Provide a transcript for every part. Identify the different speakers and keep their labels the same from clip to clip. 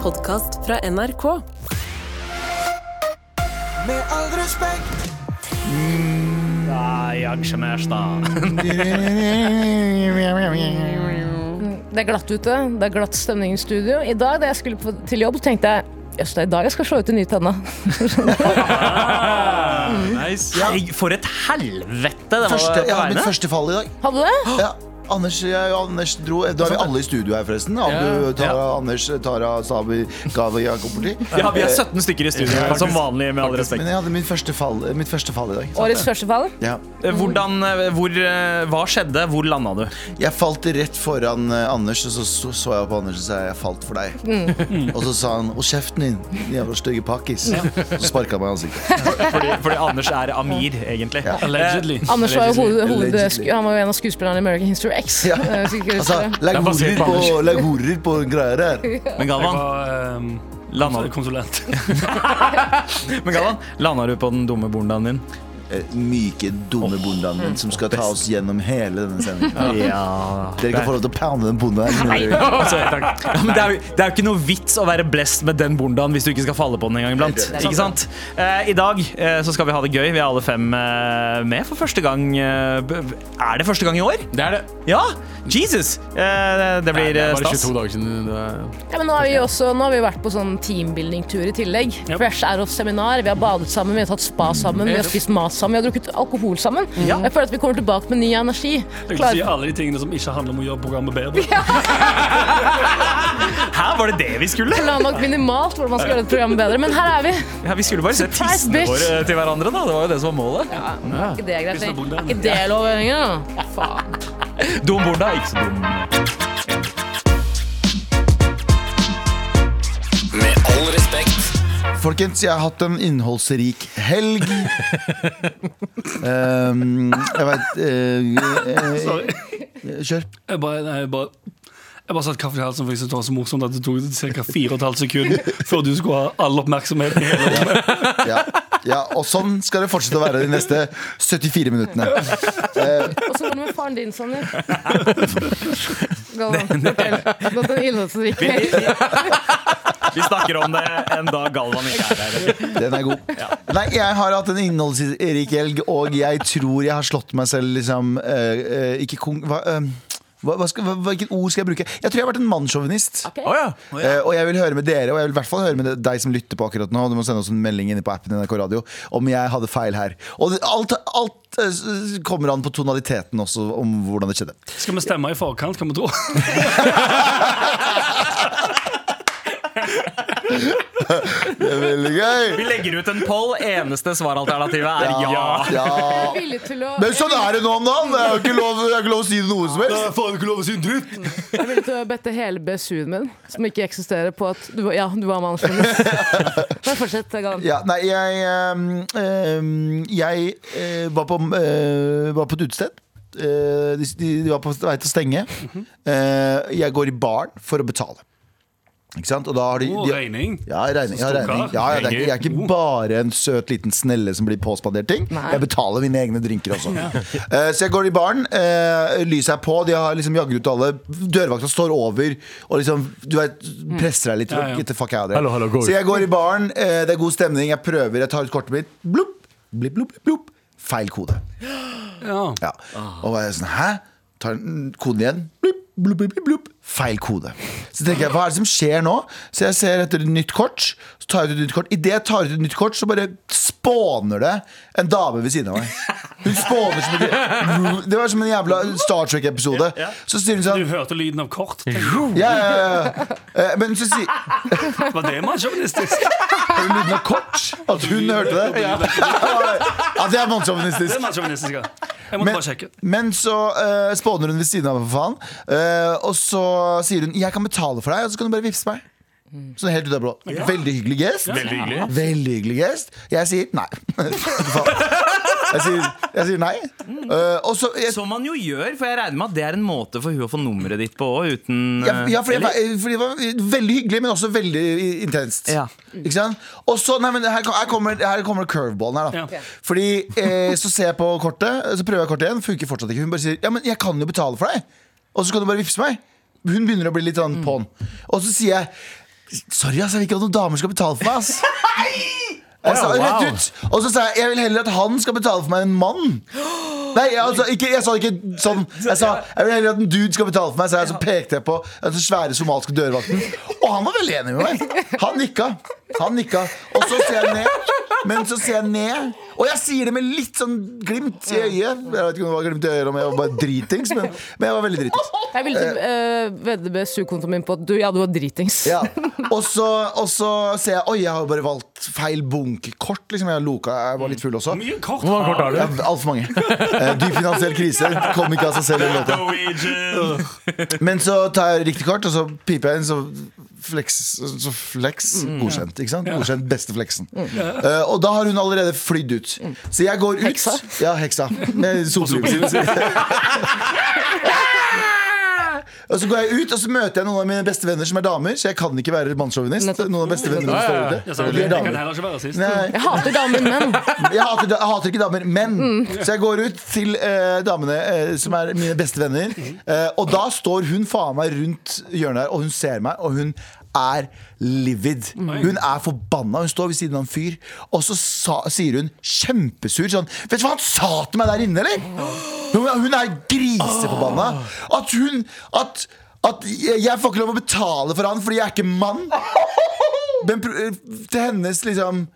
Speaker 1: podkast fra NRK.
Speaker 2: Med all respekt
Speaker 3: Nei, aksjemester.
Speaker 4: Det er glatt ute, det er glatt stemning i studio. I dag da jeg skulle på, til jobb, tenkte jeg Jøss, det er i dag jeg skal slå ut en ny tenne.
Speaker 3: Nice. Herregud, for et helvete det var
Speaker 2: første, Jeg
Speaker 3: på
Speaker 2: har mitt
Speaker 3: veiene.
Speaker 2: første fall i dag
Speaker 4: Hadde du det?
Speaker 2: ja. Anders, jeg, og Anders dro Da er vi alle i studio her forresten Andu, Tara, Anders, Tara, Sabi, Gavi, Jakoborti
Speaker 3: Ja, vi er 17 stykker i studio, som vanlig, med all respekt.
Speaker 2: Men jeg hadde mitt første fall, mitt første fall i dag sant?
Speaker 4: Årets første fall.
Speaker 2: ja.
Speaker 3: Eh, Hvordan, eh, hvor, eh, hva skjedde? Hvor landa du?
Speaker 2: Jeg falt rett foran eh, Anders Og så så, så jeg på Anders og sa Jeg falt for deg Og så sa han, og kjeften din, din jævla stygge pakkis Så sparket han meg i ansiktet
Speaker 3: Fordi, fordi Anders er Amir, egentlig. Eh,
Speaker 2: Ja.
Speaker 3: Allegedly.
Speaker 4: Anders var jo hoved, hoved,
Speaker 2: Allegedly.
Speaker 4: han var jo en av skuespillerne i American History X.
Speaker 2: Ja.
Speaker 4: eh, hvis ikke jeg
Speaker 2: Altså,
Speaker 4: husker det.
Speaker 2: lag
Speaker 5: er basert
Speaker 2: horer
Speaker 5: på
Speaker 2: på, lag horer på greier her
Speaker 3: Men Galvan,
Speaker 5: var ehm,
Speaker 3: landa du,
Speaker 5: konsulent.
Speaker 3: men Galvan, landa du på den dumme bondaen din?
Speaker 2: Eh, myke, dumme bondaen min som skal ta oss gjennom hele denne sendingen.
Speaker 3: Ja.
Speaker 2: Dere kan få lov til å pounde den bondaen. her.
Speaker 3: Altså, Ja, men det, er jo, det er jo ikke noe vits å være blessed med den bondaen hvis du ikke skal falle på den en gang iblant.
Speaker 2: Det er
Speaker 3: Ikke sant? Eh, I dag eh, så skal vi ha det gøy. Vi er alle fem eh, med for første gang. eh, b- er det første gang i år?
Speaker 5: Det er det.
Speaker 3: Ja! Jesus! Eh, det blir
Speaker 5: det
Speaker 3: eh,
Speaker 5: er bare
Speaker 3: stas.
Speaker 5: 22 dager siden. Det var
Speaker 4: Ja, men nå har vi jo også nå har vi vært på sånn teambuilding-tur i tillegg.
Speaker 5: Yep.
Speaker 4: Fresh out of seminar. Vi har badet sammen, vi har tatt spa sammen, vi har spist mat sammen, vi har drukket alkohol sammen. Jeg føler at vi kommer tilbake med ny energi.
Speaker 6: Jeg kan si
Speaker 4: Klar.
Speaker 6: alle de tingene som ikke handler om å gjøre programmet bedre.
Speaker 3: Hæ, var det det vi skulle?
Speaker 4: Planlagt minimalt hvordan man skal gjøre et program bedre, men her er vi.
Speaker 3: Ja, vi skulle bare se
Speaker 4: Surprise,
Speaker 3: tissene
Speaker 4: bitch!
Speaker 3: våre eh, til hverandre, da. Det var jo det som var målet.
Speaker 4: Er ikke det greit?
Speaker 6: Hvis det er bonde.
Speaker 4: Er ikke det lov lenger? da? Faen.
Speaker 3: Dum bonda, ikke så dum.
Speaker 2: Folkens, jeg har hatt en innholdsrik helg. Um, jeg veit
Speaker 6: Sorry.
Speaker 2: eh, Kjør.
Speaker 6: Jeg bare, nei, jeg bare jeg bare satt kaffe i halsen, for jeg syntes det var så morsomt at det tok ca. 4,5 sekunder før du skulle ha all oppmerksomheten. i hele rommet.
Speaker 2: Ja. ja, og sånn skal det fortsette å være de neste 74 minuttene. Eh,
Speaker 4: Og så går det med faren din, Sanner. Galvan, fortell. Gått en innholdsrik helg.
Speaker 3: Vi snakker om det en dag Galvan ikke er her.
Speaker 2: Den er god. Nei, jeg har hatt en innholdsrik helg, og jeg tror jeg har slått meg selv liksom eh, eh, Ikke kong... Hva, eh, hva, hva skal, hva, hvilket ord skal jeg bruke? Jeg tror jeg har vært en mannssjåvinist.
Speaker 4: Ok.
Speaker 3: Å ja.
Speaker 2: Eh, og jeg vil høre med dere, og jeg vil i hvert fall høre med deg som lytter på akkurat nå. Du må sende oss en melding inne på appen NRK Radio om jeg hadde feil her. Og det- alt, alt eh, s- kommer an på tonaliteten også, om hvordan det skjedde.
Speaker 6: Skal vi stemme i forkant, kan vi tro?
Speaker 2: Det er veldig gøy!
Speaker 3: Vi legger ut en poll. Eneste svaralternativet er ja.
Speaker 2: ja.
Speaker 4: Villig til å,
Speaker 2: Men sånn er det nå om dagen! Det er jo ikke lov, det er ikke lov å si noe som helst.
Speaker 4: jeg er villig til å bette hele BSU-en min, som ikke eksisterer, på at du, var- ja, du var mannsjournalist. Men fortsett, Galvan.
Speaker 2: Ja, nei, jeg ehm, ehm, Jeg eh, var, på, eh, var på et utested. Eh, de, de, de var på vei til å stenge.
Speaker 3: Mhm.
Speaker 2: Eh, jeg går i baren for å betale. Ikke sant? Og da har de,
Speaker 6: Og
Speaker 2: de
Speaker 6: regning.
Speaker 2: ja, regning. Ja,
Speaker 6: Så stor
Speaker 2: regning.
Speaker 6: kar.
Speaker 2: Ja, ja, det er, ikke- jeg er
Speaker 6: Regning.
Speaker 2: ikke bare en søt liten snelle som blir påspandert ting.
Speaker 4: Nei.
Speaker 2: Jeg betaler mine egne drinker også. Eh, så jeg går i baren, eh, lyset er på, de har liksom jagger ut alle. Dørvakta står over og liksom du vet, presser deg litt.
Speaker 6: Mm. Ja, ja.
Speaker 2: Get the fuck out of
Speaker 5: Hallo, hallo, gå ut.
Speaker 2: here. Så jeg går i baren, eh, det er god stemning, jeg prøver, jeg tar ut kortet mitt. Blupp, blipp, blupp, blipp, blupp. Feil kode.
Speaker 6: Ja.
Speaker 2: Ja. Og var jeg sånn, hæ? Tar den koden igjen. Blup, blup, blup, blup. Feil kode. Så tenker jeg, hva er det som skjer nå? Så jeg ser etter et nytt kort. Så tar jeg ut et nytt kort. Idet jeg tar ut et nytt kort, så bare spåner det en dame ved siden av meg. Hun spåner som en Det var som en jævla Star Trek-episode. Så sier hun
Speaker 6: Du
Speaker 2: sånn
Speaker 6: hørte lyden av kort. tenker
Speaker 2: ja, ja, ja, ja. Eh, Men så sier
Speaker 6: jeg. Var det mannssjåvinistisk?
Speaker 2: Hører du lyden av kort? At hun hørte det? At jeg er
Speaker 6: Det
Speaker 2: mannssjåvinistisk.
Speaker 6: er mannssjåvinistisk, ja. Jeg måtte
Speaker 2: Men,
Speaker 6: bare sjekke.
Speaker 2: men så uh, spåner hun ved siden av meg, for faen. Eh, og så sier hun 'jeg kan betale for deg', og så kan du bare vippse meg. Sånn helt ut av blå. Veldig hyggelig gest.
Speaker 5: Veldig hyggelig.
Speaker 2: Veldig hyggelig gest. Jeg sier nei. jeg, sier, jeg sier nei.
Speaker 5: Mm.
Speaker 2: Eh, og så jeg,
Speaker 3: Som man jo gjør, for jeg regner med at det er en måte for hun å få nummeret ditt på òg, uten
Speaker 2: ja,
Speaker 3: eh,
Speaker 2: ja, for, det
Speaker 3: eller?
Speaker 2: var, for det var veldig hyggelig, men også veldig intenst.
Speaker 3: Ja.
Speaker 2: Ikke sant? Og så, nei, men her, kom- her kommer, her kommer curveballen her, da.
Speaker 6: Ja.
Speaker 2: Fordi eh, så ser jeg på kortet, så prøver jeg kortet igjen, funker fortsatt ikke. Hun bare sier ja, men jeg kan jo
Speaker 3: Mm.
Speaker 2: betale for deg, og så kan du bare vippse meg. Hun begynner å bli litt sånn på'n. Og så sier jeg Sorry, ass, jeg vil ikke at noen damer skal betale for meg, ass. Jeg sa det
Speaker 7: Wow.
Speaker 2: rett ut. Og så sa jeg jeg vil heller at han skal betale for meg enn en mann. Nei, jeg, altså, ikke, jeg sa det ikke sånn. Jeg sa jeg vil heller at en dude skal betale for meg. Så, jeg, så pekte jeg på den svære somaliske dørvakten. Og han var veldig enig med meg. Han nikka. Han nikka. Og så ser jeg ned. Men så ser jeg ned, og jeg sier det med litt sånn glimt i øyet. Jeg vet ikke om det var glimt i øyet, eller om jeg var bare dritings, men, men jeg var veldig dritings.
Speaker 4: Jeg ville til eh, vedde med sugekontoen min på at du, ja, du var dritings.
Speaker 2: Ja. Og, så, og så ser jeg Oi, jeg har jo bare valgt feil bunkekort. Liksom. Jeg, har loka, jeg var litt full også.
Speaker 6: Mye kort.
Speaker 7: Hvor mange kort har du?
Speaker 2: Altfor mange. Eh, dyp finansiell krise. Kom ikke av seg selv. den låta.
Speaker 6: Norwegian.
Speaker 2: Men så tar jeg riktig kort, og så piper jeg inn, så flex, så flex
Speaker 6: Mm.
Speaker 2: godkjent. Ikke sant? Godkjent beste flexen. Eh, og da har hun allerede flydd ut.
Speaker 6: Mm.
Speaker 2: Så jeg går ut.
Speaker 4: Heksa?
Speaker 2: Ja, heksa. Med solbriller. Og så går jeg ut, og så møter jeg noen av mine beste venner som er damer. Så jeg kan ikke være mannssjåvinist.
Speaker 4: Nettopp.
Speaker 2: Noen av beste vennene mine
Speaker 6: Ja, ja,
Speaker 2: står
Speaker 6: ja.
Speaker 2: ute.
Speaker 6: Jeg sa
Speaker 2: og
Speaker 6: det.
Speaker 2: de
Speaker 6: Jeg
Speaker 2: er
Speaker 6: kan
Speaker 2: damer.
Speaker 6: heller ikke være rasist.
Speaker 2: Nei.
Speaker 4: Jeg hater damer, men
Speaker 2: Jeg hater, jeg hater ikke damer, men Så jeg går ut til eh, damene eh, som er mine beste venner. eh, og da står hun faen meg rundt hjørnet her, og hun ser meg, og hun er livid. Hun er forbanna. Hun står ved siden av en fyr, og så sa, sier hun kjempesur sånn Vet du hva han sa til meg der inne, eller? Hun, hun er griseforbanna. At hun At, at jeg, jeg får ikke lov å betale for han fordi jeg er ikke mann. Men pr- eh, til hennes liksom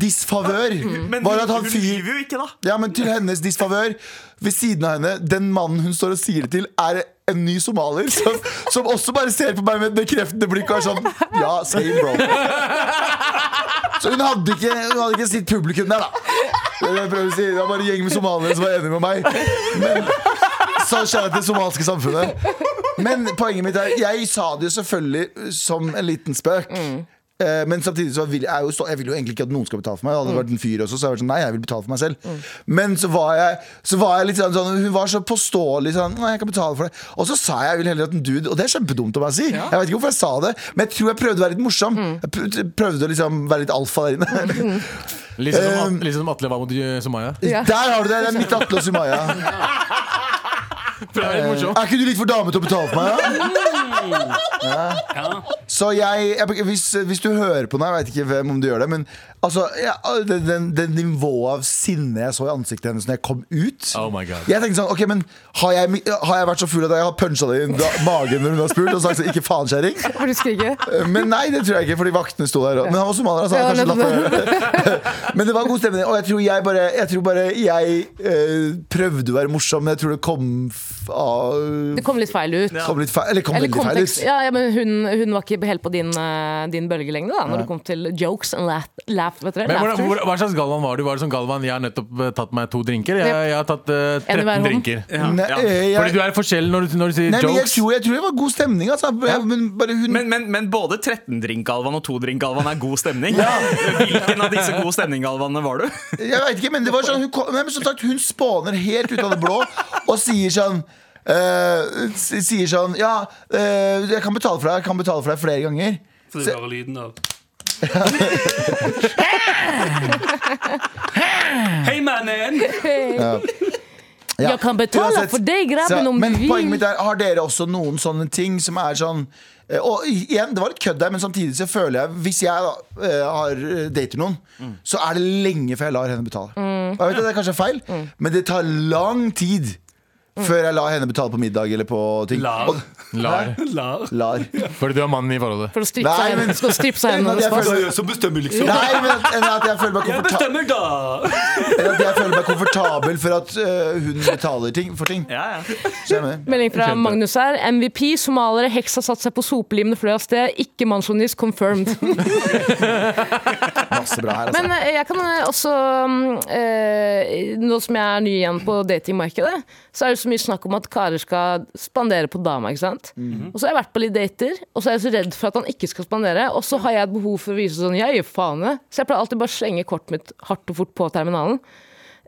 Speaker 2: disfavør
Speaker 3: Men
Speaker 2: var at han
Speaker 3: hun
Speaker 2: fyr
Speaker 3: lyver jo ikke, da.
Speaker 2: Ja, men til hennes disfavør Ved siden av henne, den mannen hun står og sier det til Er en ny somalier Som, som også bare ser på meg med et bekreftende blikk Og er sånn, ja, same bro Så hun hadde ikke Hun hadde ikke sitt publikum der da Det er det jeg prøver å si, det var bare en gjeng med somalier Som var enige med meg Men så kjære til det somaliske samfunnet Men poenget mitt er Jeg sa det jo selvfølgelig som en liten spøk Eh, Men samtidig så vil jeg, jo stå, jeg vil jo egentlig ikke at noen skal betale for meg. Det hadde vært en fyr også, så jeg var sånn, nei, jeg vil betale for meg selv. Men så var jeg, så var jeg litt sånn, sånn Hun var så påståelig sånn Nei, jeg kan betale for det. Og så sa jeg jeg vil heller at en dude Og det er kjempedumt av meg å si. Jeg vet ikke hvorfor jeg sa det, men jeg tror jeg prøvde å være litt morsom. Jeg prøv- prøvde å liksom være litt alfa der inne.
Speaker 8: Litt sånn
Speaker 2: Ehm,
Speaker 8: som, At- litt sånn som Atle var mot eh, Sumaya.
Speaker 4: Ja.
Speaker 2: Der har du det! Det er mitt Atle og Sumaya. Eh,
Speaker 8: For det er litt morsomt.
Speaker 2: Er ikke du litt for dame til å betale for meg? da?
Speaker 6: Ja.
Speaker 2: Så jeg, jeg hvis, hvis du hører på meg, jeg vet ikke hvem om du gjør det, men altså, ja, den, den, den nivået av sinne jeg så i ansiktet hennes når jeg kom ut
Speaker 8: Oh my God.
Speaker 2: Jeg tenkte sånn, ok, men har jeg, har jeg vært så full at jeg har punchet deg i da- magen når hun har spurt og sagt sånn, ikke faen kjæring?
Speaker 4: for du skriker.
Speaker 2: Men nei, det tror jeg ikke, fordi vaktene sto der. og- Men han var somalier, så han
Speaker 4: Ja,
Speaker 2: kanskje
Speaker 4: nettopp.
Speaker 2: slapp av. Men det var god stemning. Og jeg tror jeg bare Jeg, tror bare jeg eh, prøvde å være morsom, men jeg tror det kom f- av
Speaker 4: Det kom litt feil ut.
Speaker 2: Kom litt feil, eller kom
Speaker 4: Eller
Speaker 2: veldig feil ut.
Speaker 4: kontekst. Ja, ja, men hun, hun var ikke helt på din, eh, din bølgelengde da Når det kom til jokes and laugh. laugh vet dere,
Speaker 8: Men hvordan,
Speaker 4: laughter.
Speaker 8: hvor, Hva slags Galvan var du? Var det sånn Galvan, Jeg har nettopp eh, tatt meg to drinker. Jeg, jeg har tatt eh,
Speaker 4: En i
Speaker 8: 13
Speaker 4: hver hånd.
Speaker 8: drinker.
Speaker 2: Nei, eh, jeg-
Speaker 8: Fordi du er forskjellen når du, når du sier
Speaker 2: Nei, men jeg
Speaker 8: jokes.
Speaker 2: tror, jeg tror det var god stemning, altså. Jeg- Men bare hun
Speaker 3: Men, men, men både 13-drink-Galvan og 2-drink-Galvan er god stemning. Hvilken av disse god stemning-Galvanene var du?
Speaker 2: Jeg vet ikke, men det var sånn Hun, kom- nei, men som sagt, hun spåner helt ut av det blå og sier sånn eh, s- sier sånn Ja, eh, jeg kan betale for deg Jeg kan betale for deg flere ganger.
Speaker 6: For du hører lyden av Hei, mannen!
Speaker 2: Ja.
Speaker 4: Jeg kan betale
Speaker 2: Uansett,
Speaker 4: for deg, grabben,
Speaker 2: så-
Speaker 4: om
Speaker 2: Men
Speaker 4: du vil.
Speaker 2: poenget mitt er, har dere også noen sånne ting som er sånn eh, og igjen, Det var litt kødd der, men samtidig så føler jeg hvis jeg da, eh, har eh, dater noen, så er det lenge før jeg lar henne betale.
Speaker 4: Mm.
Speaker 2: Og jeg vet at Det er kanskje feil, men det tar lang tid
Speaker 4: Mm.
Speaker 2: før jeg lar henne betale på middag eller på ting.
Speaker 6: Lar.
Speaker 2: Og,
Speaker 8: Lar.
Speaker 6: Lar.
Speaker 2: lar.
Speaker 8: Fordi du er mannen i forholdet.
Speaker 4: For å strippe
Speaker 2: Nei,
Speaker 4: seg
Speaker 2: men-
Speaker 4: inn- for å strippe seg inn
Speaker 2: Nei,
Speaker 4: hennes
Speaker 2: jeg
Speaker 4: pass.
Speaker 2: føler-
Speaker 6: som bestemmer, liksom.
Speaker 2: Nei, men at, enn at jeg føler meg
Speaker 6: Jeg
Speaker 2: komfortabel
Speaker 6: bestemmer, da!
Speaker 2: Enn at jeg føler meg komfortabel for at eh, hun betaler ting, for ting.
Speaker 3: Ja, ja.
Speaker 2: Skjønner du?
Speaker 4: Melding fra
Speaker 8: Kjempe.
Speaker 4: Magnus her. MVP, somalere, heksa satt seg på sopelimene fløy av sted. Ikke mannsjonist, confirmed.
Speaker 2: Masse bra her, altså.
Speaker 4: Men eh, jeg kan eh, også mm, eh, Nå som jeg er ny igjen på datingmarkedet, så er det så mye snakk om at karer skal spandere på dama. ikke sant? Og så har jeg vært på litt dater, og så er jeg så redd for at han ikke skal spandere. Og så har jeg et behov for å vise sånn Jeg gir faen i. Så jeg pleier alltid bare å slenge kortet mitt hardt og fort på terminalen.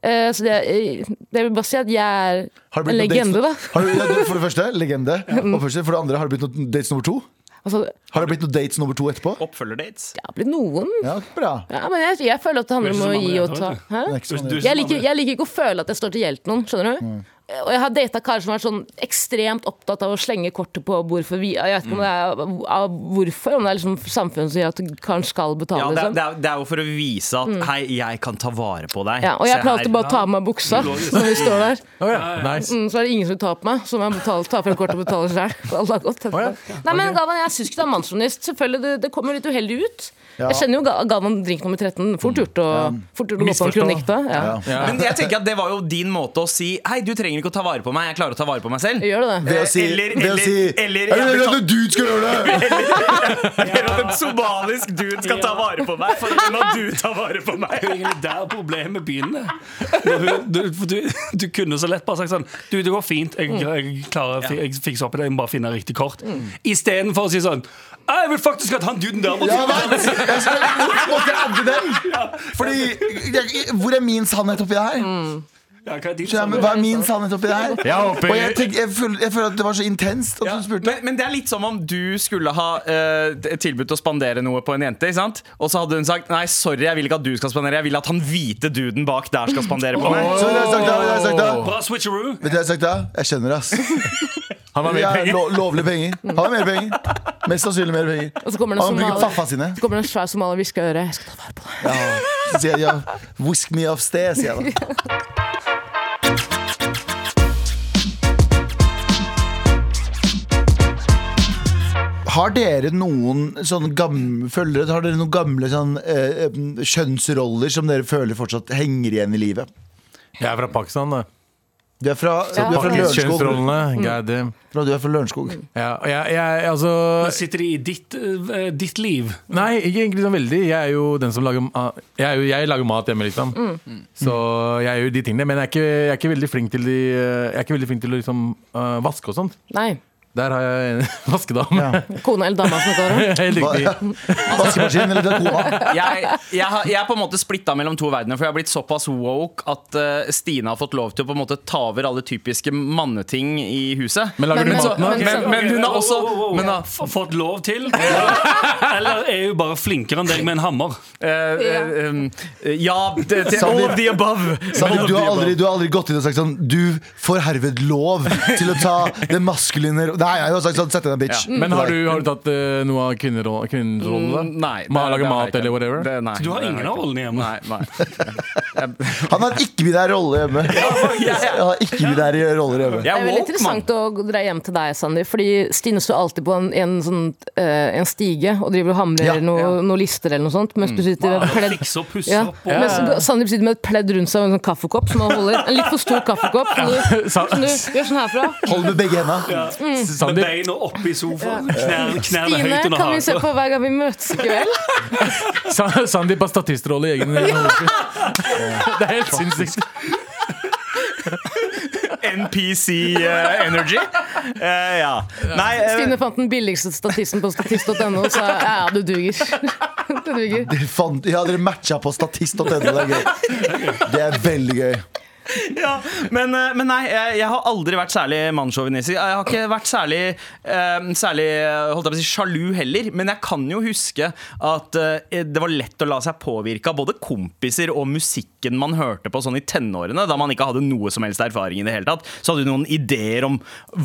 Speaker 4: Eh, så det, eh, det vil bare si at jeg er
Speaker 2: Har du
Speaker 4: en
Speaker 2: begynt å date-
Speaker 4: legende, da. Mm.
Speaker 2: Har du, ja, du- for det første, legende. Og første, for det andre, har det blitt noen dates nummer to?
Speaker 4: Altså,
Speaker 2: Har det blitt noen dates nummer to etterpå?
Speaker 3: Oh. Oppfølgerdates.
Speaker 4: det har blitt noen.
Speaker 2: Ja, bra.
Speaker 4: Ja, men jeg, jeg føler at det handler
Speaker 6: Du er ikke
Speaker 4: om å
Speaker 6: så
Speaker 4: gi og
Speaker 6: mange,
Speaker 4: ta.
Speaker 6: vet
Speaker 4: Hæ?
Speaker 2: Det
Speaker 3: sånn
Speaker 2: er ikke så mange Mm.
Speaker 6: Du-
Speaker 2: dates.
Speaker 4: Jeg liker, jeg liker ikke å føle at jeg står til hjelp noen, skjønner du? Og jeg har data karer som har vært sånn ekstremt opptatt av å slenge kortet på hvorfor vi Jeg vet ikke om det er av hvorfor, om det er liksom samfunnet som gjør at karen skal betale.
Speaker 3: Ja, det, er,
Speaker 4: liksom. Mm.
Speaker 3: det, er, det er jo for å vise at hei, jeg kan ta vare på deg.
Speaker 4: ja, og jeg
Speaker 3: Se
Speaker 4: pleier alltid
Speaker 3: her.
Speaker 4: bare å ta av meg buksa når vi står der.
Speaker 8: Å ja, nice.
Speaker 4: Mm, så er det ingen som vil ta på meg, så må jeg betale, ta frem kortet og betale sjøl. Nei, men Galvan, jeg syns ikke du er mannssjåvinist. Selvfølgelig, det, det kommer litt uheldig ut. Jeg kjenner jo Ga- Galvan drink nummer 13. Fort gjort å, fort gjort å gå på en
Speaker 8: Misforstå.
Speaker 4: kronikk da. Ja.
Speaker 3: Men jeg tenker at det var jo din måte å si Hei, du trenger ikke å ta vare på meg, jeg klarer å ta vare på meg selv.
Speaker 4: Gjør du det?
Speaker 2: Ved å si
Speaker 3: Eller-
Speaker 2: Ved å si
Speaker 3: eller- eller-
Speaker 2: Er du redd at en dude skal gjøre det?
Speaker 3: Eller at en somalisk dude skal ta vare på meg. For la du ta vare på meg.
Speaker 6: Det er jo egentlig der problemet begynner. Når hun- Du, for du, du kunne så lett bare sagt sånn Du, det går fint. Jeg, jeg klarer fi- jeg fikser opp i det. Jeg må bare finne riktig kort. Istedenfor å si sånn Jeg vil faktisk at han duden der må
Speaker 2: Ja, men, jeg skal, hvorfor skal jeg adde den? Fordi jeg, Hvor er min sannhet oppi det her?
Speaker 4: Mm.
Speaker 6: Ja, hva er din
Speaker 2: Skjønner jeg, men Hva er min sannhet oppi det her?
Speaker 8: Jeg håper-
Speaker 2: Og jeg, tenker, jeg, føler, jeg føler at det var så intenst at
Speaker 3: Ja,
Speaker 2: hun spurte.
Speaker 3: men, men det er litt som om du skulle ha eh, t- tilbudt å spandere noe på en jente, ikke sant? og så hadde hun sagt nei, sorry, jeg vil ikke at du skal spandere, jeg vil at han hvite duden bak der skal spandere på meg.
Speaker 2: Så vet du hva jeg har sagt da? Vet du hva jeg har sagt da?
Speaker 6: Bra switcheroo.
Speaker 2: Vet du hva jeg har sagt da? Jeg kjenner det, ass.
Speaker 8: Han har
Speaker 2: Jeg
Speaker 8: mer
Speaker 2: har
Speaker 8: penger.
Speaker 2: lo lovlige penger. Han har mer penger. Mest sannsynlig mer penger.
Speaker 4: Og så kommer det en
Speaker 2: Han bruker
Speaker 4: somalier.
Speaker 2: faffa sine.
Speaker 4: Så kommer det en svær somalier og hvisker i øret. Jeg skal ta vare på deg.
Speaker 2: Ja, så sier jeg, ja, Whisk me off sted, sier jeg da. Har dere noen sånne gamle følgere? Har dere noen gamle sånn, eh, kjønnsroller som dere føler fortsatt henger igjen i livet?
Speaker 8: Jeg er fra Pakistan, da.
Speaker 2: Du er fra, du er fra Lørenskog.
Speaker 4: Mm.
Speaker 8: Kjønnsrollene. God damn.
Speaker 2: Bro, Du er fra Lørenskog.
Speaker 8: Ja, og jeg, jeg, altså
Speaker 6: Sitter de i ditt, eh, ditt liv?
Speaker 8: Nei, ikke egentlig sånn veldig. Jeg er jo den som lager ma- Jeg, er jo, jeg lager mat hjemme, liksom. Så jeg gjør de tingene. Men jeg er ikke, jeg er ikke veldig flink til de Jeg er ikke veldig flink til å liksom øh, vaske og sånt.
Speaker 4: Nei.
Speaker 8: Der har jeg en vaskedame.
Speaker 2: Ja.
Speaker 4: Kona eller dama som snakker om.
Speaker 8: Helt riktig.
Speaker 2: Vaskemaskin eller Dakona?
Speaker 3: Jeg, jeg, har- jeg er på en måte splitta mellom to verdener, for jeg har blitt såpass woke at eh, Stine har fått lov til å på en måte ta over alle typiske manneting i huset.
Speaker 8: Men lager
Speaker 4: Men-
Speaker 8: du
Speaker 4: men-
Speaker 8: maten, da?
Speaker 4: men-
Speaker 3: Men, men hun har også
Speaker 6: Wow, wow, wow.
Speaker 3: men da,
Speaker 6: F- Fått lov til? Eller er hun bare flinkere enn deg med en hammer?
Speaker 3: eh, eh, eh, Ja, det, det, all
Speaker 2: Sandeep.
Speaker 3: of the above.
Speaker 2: Sandeep,
Speaker 3: All of
Speaker 2: du,
Speaker 3: the
Speaker 2: har aldri,
Speaker 3: above.
Speaker 2: du har aldri gått inn og sagt sånn Du får herved lov til å ta det maskuline ro-" Nei, nei, du har sagt sånn Sett deg ned, bitch.
Speaker 8: Men har du, har du tatt øh, noe av kvinneroll- kvinnerollene? da?
Speaker 3: Mm, Nei. det-
Speaker 8: Ma-
Speaker 3: det
Speaker 8: Lage
Speaker 3: har
Speaker 8: mat
Speaker 3: jeg ikke.
Speaker 8: eller whatever?
Speaker 3: Det- nei,
Speaker 6: Du har
Speaker 3: det
Speaker 6: ingen
Speaker 3: jeg
Speaker 6: av
Speaker 3: ikke.
Speaker 6: rollene hjemme.
Speaker 3: Nei, nei.
Speaker 2: Han har ikke med deg rolle hjemme. Han har ikke med deg roller hjemme.
Speaker 3: Jeg
Speaker 4: Det er
Speaker 3: er woke,
Speaker 4: veldig
Speaker 3: mann.
Speaker 4: interessant å gå- dra hjem til deg, Sandeep. Fordi Stine står alltid på en, en, sånn, eh, en stige og driver og hamrer
Speaker 2: Ja,
Speaker 4: noe, noen lister eller noe sånt. Mens du sitter med et pledd
Speaker 6: Fikse og pusse
Speaker 4: ja.
Speaker 6: opp. Og,
Speaker 4: Mens Sandeep sitter med et pledd rundt seg og en sånn kaffekopp som han holder. En litt for stor kaffekopp som du,
Speaker 8: Sa-
Speaker 4: som du gjør sånn herfra.
Speaker 2: Hold med begge henda.
Speaker 6: med
Speaker 8: Sandeep,
Speaker 6: beina oppe i sofaen. Knær, knærne
Speaker 4: Stine
Speaker 6: høyt under
Speaker 4: kan vi se
Speaker 6: haka.
Speaker 4: på hver gang vi møtes i kveld.
Speaker 8: Sa- Sandeep har statistrolle i egen hovedfilm. Det er helt sinnssykt.
Speaker 3: NPC eh, Energy. Eh, ja. Nei, eh,
Speaker 4: Stine fant den billigste statisten på statist.no og sa ja, du duger. Du duger.
Speaker 2: Dere fant- Ja, dere matcha på statist.no. Det er gøy. Det er veldig gøy.
Speaker 3: ja. men, eh, men nei, jeg, jeg har aldri vært særlig mannssjåvinistisk. Jeg har ikke vært særlig, eh, særlig eh, holdt jeg på å si, sjalu heller. Men jeg kan jo huske at eh, det var lett å la seg påvirke av både kompiser og musikken man hørte på sånn i tenårene, da man ikke hadde noe som helst erfaring i det hele tatt. Så hadde du noen ideer om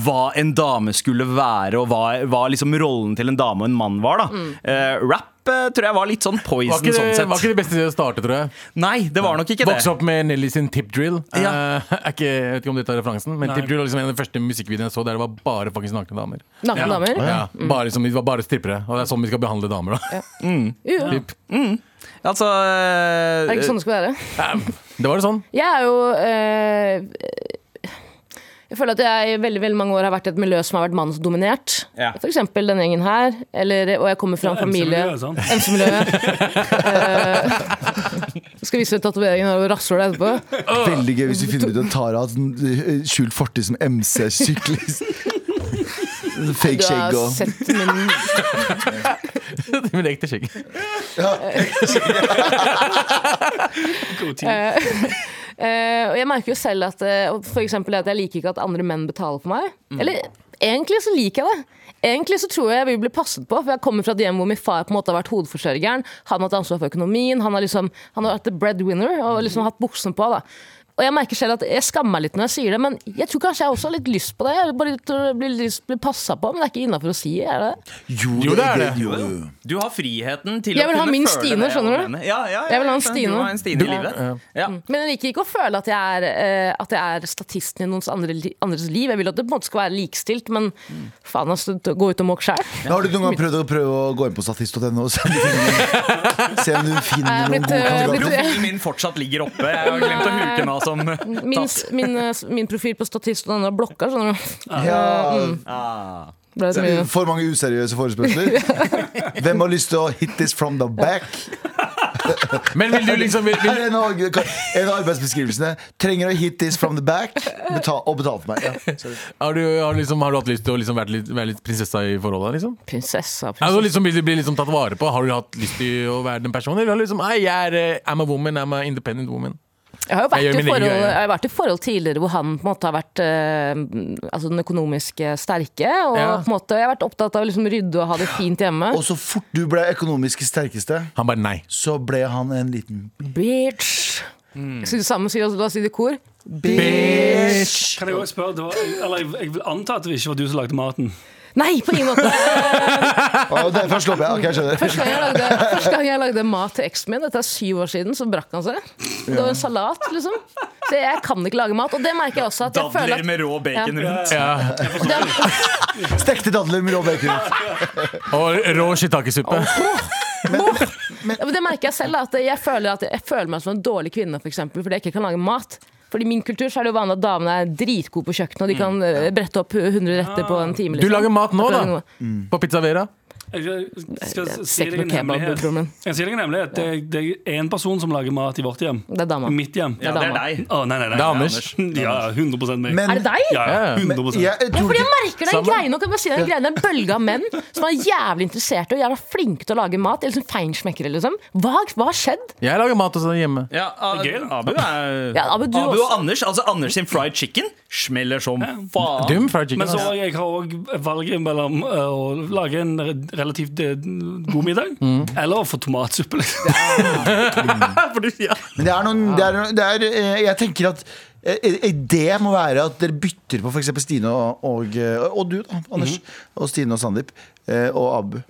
Speaker 3: hva en dame skulle være, og hva, hva liksom rollen til en dame og en mann var. da Eh, Rap eh, tror jeg var litt sånn
Speaker 8: Mm. Var
Speaker 3: poison
Speaker 8: ikke,
Speaker 3: sånn
Speaker 8: det,
Speaker 3: sett.
Speaker 8: var ikke det beste stedet å starte, tror jeg.
Speaker 3: Nei, det var nok ikke det.
Speaker 8: Vokse opp med Nelly sin Tip Drill.
Speaker 3: Ja.
Speaker 8: Eh, er ikke, jeg vet ikke om du tar referansen, men Tip Drill var liksom en av de første musikkvideoene jeg så der det var bare faktisk nakne damer.
Speaker 4: Nakne damer.
Speaker 8: Ja, bare, som, de var bare strippere. Og det er sånn vi skal behandle damer, da.
Speaker 4: Jo, jo.
Speaker 8: Typ.
Speaker 3: Altså
Speaker 4: Er det ikke sånn det skal være?
Speaker 8: Det var det sånn.
Speaker 4: Jeg er jo eh, Jeg føler at jeg i veldig, veldig mange år har vært i et miljø som har vært mannsdominert.
Speaker 3: eh, Ja.
Speaker 4: For eksempel denne gjengen her. Eller, og jeg kommer fra en familie
Speaker 6: MC-miljøet, sant?
Speaker 4: MC-miljøet. Eh, skal vise tatoveringen her og rasshølet etterpå.
Speaker 2: Veldig gøy hvis vi finner ut at Tara har sånn eh, skjult fortid som MC-syklist.
Speaker 4: Du
Speaker 2: Fake
Speaker 4: har
Speaker 2: skjegg og
Speaker 4: sett min
Speaker 8: Det var ekte skjegg.
Speaker 4: Eh, og jeg merker jo selv at eh, og for eksempel at jeg liker ikke at andre menn betaler for meg. Eller egentlig så liker jeg det. Egentlig så tror jeg jeg vil bli passet på, for jeg kommer fra et hjem hvor min far på en måte har vært hovedforsørgeren. Han har hatt ansvar for økonomien, han har, liksom, han har vært the breadwinner og liksom hatt buksene på. da Og jeg merker selv at jeg skammer meg litt når jeg sier det, men jeg tror kanskje jeg også har litt lyst på det. Jeg bare tror jeg blir, lyst- blir passa på, men det er ikke innafor å si. Er det?
Speaker 2: Jo,
Speaker 8: Jo, det er det.
Speaker 2: Jo, jo.
Speaker 3: Du har friheten til å
Speaker 4: Jeg vil ha
Speaker 3: kunne
Speaker 4: min
Speaker 3: føle
Speaker 4: Stine,
Speaker 3: det
Speaker 4: skjønner du?
Speaker 3: alene. Ja, ja, ja,
Speaker 4: Jeg vil ha en
Speaker 3: skjønner.
Speaker 4: Stine. Mm.
Speaker 3: Du må ha en Stine i livet. Ja.
Speaker 4: Men jeg liker ikke å føle at jeg er, eh, at jeg er statisten i noens andre, li- andres liv. Jeg vil at det på en måte skal være likestilt, men faen, altså, gå ut og måke sjæl.
Speaker 2: Men Har du noen gang prøvd å, prøve å gå inn på statist.no og se om du finner- se om du finner
Speaker 4: Jeg er
Speaker 2: noen
Speaker 4: blitt,
Speaker 2: gode
Speaker 4: eh, blitt-
Speaker 2: kandidater?
Speaker 3: Profilen min fortsatt ligger oppe. Jeg har glemt å hulke meg som
Speaker 4: Min,
Speaker 3: tatt.
Speaker 4: min, eh, min profil på statist og den andre blokka, skjønner du. Mm,
Speaker 2: Ja,
Speaker 3: Ah.
Speaker 4: Ble det mye.
Speaker 2: for mange useriøse forespørsler. Hvem har lyst til å hit this from the back?
Speaker 8: Men vil du liksom vil,
Speaker 2: Her
Speaker 8: vil,
Speaker 2: er en av, en av arbeidsbeskrivelsene. Trenger å hit this from the back betal, og betale for meg. Ja.
Speaker 8: har, du, har, du liksom, har du hatt lyst til å liksom være, litt, være litt prinsessa i forholdet? liksom?
Speaker 4: Prinsessa,
Speaker 8: Ja,
Speaker 4: prinsessa.
Speaker 8: du liksom blir, blir liksom tatt vare på Har du hatt lyst til å være den personen? Eller har du liksom, «Nei, jeg er eh, I'm a woman, I'm a independent woman
Speaker 4: Jeg har jo
Speaker 8: Jeg
Speaker 4: vært,
Speaker 8: gjør
Speaker 4: i
Speaker 8: min egen
Speaker 4: forhold,
Speaker 8: greie.
Speaker 4: jeg har vært i forhold tidligere hvor han på en måte har vært eh, altså den økonomiske sterke. Og
Speaker 8: Ja.
Speaker 4: på en måte, jeg har vært opptatt av å liksom rydde og ha det fint hjemme.
Speaker 2: Og så fort du ble økonomisk sterkeste,
Speaker 8: Han bare nei
Speaker 2: så ble han en liten
Speaker 4: Bitch! Jeg sier det samme, sier også, da sier det i kor.
Speaker 6: Kan jeg også spørre, det var, eller jeg, jeg vil anta at det ikke var du som lagde maten.
Speaker 4: Nei, på ingen måte!
Speaker 2: Og derfor slår jeg. Ok, jeg skjønner.
Speaker 4: Første gang jeg lagde, første gang jeg lagde mat til eksen min, dette er syv år siden, så brakk han seg. Det var en salat, liksom. Så jeg kan ikke lage mat. Og det merker jeg også at jeg føler
Speaker 3: Dadler
Speaker 4: at
Speaker 3: med rå bacon rundt.
Speaker 8: ja.
Speaker 2: Stekte dadler med rå bacon.
Speaker 8: Og rå shiitake-suppe
Speaker 4: Ja, men det merker jeg selv, da, at jeg føler, at jeg føler meg som en dårlig kvinne for eksempel, fordi jeg ikke kan lage mat. Fordi I min kultur så er det jo vanlig at damene er dritgode på kjøkkenet, og de kan eh, brette opp 100 retter på en time. liksom.
Speaker 8: Du lager mat nå
Speaker 4: Jeg
Speaker 8: da
Speaker 4: prøver noe.
Speaker 8: På Pizza Vera
Speaker 6: Jeg skal si
Speaker 4: Stek
Speaker 6: deg en
Speaker 4: med kebab,
Speaker 6: hemmelighet.
Speaker 4: broren min.
Speaker 6: Jeg sier deg en hemmelighet. Det, er- det er én person som lager mat i vårt hjem.
Speaker 4: Det er dama.
Speaker 6: I mitt hjem.
Speaker 3: Ja, det er deg.
Speaker 6: Å, nei, nei, nei.
Speaker 8: Det er Anders
Speaker 6: Ja, 100 meg.
Speaker 2: Men
Speaker 4: Er det deg?
Speaker 6: ja, ja,
Speaker 8: Men-
Speaker 6: 100
Speaker 2: jeg,
Speaker 4: Ja,
Speaker 2: tror
Speaker 4: fordi jeg
Speaker 2: ikke
Speaker 4: merker det er en
Speaker 8: Sammen.
Speaker 4: greie nå, kan jeg bare si det er en greie, det er en bølge av menn som er jævlig interesserte og jævla flinke til å lage mat. Eller sånn feinschmeckere, liksom. Hva hva har skjedd?
Speaker 8: Jeg lager mat også hjemme
Speaker 3: Ja, A-
Speaker 6: Det er gøy, da.
Speaker 3: Abu er
Speaker 4: Ja, Abu, du
Speaker 3: Abu og
Speaker 4: også.
Speaker 3: Anders altså Anders sin fried chicken smeller som faen.
Speaker 8: Dum fried chicken
Speaker 6: Men så
Speaker 8: ass.
Speaker 6: jeg har også valget mellom eh, å lage en re- relativt eh, god middag, eller å få tomatsuppe. liksom. For du- ja.
Speaker 2: Men det er noen, det er, noen- det er, eh, Jeg tenker at eh, eh, det må være at dere bytter på f.eks. Stine og, og, eh, og du, da, Anders. Og Stine og Sandeep. eh, Og Abu.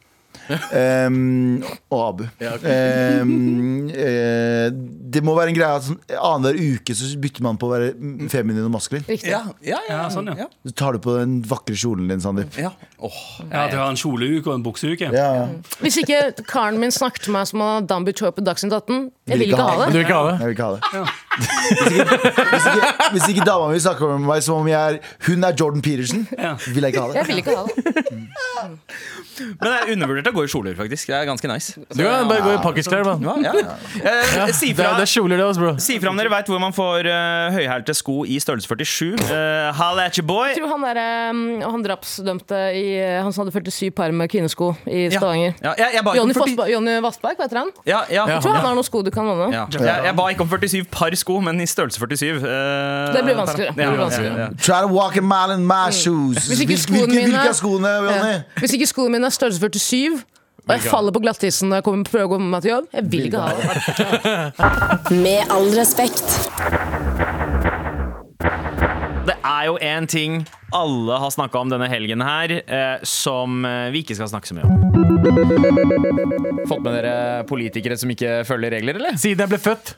Speaker 2: Em, og Abu. Em, eh, det må være en greie at sånn, annenhver uke så bytter man på å være feminin og maskulin.
Speaker 4: Riktig.
Speaker 3: Ja, ja, ja,
Speaker 6: Ja, sånn, ja.
Speaker 2: Så tar du på den vakre kjolen din, Sandeep.
Speaker 3: ja. Åh,
Speaker 6: ja, Du har en kjoleuke og en bukseuke.
Speaker 2: Ja, ja.
Speaker 4: Hvis ikke karen min snakket til meg som om han hadde Dambi Choi på Dagsnytt 18, jeg vil ikke ha
Speaker 8: Men du
Speaker 4: det.
Speaker 8: vil ikke ha det?
Speaker 2: Jeg vil ikke ha det. Hvis ikke, hvis ikke, hvis ikke dama mi snakker med meg som om jeg er, hun er Jordan Peterson, vil jeg ikke ha det.
Speaker 4: Jeg vil ikke ha det.
Speaker 3: Men det er undervurdert å gå i kjoler, faktisk. Det er ganske nice.
Speaker 8: Du kan bare gå i pakkesklær da
Speaker 3: Ja, ja. Eh, si
Speaker 8: det,
Speaker 3: fra
Speaker 8: er- det er kjoler det også, bro
Speaker 3: Si fra om dere veit hvor man får uh, høyhælte sko i størrelse 47. Uh, Halla at your boy!
Speaker 4: Jeg tror han, der, um, han drapsdømte i uh, Han som hadde 47 par med kvinnesko i
Speaker 3: Ja.
Speaker 4: Stavanger.
Speaker 3: Ja, jeg, jeg, ba ikke om
Speaker 4: Jonny,
Speaker 3: 40
Speaker 4: Fossba- Jonny Vassberg, vet dere han?
Speaker 3: ja, ja,
Speaker 8: Ja.
Speaker 3: ja.
Speaker 4: Jeg tror han har noen sko du kan låne.
Speaker 3: Jeg, jeg ba ikke om 47 par sko, men i størrelse 47. eh,
Speaker 4: Det blir vanskeligere. Det
Speaker 3: ja,
Speaker 4: blir
Speaker 3: ja,
Speaker 4: vanskeligere.
Speaker 3: ja, ja.
Speaker 2: Try to walk a mile in my shoes.
Speaker 4: Mm. Hvis ikke
Speaker 2: Hvilke-
Speaker 4: skoene
Speaker 2: hvilke,
Speaker 4: mine-
Speaker 2: hvilke er skoene, Jonny?
Speaker 4: Eh, Hvis ikke skoene mine er størrelse 47 og jeg faller på glattisen når jeg kommer prøver å gå med meg til jobb, jeg vil ikke ha det.
Speaker 1: Med all respekt.
Speaker 3: Det er jo én ting alle har snakka om denne helgen her, eh, som eh, vi ikke skal snakke så mye om. Fått med dere politikere som ikke følger regler, eller?
Speaker 8: Siden jeg ble født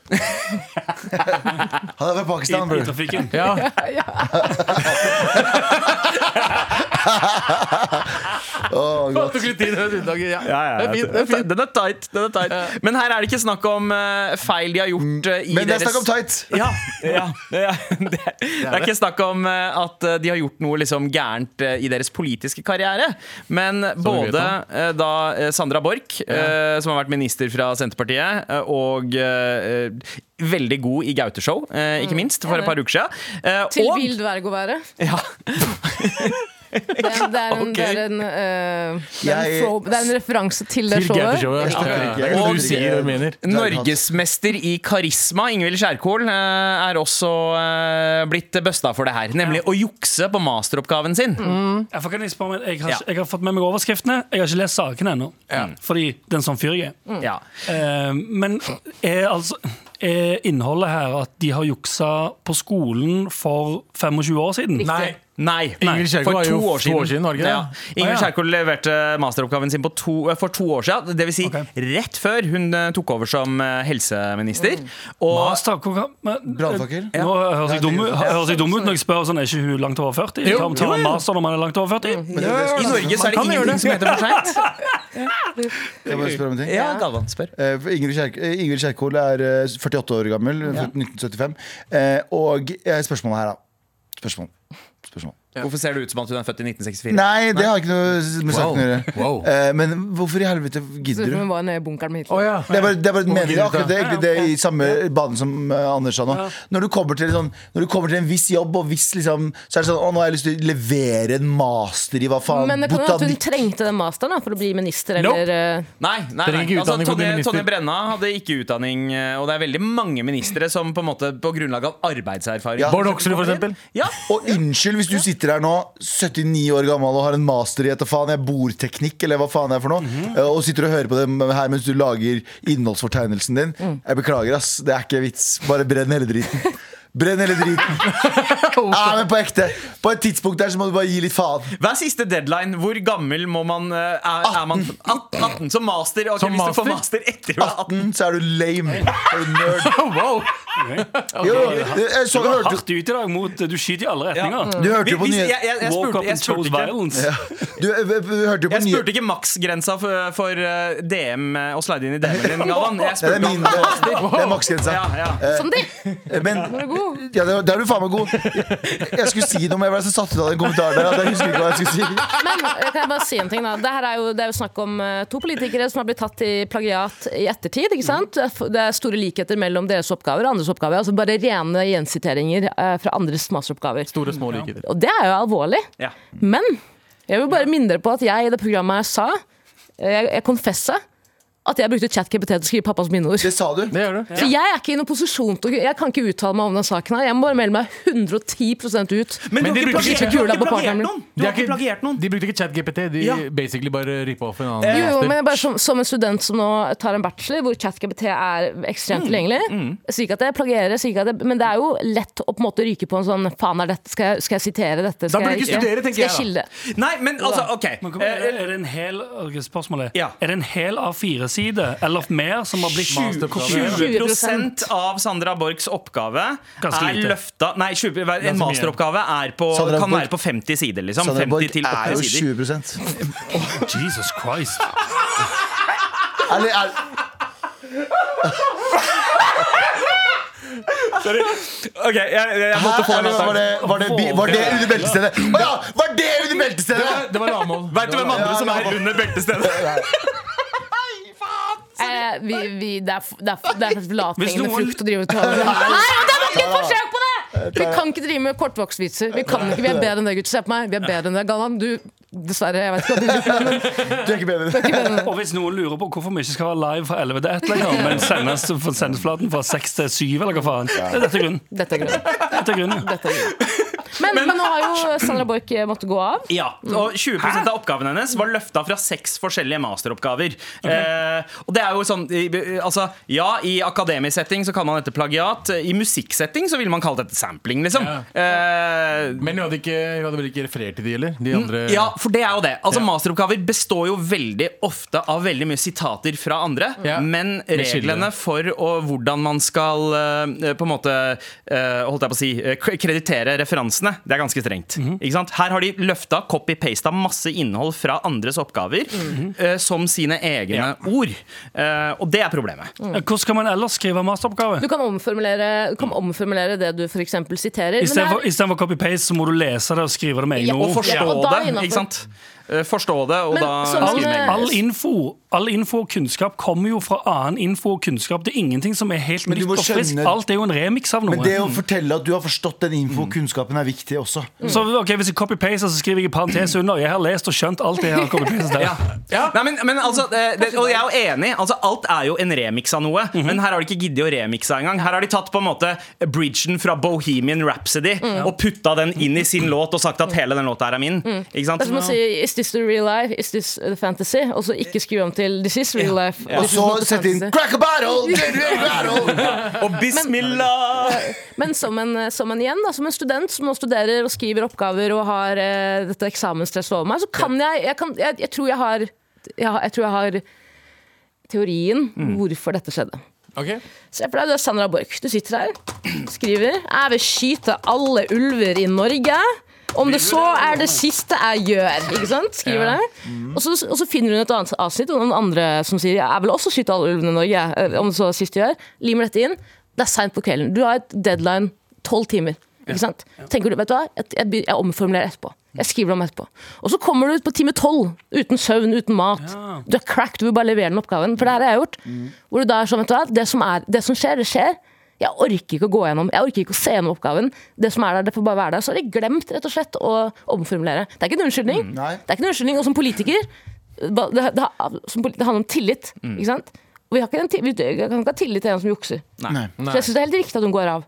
Speaker 2: Han er fra
Speaker 6: I,
Speaker 2: Pakistan,
Speaker 6: I
Speaker 2: bror.
Speaker 6: trafikken.
Speaker 8: Ja
Speaker 2: Å, godt.
Speaker 8: Tok litt tid det var unntaket, ja.
Speaker 3: Ja, ja, ja.
Speaker 8: Det er fint, det er fint
Speaker 3: Den er tight. Den er tight. Men her er det ikke snakk om eh, feil de har gjort eh, i
Speaker 2: Men det er
Speaker 3: deres
Speaker 2: snakk om tight.
Speaker 3: Ja, ja, ja. Det, det er ikke snakk om eh, at eh, de har gjort noe liksom gærent eh, i deres politiske karriere. Men
Speaker 8: vet
Speaker 3: både
Speaker 8: om.
Speaker 3: eh, da eh, Sandra Borch, eh, som har vært minister fra Senterpartiet, eh, og eh, eh, veldig god i Gauteshow, eh, ikke minst, for et par uker siden. eh,
Speaker 4: Mm, Til
Speaker 3: og-
Speaker 4: vill verg å være.
Speaker 3: Ja.
Speaker 4: Det er, det er, en, det er,
Speaker 3: Ok.
Speaker 4: en, eh, det er,
Speaker 2: Jeg-
Speaker 4: en, fro- det er en referanse til det
Speaker 8: Til
Speaker 4: showet.
Speaker 8: Gauteshowet, ja.
Speaker 2: Jeg
Speaker 8: Ja,
Speaker 2: skjønner ikke.
Speaker 8: ja.
Speaker 2: Jeg
Speaker 8: Og
Speaker 2: skjønner
Speaker 8: du
Speaker 2: ikke.
Speaker 8: sier hva du mener
Speaker 3: Norgesmester i karisma, Ingvild Kjerkol, eh, er også eh, blitt busta for det her. Nemlig å jukse på masteroppgaven sin.
Speaker 4: Mm.
Speaker 6: Ja, for kan jeg, spørre, meg- jeg, har,
Speaker 3: Ja.
Speaker 6: ikke- jeg har fått med meg overskriftene. Jeg har ikke lest
Speaker 3: Mm.
Speaker 6: sakene ennå, fordi den som fyr jeg er.
Speaker 3: Ja.
Speaker 6: Eh, men er altså eh, innholdet her at de har juksa på skolen for 25 år siden?
Speaker 8: Nei.
Speaker 3: Nei.
Speaker 8: Ingrid Kjerkol
Speaker 3: for
Speaker 8: var
Speaker 3: to
Speaker 8: jo
Speaker 3: år
Speaker 8: to
Speaker 3: siden.
Speaker 8: år siden, var det ikke det?
Speaker 3: Ja. Ingrid
Speaker 6: Å, ja.
Speaker 3: Kjerkol leverte masteroppgaven sin på to, eh, for to år siden. Det vil si
Speaker 6: Ok.
Speaker 3: rett før hun eh, tok over som eh, helseminister. Og
Speaker 6: Master, hvor gam- men-
Speaker 2: Brannfakkel.
Speaker 6: Nå høres jeg dum, ut- høres jeg dum ut når jeg spør sånn, er ikke hun langt over 40? Jo, tar man master når man er langt over 40?
Speaker 3: i Norge så er det
Speaker 8: kan gjøre
Speaker 3: ingenting
Speaker 8: det.
Speaker 3: som heter for seint.
Speaker 2: Jeg bare spør om en ting.
Speaker 3: Ja, Galvan spør.
Speaker 2: Eh, for Ingrid, Kjerk eh, Ingrid Kjerkol er eh, 48 år gammel, født 1975. Eh, og eh, spørsmålet her, da. Spørsmål. Spørsmål.
Speaker 3: Hvorfor ser det ut som at hun er født i 1964?
Speaker 2: Nei, det har ikke noe med saken å gjøre.
Speaker 8: Wow.
Speaker 2: Eh, men hvorfor i helvete
Speaker 4: Så
Speaker 2: gidder du?
Speaker 4: hun var nede i bunkeren med Hitler.
Speaker 8: Å ja.
Speaker 2: Det er bare, det er bare et mening, det er akkurat det,
Speaker 8: Ja,
Speaker 2: egentlig det i samme banen som eh, Anders sa nå. Når du, kommer til, sånn, når du kommer til en viss jobb, og viss, liksom, så er det sånn Å, nå har jeg lyst til å levere en master i hva faen
Speaker 4: Men det kan jo at hun
Speaker 2: botanikk-
Speaker 4: trengte den masteren da, for å bli minister
Speaker 8: Nope.
Speaker 4: eller eh,
Speaker 3: Nei, nei,
Speaker 8: Trenger
Speaker 3: nei.
Speaker 8: ikke
Speaker 3: Altså,
Speaker 8: utdanning for å bli
Speaker 3: Tonje,
Speaker 8: minister.
Speaker 3: Tonje Brenna hadde ikke utdanning, eh, og det er veldig mange ministre som på en måte på grunnlag av arbeidserfaring
Speaker 2: Ja.
Speaker 8: Bård Hoksrud, for eksempel.
Speaker 3: Ja,
Speaker 2: Og unnskyld hvis du sitter her nå, 79 år gammel og har en master i et faen jeg bordteknikk, eller hva faen det er for noe,
Speaker 8: Mhm.
Speaker 2: eh, og sitter og hører på det her mens du lager innholdsfortegnelsen din.
Speaker 4: Mm.
Speaker 2: Jeg beklager, ass. Det er ikke vits. Bare brenn hele driten. Brenn hele driten. Ja, men på ekte. På et tidspunkt der så må du bare gi litt faen.
Speaker 3: Hva er siste deadline? Hvor gammel må man eh, er, er man? 18, 18 som master. Ok,
Speaker 8: Som
Speaker 3: hvis du får
Speaker 8: master?
Speaker 3: master etter du er 18
Speaker 2: 18, så er du lame. Er du nerd.
Speaker 8: Wow.
Speaker 2: Jo, jeg så,
Speaker 6: Du går
Speaker 2: hørte,
Speaker 6: hardt ut i dag mot eh, Du skyter i alle retninger.
Speaker 2: du hørte jo på
Speaker 3: Hvis-
Speaker 2: nyhet-
Speaker 3: jeg, jeg, jeg,
Speaker 6: Walk
Speaker 3: spurte,
Speaker 6: up
Speaker 3: jeg,
Speaker 6: and
Speaker 3: spurte
Speaker 6: chose
Speaker 3: ikke,
Speaker 6: violence.
Speaker 2: Du, eh, eh, hørte jo på
Speaker 3: jeg
Speaker 2: nyhet-
Speaker 3: spurte ikke maksgrensa for, for eh, DM eh, å slide inn i DM-en din, Galvan.
Speaker 2: Det
Speaker 3: Jeg
Speaker 2: er
Speaker 3: spurte
Speaker 2: min Eh,
Speaker 3: om
Speaker 2: det er maksgrensa.
Speaker 3: ja, ja.
Speaker 4: Som de!
Speaker 2: Men ja, det- der er du faen meg god. Jeg skulle si noe, men jeg ble så satt ut av den kommentaren der. at Jeg husker ikke hva jeg skulle si
Speaker 4: Men jeg kan bare si en ting da Det, her er, jo, det er jo snakk om eh, to politikere som har blitt tatt i plagiat i ettertid. ikke sant? Det er f- Det er store likheter mellom deres oppgaver og andres oppgaver. Altså Bare rene gjensiteringer eh, fra andres masteroppgaver.
Speaker 8: Store, små likheter.
Speaker 4: Og det er jo alvorlig.
Speaker 3: Ja.
Speaker 4: Men jeg vil bare minne dere på at jeg i det programmet her sa eh, Jeg, jeg konfessa at jeg brukte ChatKPT til å skrive pappas minneord.
Speaker 2: Det sa du.
Speaker 8: Det gjør du.
Speaker 4: Så jeg er ikke i noen posisjon til å Jeg kan ikke uttale meg om den saken her. Jeg må bare melde meg 110 ut.
Speaker 3: Men,
Speaker 8: Men
Speaker 3: du
Speaker 8: de
Speaker 3: har ikke
Speaker 8: bruker ikke
Speaker 3: plagiert, du har
Speaker 4: kula på
Speaker 3: ikke plagiert
Speaker 4: partneren.
Speaker 3: noen! Du
Speaker 8: De
Speaker 3: har ikke plagiert noen.
Speaker 8: De brukte ikke ChatGPT, de
Speaker 3: Ja.
Speaker 8: basically bare rippa off en annen.
Speaker 4: Jo, jo,
Speaker 8: master.
Speaker 4: men bare som, som en student som nå tar en bachelor, hvor ChatGPT er ekstremt tilgjengelig. Jeg sier ikke at jeg plagierer, jeg sier ikke at jeg, men det er jo lett å på en måte ryke på en sånn Faen, er dette, skal, jeg, skal jeg sitere dette? Skal
Speaker 8: burde du
Speaker 4: jeg,
Speaker 8: ikke studere, tenker
Speaker 4: skal
Speaker 8: jeg,
Speaker 4: jeg
Speaker 8: da.
Speaker 4: skille?
Speaker 3: Nei, men altså, OK.
Speaker 6: Men kom,
Speaker 3: Eh,
Speaker 6: er, er det en hel ok, Spørsmålet
Speaker 3: Ja.
Speaker 6: er det en hel A4-side eller mer som har blitt
Speaker 8: Masteroppgave.
Speaker 3: 20 av Sandra Borchs oppgave
Speaker 6: Ganske
Speaker 3: er
Speaker 6: lite.
Speaker 3: løfta Nei, 20, en masteroppgave er på,
Speaker 2: Sandra
Speaker 3: kan
Speaker 2: Borch-
Speaker 3: være på 50 sider, liksom.
Speaker 2: Sandra Borch
Speaker 3: 50 til
Speaker 2: er jo
Speaker 3: 80 sider.
Speaker 2: 20
Speaker 6: Jesus Christ.
Speaker 2: Eller er,
Speaker 3: OK, jeg, jeg, jeg måtte få
Speaker 2: her,
Speaker 3: en
Speaker 2: eller var,
Speaker 3: latter.
Speaker 2: det, var, det, bi- var det under beltestedet? Å ja! Var det under beltestedet?
Speaker 8: Det var lavmål.
Speaker 3: Veit du hvem andre som er under beltestedet?
Speaker 4: Eh, vi, vi, det er, f- det er, f- det er faktisk lavthengende
Speaker 6: noen-
Speaker 4: frukt å drive og ta over. Nei, men det var ikke et forsøk på det! Vi kan ikke drive med kortvokst-vitser. Vi kan ikke, vi er bedre enn det, gutter. Se på meg, vi er bedre enn det. Galvan, du Dessverre, jeg vet ikke hva du
Speaker 2: Du er ikke bedre enn det.
Speaker 6: Og hvis noen lurer på hvorfor vi ikke skal være live fra 11 til 1 lenger, men sendes for sendeflaten fra 6 til 7, eller hva faen, det er dette grunnen.
Speaker 4: Dette er grunnen.
Speaker 6: Dette er grunnen.
Speaker 4: Dette er grunnen. Men, men nå har jo Sandra Borch eh, måtte gå av.
Speaker 3: Ja, og 20 av oppgaven hennes var løfta fra seks forskjellige masteroppgaver. Eh, og det er jo sånn i- altså, Ja, i akademisk setting så kan man dette plagiat. I musikksetting så ville man kalt dette sampling, liksom. Eh,
Speaker 8: Men hun hadde, ikke, hun hadde vel ikke referert til de, eller? De andre
Speaker 3: ja, for det er jo det. Altså
Speaker 8: Mm, Ja.
Speaker 3: Masteroppgaver består jo veldig ofte av veldig mye sitater fra andre,
Speaker 8: Ja.
Speaker 3: men
Speaker 8: Med kilder.
Speaker 3: reglene for å- hvordan man skal eh, på en måte eh, holdt jeg på å si, eh, k- kreditere referansene, det er ganske strengt.
Speaker 8: Mhm.
Speaker 3: Ikke sant? Her har de løfta, copy-pasta masse innhold fra andres oppgaver
Speaker 8: Mhm.
Speaker 3: eh, som sine egne ord. Eh, og det er problemet.
Speaker 8: Oh.
Speaker 6: Hvordan skal man ellers skrive masteroppgave?
Speaker 4: Du kan omformulere, du kan omformulere det du f.eks. siterer. men det er-
Speaker 6: Istedenfor for copy-paste så må du lese det og skrive det med egne
Speaker 4: Ja,
Speaker 3: Og
Speaker 6: ord.
Speaker 3: forstå
Speaker 4: Ja, og da
Speaker 3: det,
Speaker 4: innenfor-
Speaker 3: ikke sant? Eh, Forstå det, og
Speaker 4: Men
Speaker 3: da
Speaker 4: sånn
Speaker 3: skrive
Speaker 4: som-
Speaker 3: med
Speaker 6: All info, all info og kunnskap kommer jo fra annen info og kunnskap. Det er ingenting som er helt
Speaker 2: Men du
Speaker 6: nytt
Speaker 2: må
Speaker 6: og friskt.
Speaker 2: skjønne-
Speaker 6: Alt er jo en remix av noe.
Speaker 2: Men det å fortelle at du har forstått den info og kunnskapen, er viktig også.
Speaker 6: Mm. Så ok, Hvis jeg copy-paster, så skriver jeg i parentes under. Jeg har lest og skjønt alt det jeg har copy-pastet der.
Speaker 3: Nei, men, men altså, eh, det, og jeg er jo enig. Altså, alt er jo en remix av noe. Men her har de ikke giddet å remixe engang. Her har de tatt på en måte bridgen fra Bohemian Rhapsody og putta den inn i sin låt og sagt at hele den låta her er min. Ikke sant?
Speaker 4: Det er som å si 'Is this the real life? Is this the fantasy?' Og så ikke skrive om til This is real life.
Speaker 2: Og
Speaker 4: This is
Speaker 2: så
Speaker 4: not a
Speaker 2: sette inn
Speaker 4: fantasy.
Speaker 2: crack a battle! Crack a battle!
Speaker 3: Og bismillah!
Speaker 4: Men som en, eh, som en igjen da, som en student som nå studerer og skriver oppgaver og har eh, dette eksamensstresset over meg, så kan jeg Jeg, kan, jeg, jeg, tror, jeg, har, jeg, har- jeg tror jeg har teorien hvorfor dette skjedde.
Speaker 8: Ok.
Speaker 4: Se for deg, du er Sandra Borch. Du sitter her, skriver. Jeg vil skyte alle ulver i Norge. Om det så er det siste jeg gjør. Ikke sant? Skriver det. Og så, og så finner hun et annet avsnitt og noen andre som sier jeg vil også skyte alle ulvene i Norge. eh, Om det så er det siste jeg gjør. Limer dette inn. Det er seint på kvelden. Du har et deadline tolv timer. Ikke sant? Tenker du, vet du hva? Jeg, jeg, by- jeg omformulerer etterpå. Jeg skriver det om etterpå. Og så kommer du ut på time tolv, uten søvn, uten mat. Du er cracked, du vil bare levere den oppgaven. For det her har jeg gjort. Hvor du da er sånn, vet du hva, det som, er, det som skjer, det skjer. Jeg orker ikke å gå gjennom, jeg orker ikke å se gjennom oppgaven. Det som er der, det får bare være der. Så har jeg glemt rett og slett å omformulere. Det er ikke en unnskyldning.
Speaker 2: nei.
Speaker 4: Det er ikke en unnskyldning. Og som politiker, det, det, det handler om tillit.
Speaker 3: Mm.
Speaker 4: Ikke sant? Og vi, har ikke den, ti- vi kan ikke ha tillit til en som jukser.
Speaker 2: Nei.
Speaker 4: Så jeg syns det er helt riktig at hun går av.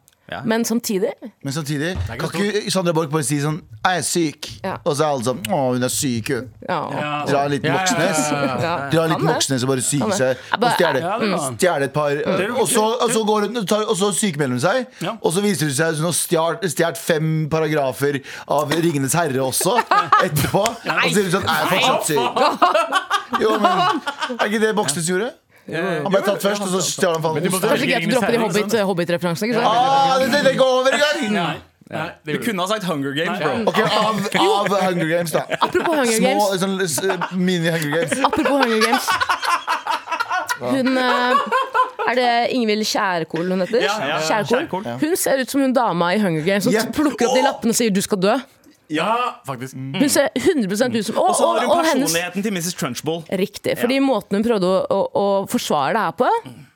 Speaker 4: Men samtidig
Speaker 2: Men samtidig kan ikke Sandra Borch bare si sånn Jeg er syk.
Speaker 4: Ja.
Speaker 2: Og så er alle sånn Å, hun er syk, hun.
Speaker 4: Ja. ja.
Speaker 2: Dra en liten Moxnes. Dra en
Speaker 4: Kan
Speaker 2: liten
Speaker 4: det.
Speaker 2: Moxnes og bare syke
Speaker 4: Kan det.
Speaker 2: seg.
Speaker 4: Jeg
Speaker 2: Og
Speaker 4: bare-
Speaker 2: stjele.
Speaker 6: Ja, det kan han.
Speaker 2: Stjele et par.
Speaker 6: jo-
Speaker 2: Og så, og så, går hun, og tar, og så sykemelder hun seg.
Speaker 6: Ja.
Speaker 2: Og så viser det seg at hun har stjålet fem paragrafer av 'Ringenes herre' også. Etterpå. Og så sier hun sånn Jeg er fortsatt syk. Jo, men Er ikke det Moxnes gjorde? Han ble tatt først, og så stjal han faen
Speaker 8: Men du må
Speaker 2: osten.
Speaker 4: Kanskje greit å droppe de hobbit- hobbit-referansene. ikke sant?
Speaker 2: Ah, det, det, det går over i gang!
Speaker 3: Du kunne ha sagt Hunger Games, bro.
Speaker 2: Ok, av, av Hunger Games, da.
Speaker 4: Apropos Hunger
Speaker 2: Små
Speaker 4: Games.
Speaker 2: sånn, s- mini-Hunger Games.
Speaker 4: Apropos Hunger Games. Hun eh, Er det Ingvild Kjærkol hun heter?
Speaker 3: Ja, ja, ja,
Speaker 4: Kjærkol.
Speaker 3: Kjærkol.
Speaker 4: Hun ser ut som hun dama i Hunger Games som
Speaker 2: Yep.
Speaker 4: plukker opp de lappene og sier 'du skal dø'.
Speaker 8: Ja, faktisk.
Speaker 4: Hun ser 100 ut som Og,
Speaker 3: Mm. Og så har
Speaker 4: og,
Speaker 3: du
Speaker 4: og hennes
Speaker 3: personligheten til Mrs. Trunchbull.
Speaker 4: Riktig. Fordi måten hun prøvde å, å, å forsvare det her på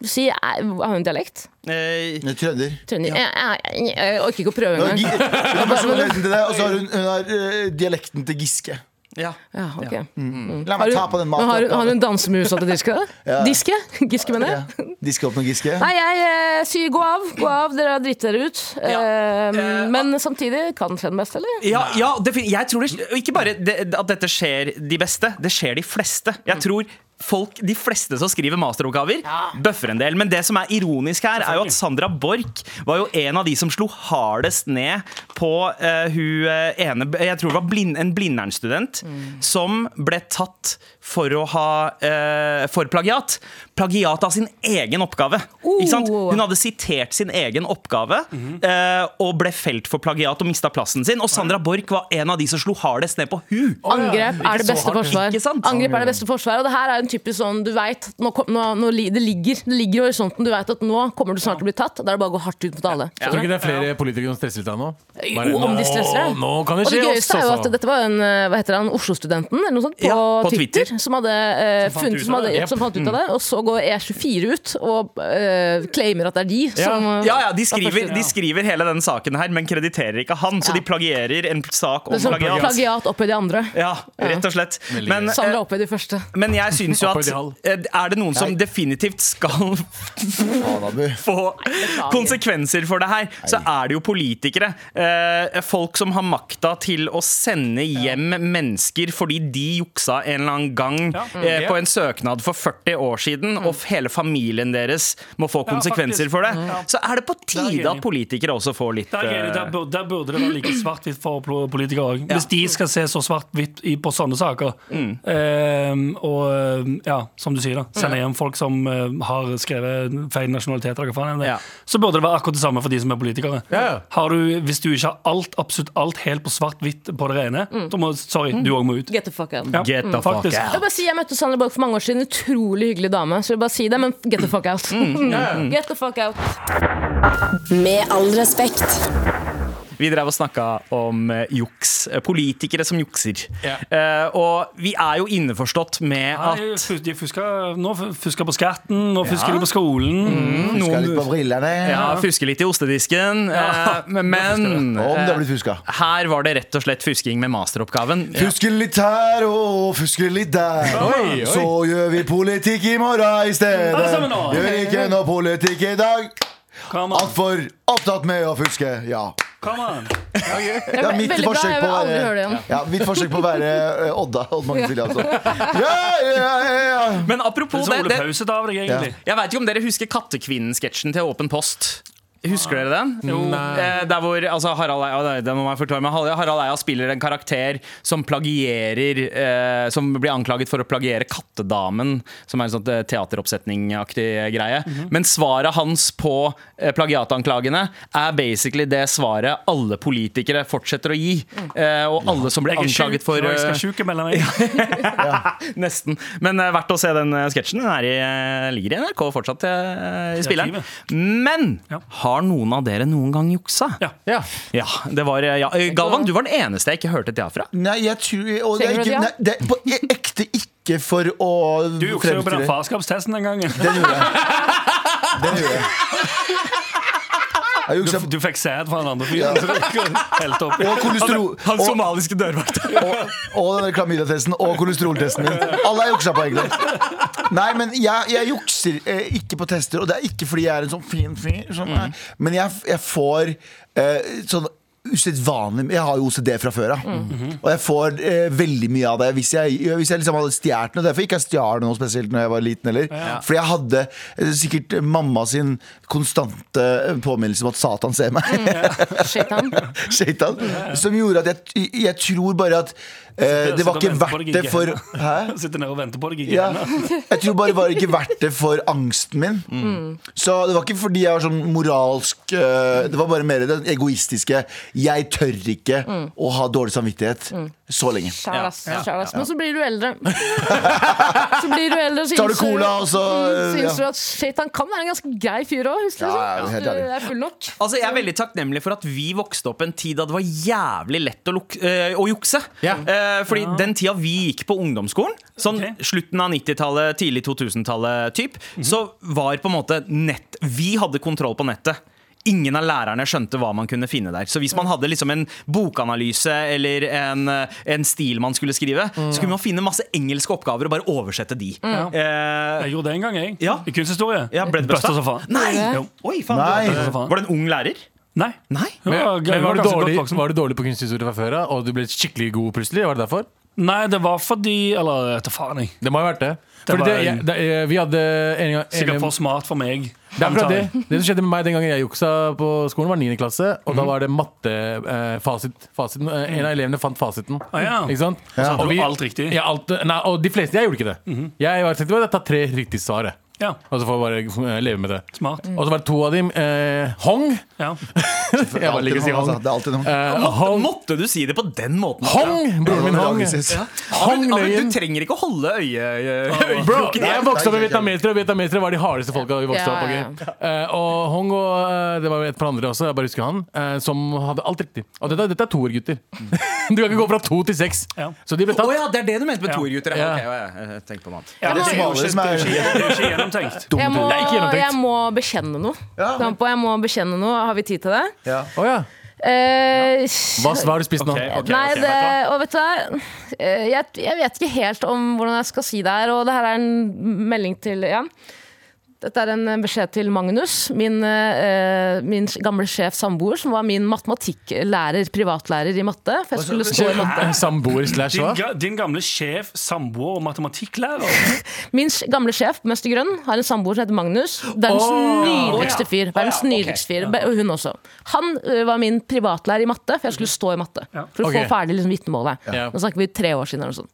Speaker 4: si, er, Har hun dialekt?
Speaker 3: Eh,
Speaker 2: Hun er Trønder.
Speaker 4: Trønder? Jeg, jeg, jeg, jeg orker ikke å prøve
Speaker 2: Hun har
Speaker 4: engang.
Speaker 2: gi- hun har personligheten til deg, og så har hun, hun har, eh, dialekten til Giske.
Speaker 3: ja.
Speaker 4: Ja, ok.
Speaker 2: La meg
Speaker 4: Har hun,
Speaker 2: ta på den
Speaker 4: men har hun, har
Speaker 2: maten.
Speaker 4: hun dansemusa til Diske? da? Diske? Giske, mener jeg.
Speaker 2: Ja. Diske opp med Giske.
Speaker 4: Nei, jeg eh, sier gå av, gå av, dere har dritt dere ut. Eh, men samtidig kan Trend best, eller?
Speaker 3: Ja, ja defin- jeg tror det, og ikke bare det, at dette skjer de beste, det skjer de fleste. Jeg tror folk, De fleste som skriver masteroppgaver, bøffer en del. Men det som er ironisk her, er jo at Sandra Borch var jo en av de som slo hardest ned på eh, hun eh, ene Jeg tror det var blind, en Blindern-student som ble tatt for å ha eh, for plagiat. Plagiat av sin egen oppgave. Ikke sant?
Speaker 4: Oh.
Speaker 3: Hun hadde sitert sin egen oppgave eh, og ble felt for plagiat og mista plassen sin. Og Sandra Borch var en av de som slo hardest ned på hun.
Speaker 4: Angrep er det beste forsvar.
Speaker 3: Ikke sant?
Speaker 4: Angrep er det beste forsvar Og det her er en typisk sånn du vet, nå, kom- nå, nå, li- det, ligger, det ligger i horisonten. Du vet at nå kommer du snart til å bli tatt. Da er det bare å gå hardt ut mot alle.
Speaker 8: Tror du ikke det er flere politikere som stresser litt av nå? Bare,
Speaker 4: Jo, om de
Speaker 8: nå-
Speaker 4: stresser.
Speaker 8: Nå kan det
Speaker 4: Og det
Speaker 8: skje oss,
Speaker 4: gøyeste er jo at
Speaker 8: altså.
Speaker 4: dette var en eh, hva heter han, Oslo-studenten eller noe sånt, på,
Speaker 3: sånn- Ja, på
Speaker 4: Twitter,
Speaker 3: Twitter.
Speaker 4: som hadde, eh, funnet,
Speaker 6: ut
Speaker 4: som,
Speaker 6: av
Speaker 4: hadde
Speaker 6: det.
Speaker 4: som fant ut av det. Og så går E24 ut og eh, claimer at det er de som eh,
Speaker 3: Ja, ja, de
Speaker 4: var
Speaker 3: skriver,
Speaker 4: første.
Speaker 3: de skriver hele denne saken her, men krediterer ikke han. Så
Speaker 4: Ja.
Speaker 3: de plagierer en sak om
Speaker 4: Det er sånn
Speaker 3: plagiat.
Speaker 4: plagiat oppi de andre.
Speaker 3: Ja, rett og slett. Men,
Speaker 4: Sandra
Speaker 3: eh,
Speaker 4: oppi de første.
Speaker 3: men jeg syns jo at
Speaker 8: Opphøyd i hall.
Speaker 3: eh, er det noen som definitivt skal
Speaker 2: Faen, Abu.
Speaker 3: få konsekvenser for det her, så er det jo politikere. Eh, folk som har makta til å sende hjem mennesker fordi de juksa en eller annen gang
Speaker 6: Mm.
Speaker 3: eh, på en søknad for 40 år siden, og f- hele familien deres må få konsekvenser
Speaker 6: faktisk. Mm.
Speaker 3: for det. Så er det på
Speaker 6: jeg
Speaker 3: tide
Speaker 6: enig.
Speaker 3: at politikere også får litt
Speaker 6: Der, er det- der,
Speaker 3: eh,
Speaker 6: burde, der burde det være like svart-hvitt for pol- politikere òg. Hvis de skal se så svart-hvitt i- på sånne saker. Ehm, og eh, ja, som du sier, da. Sende hjem folk som eh, har skrevet feil nasjonalitet. eller hva faen er det.
Speaker 3: Ja.
Speaker 6: Så burde det være akkurat det samme for de som er politikere.
Speaker 8: Ja.
Speaker 6: Har du, hvis du ikke har alt, absolutt alt helt på svart-hvitt på det rene, da må sorry, du òg må ut.
Speaker 4: Get the fuck out.
Speaker 6: Ja,
Speaker 8: Get the fuck
Speaker 6: faktisk.
Speaker 4: Jeg,
Speaker 8: out.
Speaker 4: vil bare si, jeg møtte Sandra Borch for mange år siden. Utrolig hyggelig dame. Så jeg vil bare si det, men get the fuck out.
Speaker 3: Mm.
Speaker 4: Get the fuck out.
Speaker 1: Med all respekt.
Speaker 3: Vi drev og snakka om eh, juks. eh, Politikere som jukser.
Speaker 8: Ja.
Speaker 3: Eh, og vi er jo innforstått med at
Speaker 6: Nei, fus- de fusker, nå f- fusker på skatten, nå fusker de på skolen.
Speaker 8: Mm.
Speaker 2: Skal litt på brillene.
Speaker 3: Ja, fuske litt i ostedisken. eh, men
Speaker 2: Om det har
Speaker 3: eh,
Speaker 2: blitt fuska.
Speaker 3: her var det rett og slett fusking med masteroppgaven.
Speaker 2: Fuske litt her og fuske litt der.
Speaker 8: Oi, oi.
Speaker 2: Så gjør vi politikk i morgen i
Speaker 6: Alle
Speaker 2: stedet.
Speaker 6: sammen nå.
Speaker 2: Gjør ikke noe politikk i dag.
Speaker 6: Come on.
Speaker 2: Altfor opptatt med å fuske, ja.
Speaker 6: Come on.
Speaker 4: Det
Speaker 2: Ja,
Speaker 4: er
Speaker 2: mitt
Speaker 4: veldig bra.
Speaker 2: forsøk på
Speaker 4: Jeg vil
Speaker 2: å
Speaker 4: aldri høre det
Speaker 2: være,
Speaker 4: igjen.
Speaker 2: ja, mitt forsøk på å være eh, Odda. Odd Magnus Williamson. altså. Ja, ja, ja, ja.
Speaker 3: Men apropos
Speaker 6: Så
Speaker 3: det, det
Speaker 6: olepause av deg, egentlig.
Speaker 3: Jeg vet ikke om dere husker Kattekvinnen-sketsjen til Åpen post. Husker dere den? Jo. Eh, Der hvor altså, Harald, Eia, nei, det må jeg forklare, men Harald- Harald Eia spiller en karakter som plagierer eh, Som blir anklaget for å plagiere Kattedamen, som er en sånn eh, teateroppsetningaktig greie. Men svaret hans på eh, plagiatanklagene er basically det svaret alle politikere fortsetter å gi. Eh, og alle som blir
Speaker 6: Jeg er
Speaker 3: anklaget
Speaker 6: sjuk,
Speaker 3: for
Speaker 6: og jeg
Speaker 3: eh,
Speaker 6: skal sjukemelde meg.
Speaker 3: Nesten. Men eh, verdt å se den eh, sketsjen. Den er i, eh, ligger i NRK fortsatt, eh, i spilleren.
Speaker 6: arkivet.
Speaker 3: Men
Speaker 6: Ja.
Speaker 3: har noen av dere noen gang juksa?
Speaker 6: Ja.
Speaker 3: ja. Ja, det var, eh, ja. Eh, Galvan, du var den eneste jeg ikke hørte et ja fra.
Speaker 2: Nei, jeg tror og det er
Speaker 4: Tenker du
Speaker 2: ikke,
Speaker 4: at
Speaker 2: nei,
Speaker 4: ja?
Speaker 2: det er på e- ekte ikke for å
Speaker 6: Du juksa jo på den farskapstesten den gangen.
Speaker 2: Det gjorde jeg. Jeg
Speaker 6: Du,
Speaker 2: juksa
Speaker 6: du fikk sæd fra den andre fyren. så du kunne helt opp i.
Speaker 2: og kolesterol
Speaker 3: Han
Speaker 2: og,
Speaker 3: somaliske dørvakta.
Speaker 2: og, og den der klamydiatesten og kolesteroltesten min. Alle er juksa på, egentlig. Nei, men jeg, jeg jukser eh, ikke på tester, og det er ikke fordi jeg er en sånn fin fyr. Sånn, nei. Men jeg, jeg får eh, sånn usedvanlig Jeg har jo OCD fra før av. Og jeg får eh, veldig mye av det hvis jeg, hvis jeg liksom hadde stjålet noe. Derfor ikke jeg stjal noe spesielt når jeg var liten heller. Fordi jeg hadde eh, sikkert mamma sin konstante eh, påminnelse om at Satan ser meg.
Speaker 4: Shaitan.
Speaker 2: Shaitan. Som gjorde at jeg, jeg tror bare at eh, det var
Speaker 6: sitter
Speaker 2: ikke
Speaker 6: og venter på
Speaker 2: verdt
Speaker 6: det
Speaker 2: det
Speaker 6: gigget.
Speaker 2: for Hæ?
Speaker 6: Sitter nede og venter på deg. ikke?
Speaker 2: Ja. Jeg tror bare det var ikke verdt det for angsten min.
Speaker 6: Mm.
Speaker 2: Så det var ikke fordi jeg var sånn moralsk eh, Det var bare mer det egoistiske. Jeg tør ikke
Speaker 6: Mm.
Speaker 2: å ha dårlig samvittighet så lenge.
Speaker 4: Kjære ass, kjære ass. Men så blir du eldre. Så blir du eldre så
Speaker 2: Tar du
Speaker 4: innser
Speaker 2: cola, og så, eh,
Speaker 4: Mm, så
Speaker 2: ja.
Speaker 4: innser du at shit, han kan være en ganske grei fyr òg. Hvis du
Speaker 2: Ja, ja, helt
Speaker 4: du
Speaker 2: ærlig.
Speaker 4: er full nok.
Speaker 3: Altså, jeg er veldig takknemlig for at vi vokste opp en tid da det var jævlig lett å, luk eh, å jukse. Eh, fordi den tida vi gikk på ungdomsskolen, sånn
Speaker 6: Ok. Mhm.
Speaker 3: slutten av 90-tallet, tidlig 2000-tallet, typ, så var på en måte nett Vi hadde kontroll på nettet. Ingen av lærerne skjønte hva man kunne finne der. Så hvis man hadde liksom en bokanalyse eller en, eh, en stil man skulle skrive,
Speaker 6: Mm.
Speaker 3: så kunne man finne masse engelske oppgaver og bare oversette de. Eh,
Speaker 6: Jeg gjorde det en gang, jeg.
Speaker 3: Ja.
Speaker 6: I kunsthistorie.
Speaker 3: ja, ble det
Speaker 6: Busta
Speaker 3: busta?
Speaker 6: som faen.
Speaker 3: Nei!
Speaker 6: Jo.
Speaker 3: Oi, faen,
Speaker 2: Nei.
Speaker 3: du var- Var det en ung lærer?
Speaker 6: Nei.
Speaker 3: Nei.
Speaker 6: Jo,
Speaker 8: Men,
Speaker 6: jeg
Speaker 8: men var, du
Speaker 6: ganske godt
Speaker 8: dårlig,
Speaker 6: voksen.
Speaker 8: var du dårlig på kunsthistorie fra før av, og du ble skikkelig god plutselig? Var det derfor?
Speaker 6: Nei, det var fordi Eller etter faen, jeg.
Speaker 8: Det må ha vært det. Fordi
Speaker 6: var
Speaker 8: det,
Speaker 6: en-
Speaker 8: jeg, det jeg- vi hadde en gang
Speaker 6: Sikkert
Speaker 8: en-
Speaker 6: for smart for meg.
Speaker 8: Det er akkurat
Speaker 6: antar
Speaker 8: det.
Speaker 6: jeg.
Speaker 8: Det som skjedde med meg den gangen jeg juksa på skolen, var 9. klasse. Og
Speaker 6: Mhm.
Speaker 8: da var det mattefasit. Eh, fasit, fasiten. Eh, en av elevene fant fasiten.
Speaker 6: Ah, ja.
Speaker 8: Ikke sant?
Speaker 6: hadde du alt riktig. Mhm.
Speaker 8: Ja, alt, nei, og de fleste, jeg gjorde ikke det. Jeg var tenkte bare ta tre riktige svar. jeg.
Speaker 6: Ja,
Speaker 8: Og så får jeg bare eh, leve med det.
Speaker 6: Smart.
Speaker 8: Og så var det to av dem eh, Hong.
Speaker 6: ja.
Speaker 8: Jeg bare liker å si
Speaker 2: noe, altså.
Speaker 8: Hong.
Speaker 2: det er alltid noe.
Speaker 8: Eh,
Speaker 3: Måtte,
Speaker 8: hong.
Speaker 3: måtte du si det på den måten?
Speaker 8: Hong! Broren min Hong.
Speaker 2: Ja.
Speaker 8: Hong
Speaker 3: Ja, men
Speaker 8: Løyen.
Speaker 3: Du trenger ikke å holde øye...
Speaker 8: Bro, jeg vokste opp med
Speaker 2: Nei, ikke
Speaker 8: vietnamesere, og vietnamesere var de hardeste folka vi vokste
Speaker 4: Ja,
Speaker 8: opp med.
Speaker 4: ja,
Speaker 8: Eh, og Hong og eh, det var et par andre også, jeg bare husker han, eh, som hadde alt riktig. Og dette, dette er toer, gutter. Du kan ikke gå fra to til seks.
Speaker 6: Ja.
Speaker 8: Så de ble
Speaker 3: Å
Speaker 8: tatt.
Speaker 3: ja, det er det du mente med
Speaker 6: Ja.
Speaker 3: toergutter? Ja.
Speaker 8: Ja.
Speaker 3: ok, ja, ja, jeg tenkte på noe annet.
Speaker 2: Det er det smalere som er
Speaker 6: Det er ikke gjennomtenkt.
Speaker 4: Jeg må,
Speaker 8: Det er ikke gjennomtenkt.
Speaker 4: jeg må bekjenne noe.
Speaker 2: Ja.
Speaker 4: Kampo, jeg må bekjenne noe. Har vi tid til det?
Speaker 2: ja.
Speaker 8: Å ja.
Speaker 4: Eh,
Speaker 8: Hva, hva har du spist nå?
Speaker 3: Ok, ok,
Speaker 4: Nei,
Speaker 3: ok.
Speaker 4: det, og vet du hva? Eh, Jeg, jeg vet ikke helt om hvordan jeg skal si det her, og det her er en melding til ja. Dette er en beskjed til Magnus, min, eh, min gamle sjef samboer, som var min matematikklærer, privatlærer i matte. For jeg skulle stå i matte.
Speaker 8: Eh, Samboer slash
Speaker 6: Din,
Speaker 8: hva?
Speaker 6: ga- din gamle sjef, samboer og matematikklærer.
Speaker 4: Min s- gamle sjef, Mester Grønn, har en samboer som heter Magnus. Verdens nydeligste fyr. Verdens nydeligste fyr, Be- Og hun også. Han ø, var min privatlærer i matte, for jeg skulle stå i matte. For å
Speaker 8: Ok.
Speaker 4: få ferdig liksom, vitnemålet.
Speaker 8: Ja.
Speaker 4: Nå snakker vi tre år siden. eller noe sånt.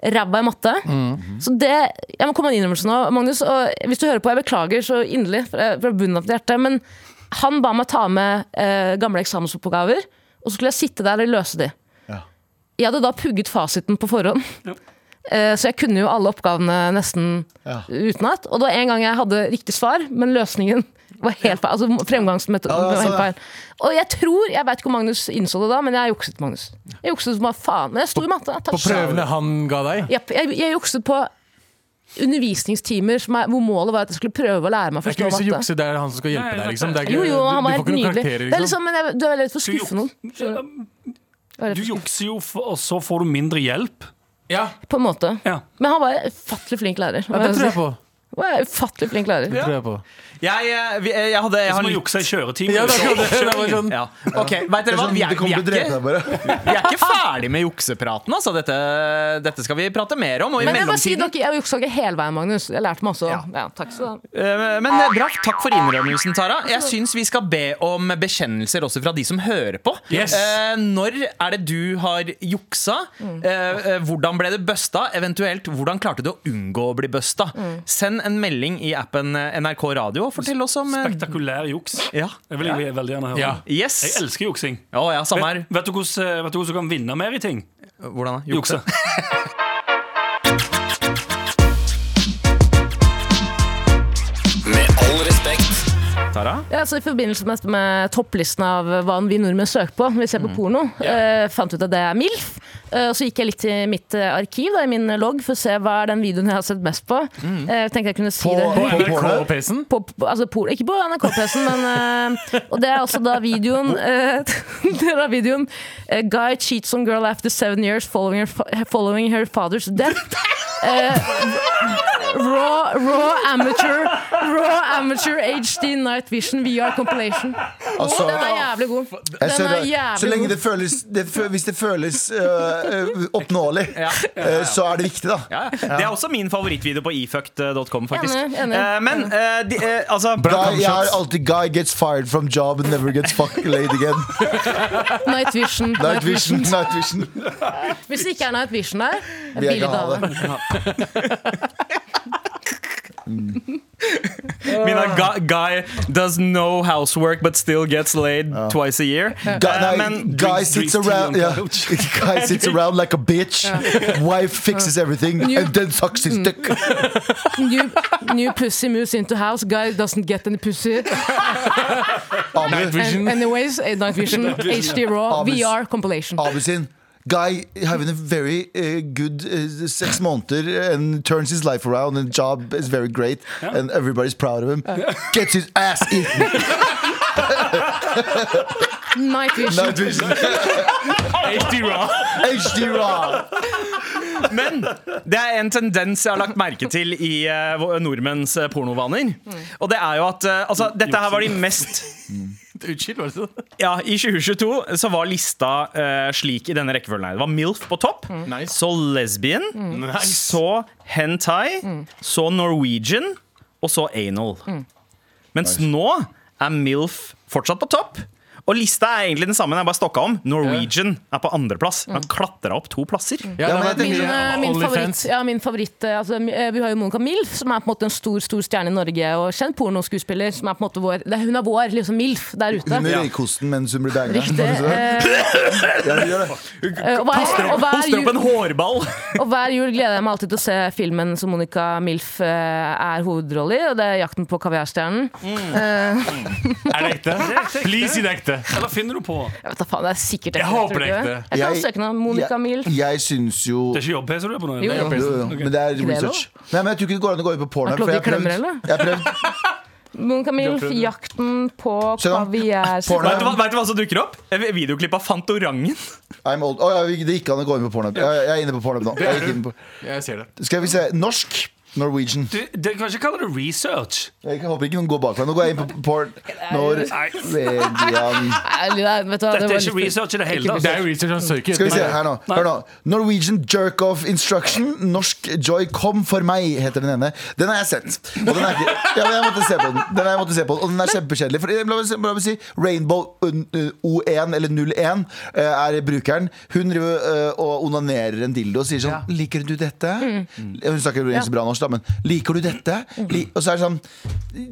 Speaker 4: Ræva i matte.
Speaker 8: Mm. Mhm.
Speaker 4: Så det, Jeg må komme med en innrømmelse nå, Magnus. Og hvis du hører på, jeg beklager så inderlig fra, fra bunnen av mitt hjerte, men han ba meg ta med eh, gamle eksamensoppgaver, og så skulle jeg sitte der og løse de. Jeg hadde da pugget fasiten på forhånd. Eh, Så jeg kunne jo alle oppgavene nesten
Speaker 2: Ja.
Speaker 4: utenat. Og det var en gang jeg hadde riktig svar, men løsningen var helt feil. Altså fremgangsmetoden
Speaker 2: Ja, ja,
Speaker 4: var helt
Speaker 2: sånn,
Speaker 4: feil. Og jeg tror, jeg veit ikke om Magnus innså det da, men jeg jukset, Magnus. Jeg jukset som bare faen. Men jeg sto i matte.
Speaker 8: På prøvene han ga deg?
Speaker 4: Jepp. Jeg, jeg jukset på undervisningstimer som er, hvor målet var at jeg skulle prøve å lære meg å
Speaker 8: Det er
Speaker 4: forstå
Speaker 8: ikke hvis du
Speaker 4: matte.
Speaker 8: jukser, det er han som skal hjelpe
Speaker 6: Nei,
Speaker 8: deg. Liksom. Det er ikke,
Speaker 4: Jo, jo, han
Speaker 8: du-
Speaker 4: var
Speaker 8: du får
Speaker 4: helt
Speaker 8: ikke noen
Speaker 4: nydelig.
Speaker 8: karakterer,
Speaker 4: Det er
Speaker 8: liksom.
Speaker 4: liksom, men jeg, du er veldig redd for å
Speaker 6: Du
Speaker 4: skuffe noen.
Speaker 6: jukser-
Speaker 4: Du er redd
Speaker 6: Du
Speaker 4: for å skuffe,
Speaker 6: jukser jo, for- og så får du mindre hjelp.
Speaker 8: Ja,
Speaker 4: På en måte.
Speaker 6: Ja.
Speaker 4: Men han var en ufattelig flink lærer. må
Speaker 8: ja,
Speaker 4: jeg
Speaker 8: det tror
Speaker 4: si.
Speaker 8: jeg på.
Speaker 4: Og jeg er ufattelig flink lærer.
Speaker 8: Det tror jeg på.
Speaker 3: Jeg, eh, vi- eh, jeg hadde jeg
Speaker 6: Det er
Speaker 3: har
Speaker 6: som å
Speaker 3: litt-
Speaker 6: jukse i kjøretime.
Speaker 8: Ja, det er akkurat det. Det var sånn-
Speaker 3: ja. Ok,
Speaker 2: Det
Speaker 3: vet dere
Speaker 2: er
Speaker 3: hva?
Speaker 2: sånn,
Speaker 3: Vi
Speaker 2: det
Speaker 3: er, vi
Speaker 2: kommer
Speaker 3: er,
Speaker 2: til å drepe
Speaker 3: ikke,
Speaker 2: deg bare.
Speaker 3: vi er ikke ferdig med juksepraten. Altså. Dette, dette skal vi prate mer om. Og i
Speaker 4: Men jeg må si
Speaker 3: mellomtiden
Speaker 4: dere, jeg juksa ikke hele veien, Magnus. Jeg lærte masse. Ja. Ja, takk skal du ha.
Speaker 3: Eh, Men eh, bra, takk for innrømmelsen, Tara. Jeg syns vi skal be om bekjennelser også fra de som hører på.
Speaker 8: Yes.
Speaker 3: Eh, Når er det du har juksa?
Speaker 4: Mm.
Speaker 3: Eh, eh, Hvordan ble det busta? Eventuelt, hvordan klarte du å unngå å bli busta?
Speaker 4: Mm.
Speaker 3: Send en melding i appen eh, NRK Radio og fortell oss om eh,
Speaker 6: Spektakulær juks.
Speaker 3: ja.
Speaker 6: Det vil jeg veldig gjerne høre.
Speaker 8: Ja.
Speaker 6: om.
Speaker 3: Yes.
Speaker 6: Jeg elsker juksing.
Speaker 3: Å ja, samme her.
Speaker 6: Vet, vet du hvordan eh, vet du hvordan du kan vinne mer i ting?
Speaker 3: Hvordan da?
Speaker 6: Jukse.
Speaker 9: Med all respekt.
Speaker 3: Tara?
Speaker 4: Ja, så I forbindelse med, dette med topplisten av hva vi nordmenn søker på, vi ser på porno, eh, fant ut at det er MILF. Eh, og så gikk jeg litt til mitt eh, arkiv, da, i min logg, for å se hva er den videoen jeg har sett mest på. Eh, jeg tenkte jeg kunne si
Speaker 2: På,
Speaker 4: det
Speaker 2: på porno.
Speaker 8: PC-en?
Speaker 4: på, på, altså por, ikke på NRK-pressen, men eh, Og det er også da videoen eh, Det er da videoen eh, Guy cheats on girl after seven years following her, fa- following her father's death. Eh, raw, raw amateur Raw amateur HD night vision VR compilation.
Speaker 2: Altså,
Speaker 4: Den er jævlig god.
Speaker 2: jeg ser
Speaker 4: Den er
Speaker 2: det. så
Speaker 4: jævlig
Speaker 2: lenge
Speaker 4: god.
Speaker 2: det føles det, fø- Hvis det føles øh, øh, oppnåelig, øh, så er det viktig, da.
Speaker 3: Ja, ja. Det er også min favorittvideo på efucked.com, faktisk.
Speaker 4: Enig, enig.
Speaker 3: Eh, Men eh, de, eh, altså
Speaker 2: Guy, jeg har alltid Guy gets fired from job and never gets fuck laid again.
Speaker 4: Night vision.
Speaker 2: Night vision, night vision.
Speaker 4: Hvis det ikke er Night Vision der,
Speaker 2: Vil jeg ikke
Speaker 4: bilde
Speaker 2: ha
Speaker 4: av det.
Speaker 2: det.
Speaker 3: Mina guy, guy does no housework but still gets laid twice a year.
Speaker 2: Guy,
Speaker 3: Eh,
Speaker 2: nei,
Speaker 3: men
Speaker 2: guy sits
Speaker 6: drinks tea
Speaker 2: around
Speaker 6: on
Speaker 2: yeah. Guy sits around like a bitch. Wife fixes everything and then sucks his dick.
Speaker 4: New, new pussy moves into house. Guy doesn't get any pussy.
Speaker 2: Abu,
Speaker 4: And, anyways, eh, Night Vision, HD Raw,
Speaker 2: Abus.
Speaker 4: VR compilation.
Speaker 2: Abu sin. Guy having a very uh, good uh, six months and turns his life around and job is very great and everybody's proud of him. Gets his ass eaten.
Speaker 4: Night Vision.
Speaker 2: Night vision. HD raw.
Speaker 3: Men det er en tendens jeg har lagt merke til i eh, vår- nordmenns eh, pornovaner. Og det er jo at eh, altså, Dette her var de mest
Speaker 8: Unnskyld, var det sånn?
Speaker 3: Ja, I 2022 så var lista eh, slik i denne rekkefølgen. her Det var MILF på topp,
Speaker 8: Mm. Nice. Mm.
Speaker 3: så lesbian, så hentai, så Norwegian og så anal.
Speaker 8: Mm.
Speaker 3: Mens nå er MILF fortsatt på topp. Og lista er egentlig den samme. Den er bare stokka om Norwegian er på andreplass.
Speaker 8: Mm.
Speaker 3: Den har klatra opp to plasser.
Speaker 8: Ja,
Speaker 2: men jeg
Speaker 8: det var-
Speaker 4: Min, eh, min favoritt,
Speaker 8: OnlyFans.
Speaker 4: ja, min favoritt eh, altså, eh, Vi har jo Monica Milf, som er på en måte en stor stor stjerne i Norge. Og kjent pornoskuespiller. Som er på en måte vår, det, er- hun er vår liksom Milf der ute.
Speaker 2: Under røykosten mens hun blir banga.
Speaker 4: Riktig. Eh,
Speaker 2: Ja, hun gjør det.
Speaker 4: eh, og, hver, og, hver
Speaker 3: Hoster opp en
Speaker 4: jul,
Speaker 3: hårball!
Speaker 4: og hver jul gleder jeg meg alltid til å se filmen som Monica Milf eh, er hovedrolle i. Og det er 'Jakten på kaviarstjernen'.
Speaker 8: Er det ekte? Please si det er ekte.
Speaker 6: Eller finner du på?
Speaker 4: Jeg vet da faen, det er sikkert ekte.
Speaker 8: Jeg håper
Speaker 4: tror du
Speaker 8: det er
Speaker 4: ikke
Speaker 8: ekte.
Speaker 4: Jeg kan
Speaker 2: Jeg-
Speaker 4: søke noe Monica
Speaker 2: jeg-
Speaker 4: Milf.
Speaker 2: Jeg syns jo
Speaker 6: Det er ikke jobb-PC du er på nå?
Speaker 4: Jo, jo.
Speaker 2: Jo, jo, Men det er
Speaker 4: lov?
Speaker 2: research. Nei, men Jeg tror ikke det går an å gå inn på porno.
Speaker 4: Er ikke lov
Speaker 2: for jeg
Speaker 4: til å
Speaker 2: har
Speaker 4: klemme,
Speaker 2: prøvd-
Speaker 4: eller?
Speaker 2: jeg har prøvd.
Speaker 4: Monica Milf, 'Jakten på
Speaker 2: Se da.
Speaker 4: kaviarstjernen'.
Speaker 2: Porno.
Speaker 3: Vet du, hva, vet du hva som dukker opp? En Videoklipp av Fantorangen.
Speaker 2: I'm old. Å, ja, det gikk an å gå inn på porno. Jeg, jeg er inne på porno nå. Jeg gikk inn på.
Speaker 8: Jeg ser det.
Speaker 2: Skal vi se. Norsk. Norwegian.
Speaker 6: Du, det, kan ikke kalle det research.
Speaker 2: Jeg håper ikke noen går bak meg. Nå går jeg inn på porn. Norwegian
Speaker 4: Nei, det er- vet du hva, var
Speaker 6: Dette er ikke
Speaker 4: litt-
Speaker 6: research i det hele
Speaker 8: Det er
Speaker 6: tatt.
Speaker 8: jo research han søker.
Speaker 2: Skal vi se
Speaker 8: etter.
Speaker 2: her nå. Hør nå. Norwegian Jerk Off Instruction. Norsk Joy Kom for meg, heter den ene. Den har jeg sett. Og den er ikke, ja, men jeg måtte se på den. Den har jeg måtte se på den. Og den er kjempekjedelig. For, eh, La meg si- la meg si Rainbow eh, O1 eller 01 eh, er brukeren. Hun driver eh, og onanerer en dildo og sier sånn Liker du dette? Hun snakker jo ikke så bra norsk, da, men liker du dette? Li og så er det sånn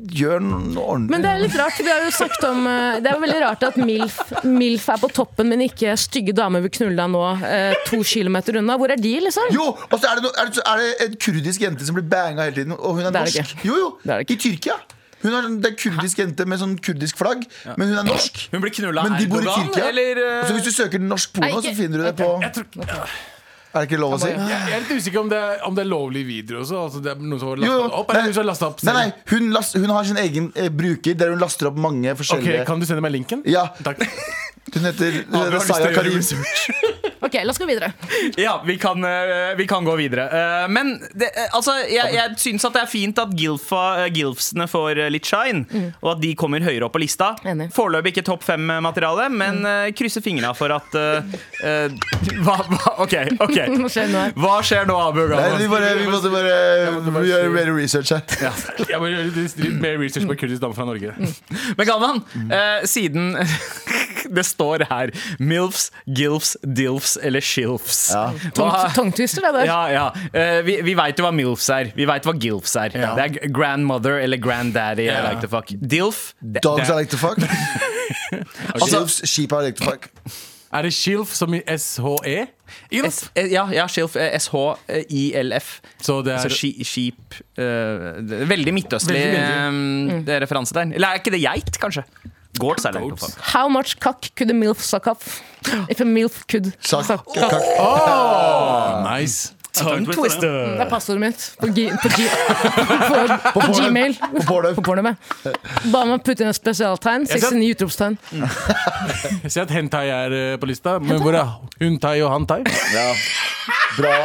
Speaker 2: Gjør noe ordentlig.
Speaker 4: Men det er litt rart. Vi har jo snakket om eh, Det er jo veldig rart at MILF, MILF er på toppen, men ikke stygge damer vil knulle deg nå, eh, to kilometer unna. Hvor er de, liksom?
Speaker 2: Jo, og så er det, no, er, det, er det en kurdisk jente som blir banga hele tiden, og hun er
Speaker 4: Det er det
Speaker 2: norsk.
Speaker 4: ikke.
Speaker 2: Jo, jo,
Speaker 4: Det er det
Speaker 2: I Tyrkia. Hun er, sånn- det er en kurdisk jente med sånn kurdisk flagg, men hun er norsk.
Speaker 3: Hun blir knulla
Speaker 2: Men
Speaker 3: av
Speaker 2: de bor i
Speaker 3: Erdogan,
Speaker 2: Tyrkia.
Speaker 3: eller eh,
Speaker 2: Så hvis du søker norsk porno,
Speaker 4: Nei,
Speaker 2: så
Speaker 4: ikke-
Speaker 2: finner du det på Er det ikke lov å si?
Speaker 8: Jeg, jeg er litt usikker om det er, om det er lovlig video også. Altså, det er noen som har
Speaker 2: Jo, jo.
Speaker 8: lastet opp, eller noen som har lastet opp
Speaker 2: Nei,
Speaker 8: selv.
Speaker 2: nei, hun, last, hun har sin egen eh, bruker der hun laster opp mange
Speaker 8: Ok,
Speaker 2: forskjellige
Speaker 8: Kan du sende meg linken?
Speaker 2: Ja,
Speaker 8: Takk.
Speaker 2: Hun heter, hun
Speaker 8: har
Speaker 2: heter
Speaker 8: lyst til å
Speaker 2: Saya
Speaker 8: gjøre
Speaker 2: Karim.
Speaker 4: Ok, la oss gå videre.
Speaker 3: Ja, vi kan, eh, vi kan gå videre. Eh, men det, eh, altså, jeg, jeg syns at det er fint at Gilfa, eh, Gilfsene får eh, litt shine, og at de kommer høyere opp på lista.
Speaker 4: Enig.
Speaker 3: Foreløpig ikke topp fem-materiale, men eh, krysser fingra for at eh, eh, hva, hva, OK, OK.
Speaker 4: Hva skjer nå?
Speaker 3: Hva skjer nå, Abu
Speaker 2: Nei,
Speaker 3: Gamal?
Speaker 2: vi, bare, vi måtte bare vi gjøre mer research her.
Speaker 8: Jeg må gjøre litt, litt mer research på kurdisk dame fra Norge. Mm.
Speaker 3: Men Galvan, eh, siden det står her MILFs, GILFs, DILFs eller SHILFs.
Speaker 2: Ja.
Speaker 3: Hva-
Speaker 4: Tongt- Tungtwister, det der.
Speaker 3: Ja, ja. Eh, vi vi veit jo hva MILFs er. Vi vet hva GILFs er. Det er g- grandmother eller granddaddy. I like to fuck. DILF det,
Speaker 2: Dogs
Speaker 3: det,
Speaker 2: I like to fuck. Altså, sheep I like to fuck.
Speaker 8: Er det Shilf som i E? SHE? Ilf?
Speaker 3: S, eh, ja, ja, SHILF. eh, S-H-I-L-F.
Speaker 8: Så det
Speaker 3: Altså
Speaker 8: er
Speaker 3: ski, skip eh, det er Veldig midtøstlig
Speaker 8: Veldig,
Speaker 3: eh, det er referansetegn. Eller er ikke det geit, kanskje? Goats er det. i hvert fall.
Speaker 4: How much cock could a milf suck off? If a milf could
Speaker 2: Suck.
Speaker 4: suck
Speaker 2: Kakk.
Speaker 4: cock.
Speaker 8: nice.
Speaker 6: Tongue twister.
Speaker 4: Det er passordet mitt på, gi- på, gi- på, på
Speaker 2: porno.
Speaker 4: Gmail.
Speaker 2: På porno.
Speaker 4: På porno med. Bare man putter inn et spesialtegn.
Speaker 8: Jeg ser-
Speaker 4: 69 utropstegn.
Speaker 8: Jeg ser at hentai er eh, på lista, men hvor er huntai og hantai?
Speaker 2: Ja. Bra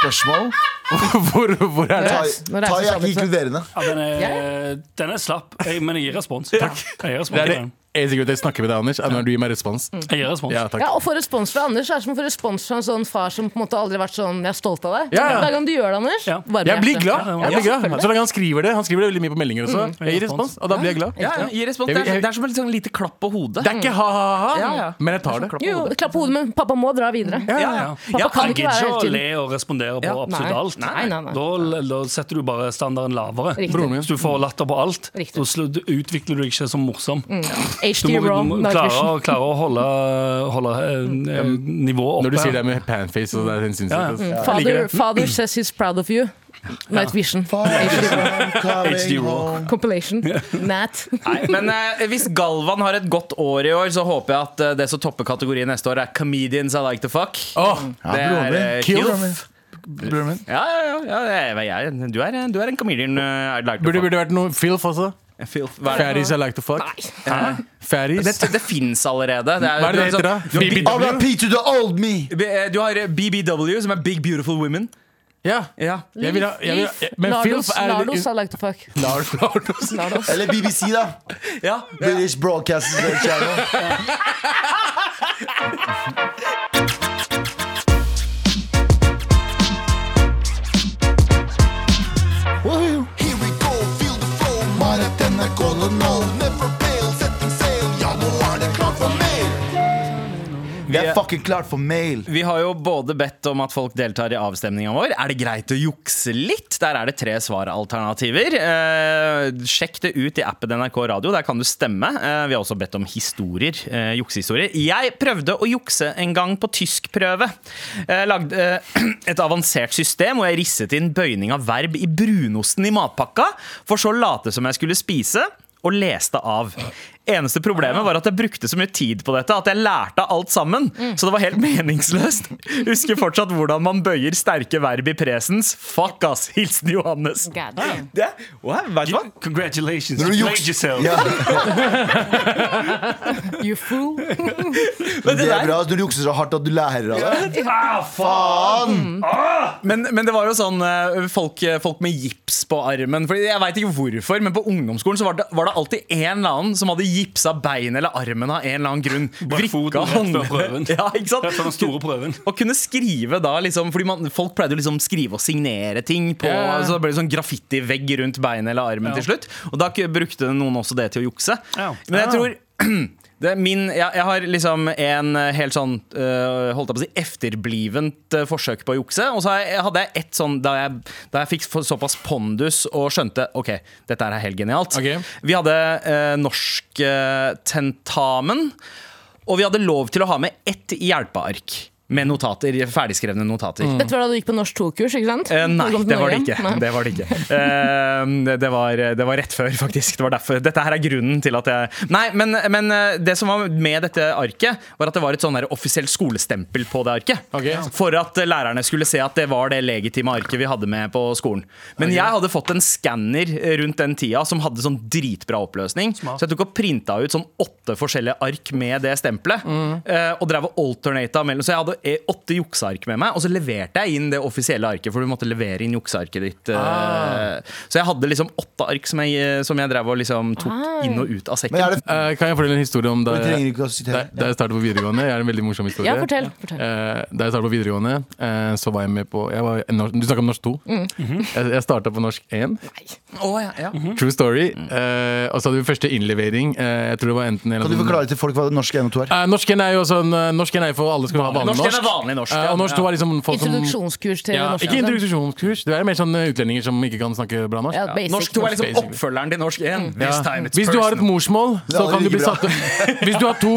Speaker 2: spørsmål.
Speaker 8: Hvor, hvor er det?
Speaker 2: Tai
Speaker 4: Yes, nå reiser
Speaker 2: tai er
Speaker 4: seg
Speaker 2: ikke
Speaker 4: litt.
Speaker 2: inkluderende.
Speaker 6: Ja, den, er, den er slapp, jeg, men jeg gir respons. Takk. Jeg gir respons.
Speaker 8: Det er det
Speaker 6: til den.
Speaker 8: eneste grunnen til jeg snakker med deg, Anders, er når du gir meg respons.
Speaker 6: Jeg gir respons.
Speaker 8: Ja, takk.
Speaker 4: Ja, og få respons fra Anders er som å få respons fra en sånn far som på en måte aldri har vært sånn 'jeg er stolt av deg'.
Speaker 8: Ja, ja.
Speaker 4: Hver gang du gjør det, Anders,
Speaker 6: Ja.
Speaker 4: varmer
Speaker 8: Jeg blir
Speaker 4: hjertet.
Speaker 8: glad.
Speaker 6: Ja,
Speaker 8: Jeg blir glad. Så lenge han skriver det. Han skriver det veldig mye på meldinger også. Jeg gir respons, og da blir jeg glad.
Speaker 3: Ja, ja, gi respons. Det er, så- det er som et sånn lite klapp på hodet.
Speaker 8: Det er ikke
Speaker 3: Ja, ja.
Speaker 8: ha-ha-ha, men jeg tar det.
Speaker 3: Klapp på
Speaker 4: Jo,
Speaker 3: hodet.
Speaker 4: klapp på hodet, men pappa må dra videre.
Speaker 3: Ja, ja.
Speaker 4: Pappa
Speaker 3: Ja,
Speaker 4: kan ikke
Speaker 6: Jeg
Speaker 4: være
Speaker 6: gidder ikke
Speaker 4: hele
Speaker 6: å
Speaker 4: tiden.
Speaker 6: le og respondere på
Speaker 3: Ja,
Speaker 6: absolutt
Speaker 4: nei.
Speaker 6: alt.
Speaker 4: Nei, nei, nei.
Speaker 6: Da, da setter du bare standarden lavere.
Speaker 4: Riktig.
Speaker 8: Broren min.
Speaker 6: Hvis du får latter på alt,
Speaker 4: Riktig. Mm.
Speaker 6: da slu- du utvikler du deg ikke som morsom. Du
Speaker 4: HD
Speaker 6: må,
Speaker 4: Raw
Speaker 6: du må
Speaker 4: Night
Speaker 6: klare,
Speaker 4: Vision.
Speaker 6: å- klare å holde, holde eh, eh, nivået oppe.
Speaker 8: Mm. Når du sier det med panface og det er sinnssykt.
Speaker 6: Ja, ja.
Speaker 8: ass. Jeg liker
Speaker 4: Father,
Speaker 8: det.
Speaker 4: father says he's proud of you. Night Vision.
Speaker 2: HD Rock.
Speaker 4: Compilation. Nat.
Speaker 3: Nei, men eh, hvis Galvan har et godt år i år, så håper jeg at eh, det som topper kategorien neste år, er Comedians I Like To Fuck.
Speaker 8: Åh,
Speaker 3: det
Speaker 2: broren
Speaker 3: er
Speaker 2: min.
Speaker 3: eh,
Speaker 8: Kill.
Speaker 3: Kilf.
Speaker 2: Broren min.
Speaker 3: Ja, ja, ja, ja jeg, jeg, er- du, er, en- du er en comedian eh, I Like To
Speaker 8: Burde
Speaker 3: Fuck.
Speaker 8: burde det vært noe filf også?
Speaker 3: Filth, hva er det?
Speaker 8: Fatties I like to fuck.
Speaker 3: Hæ?
Speaker 8: Fatties.
Speaker 3: Det, det fins allerede. Det er,
Speaker 8: Hva er det
Speaker 3: du
Speaker 8: det heter da?
Speaker 3: har sånn- du har
Speaker 2: RIP to the old me!
Speaker 3: B- B- eh, Du har eh, BBW, som er Big Beautiful Women.
Speaker 8: Ja.
Speaker 3: Ja.
Speaker 8: Jeg vil ha, jeg vil ha, men
Speaker 4: Lardos,
Speaker 8: filf er
Speaker 4: Lardos I like to fuck.
Speaker 8: Lars, Lars.
Speaker 4: Lardos.
Speaker 2: Eller BBC, da.
Speaker 3: Ja.
Speaker 2: British Broadcasting Channel. Woohoo. Det er fucking klart for mail.
Speaker 3: Vi har jo både bedt om at folk deltar i avstemninga vår. Er det greit å jukse litt? Der er det tre svaralternativer. Eh, sjekk det ut i appen NRK Radio. Der kan du stemme. Eh, vi har også bedt om historier. Eh, juksehistorier. Jeg prøvde å jukse en gang på tyskprøve. Eh, lagde eh, et avansert system hvor jeg risset inn bøyning av verb i brunosten i matpakka, for så å late som jeg skulle spise og leste av. Eneste problemet var at jeg brukte så mye tid på dette at jeg lærte av alt sammen. Så det var helt meningsløst. Husker fortsatt hvordan man bøyer sterke verb i presens. Fuck ass! Hilsen Johannes.
Speaker 4: God damn.
Speaker 3: Det, wow, vet du hva?
Speaker 6: Congratulations.
Speaker 2: Når du
Speaker 6: You
Speaker 2: juks-
Speaker 6: played yourself.
Speaker 2: Ja,
Speaker 4: You fool.
Speaker 2: det er bra når du jukser så hardt at du lærer av det.
Speaker 6: Ah, faen!
Speaker 3: Men, men det var jo sånn eh, folk, folk med gips på armen. Fordi jeg veit ikke hvorfor, men på ungdomsskolen så var det, var det alltid en eller annen som hadde gipsa beinet eller armen av en eller annen grunn.
Speaker 6: Bare foten
Speaker 3: Vrikka
Speaker 6: rett før prøven.
Speaker 3: håndledd. Ja, ikke
Speaker 6: Det er den
Speaker 3: sant?
Speaker 6: store prøven.
Speaker 3: Å kunne skrive da liksom, Fordi man, folk pleide å liksom skrive og signere ting på,
Speaker 8: Ja.
Speaker 3: Så det ble det sånn graffitivegg rundt beinet eller armen
Speaker 6: Ja.
Speaker 3: til slutt Og da k- brukte noen også det til å jukse
Speaker 6: Ja.
Speaker 3: Men jeg tror det er min, jeg, jeg har liksom en eh, helt sånn eh, Holdt jeg på å si Efterblivent eh, forsøk på å jukse Og så har jeg, hadde jeg et sånn Da jeg, da jeg fikk for- såpass pondus og skjønte Ok, dette her er helt genialt
Speaker 8: Ok.
Speaker 3: Vi hadde eh, norsk eh, tentamen og vi hadde lov til å ha med ett hjelpeark med notater, ferdigskrevne notater.
Speaker 4: Dette var da du gikk på norsk 2-kurs, ikke sant?
Speaker 3: Eh, nei,
Speaker 4: Da du kom til
Speaker 3: det var det
Speaker 4: Norge.
Speaker 3: ikke.
Speaker 4: Nei.
Speaker 3: Det var, det, ikke. Eh, det, var, det var rett før, faktisk. Det var derfor. Dette her er grunnen til at jeg Nei, men, men eh, det som var med dette arket, var at det var et sånn der offisielt skolestempel på det arket.
Speaker 8: Ok.
Speaker 3: For at eh, lærerne skulle se at det var det legitime arket vi hadde med på skolen. Men jeg hadde fått en skanner rundt den tida som hadde sånn dritbra oppløsning. Så jeg tok og
Speaker 8: Mm.
Speaker 3: printa ut sånn åtte forskjellige ark med det stempelet. eh, Og drev og alternata mellom Så jeg hadde eh, åtte jukseark med meg, og så leverte jeg inn det offisielle arket. For du måtte levere inn juksearket ditt eh,
Speaker 8: Ah.
Speaker 3: Så jeg hadde liksom åtte ark som jeg, eh, som jeg drev og liksom tok inn og ut av sekken.
Speaker 2: Men er det f-
Speaker 8: Eh, kan jeg fortelle en historie om da,
Speaker 2: Vi trenger ikke å
Speaker 8: da,
Speaker 2: sitere.
Speaker 8: da jeg startet på videregående? Jeg er en veldig morsom historie.
Speaker 4: Ja, fortell. fortell.
Speaker 8: Eh, da jeg startet på videregående, eh, så var jeg med på jeg var, nor- Du snakket om norsk 2.
Speaker 3: Mhm.
Speaker 8: Jeg, jeg starta på norsk 1.
Speaker 3: Å, ja, ja.
Speaker 8: True story. Eh, og så hadde vi første innlevering. Eh, jeg tror det var enten en
Speaker 2: Kan du forklare til folk hva det norske NO2 er?
Speaker 8: Eh, norsk 1 er jo sånn eh, Norsk 1 er jo for alle som skal ha vanlig
Speaker 3: Norsk
Speaker 8: norsk.
Speaker 3: 1 er vanlig norsk,
Speaker 8: Eh,
Speaker 3: ja.
Speaker 8: og norsk 2 er liksom folk som
Speaker 4: Introduksjonskurs til
Speaker 8: ja,
Speaker 4: norsk.
Speaker 8: Ikke
Speaker 4: liksom.
Speaker 8: introduksjonskurs. Det er mer sånn eh, utlendinger som ikke kan snakke bra norsk.
Speaker 4: Ja, basic.
Speaker 3: Norsk 2 er liksom
Speaker 8: Basically.
Speaker 3: oppfølgeren til norsk 1. This time it's
Speaker 8: Hvis du har et
Speaker 3: personal.
Speaker 8: morsmål,
Speaker 2: Det er
Speaker 8: så kan du
Speaker 2: aldri
Speaker 8: bli
Speaker 2: like
Speaker 8: satt Hvis du har to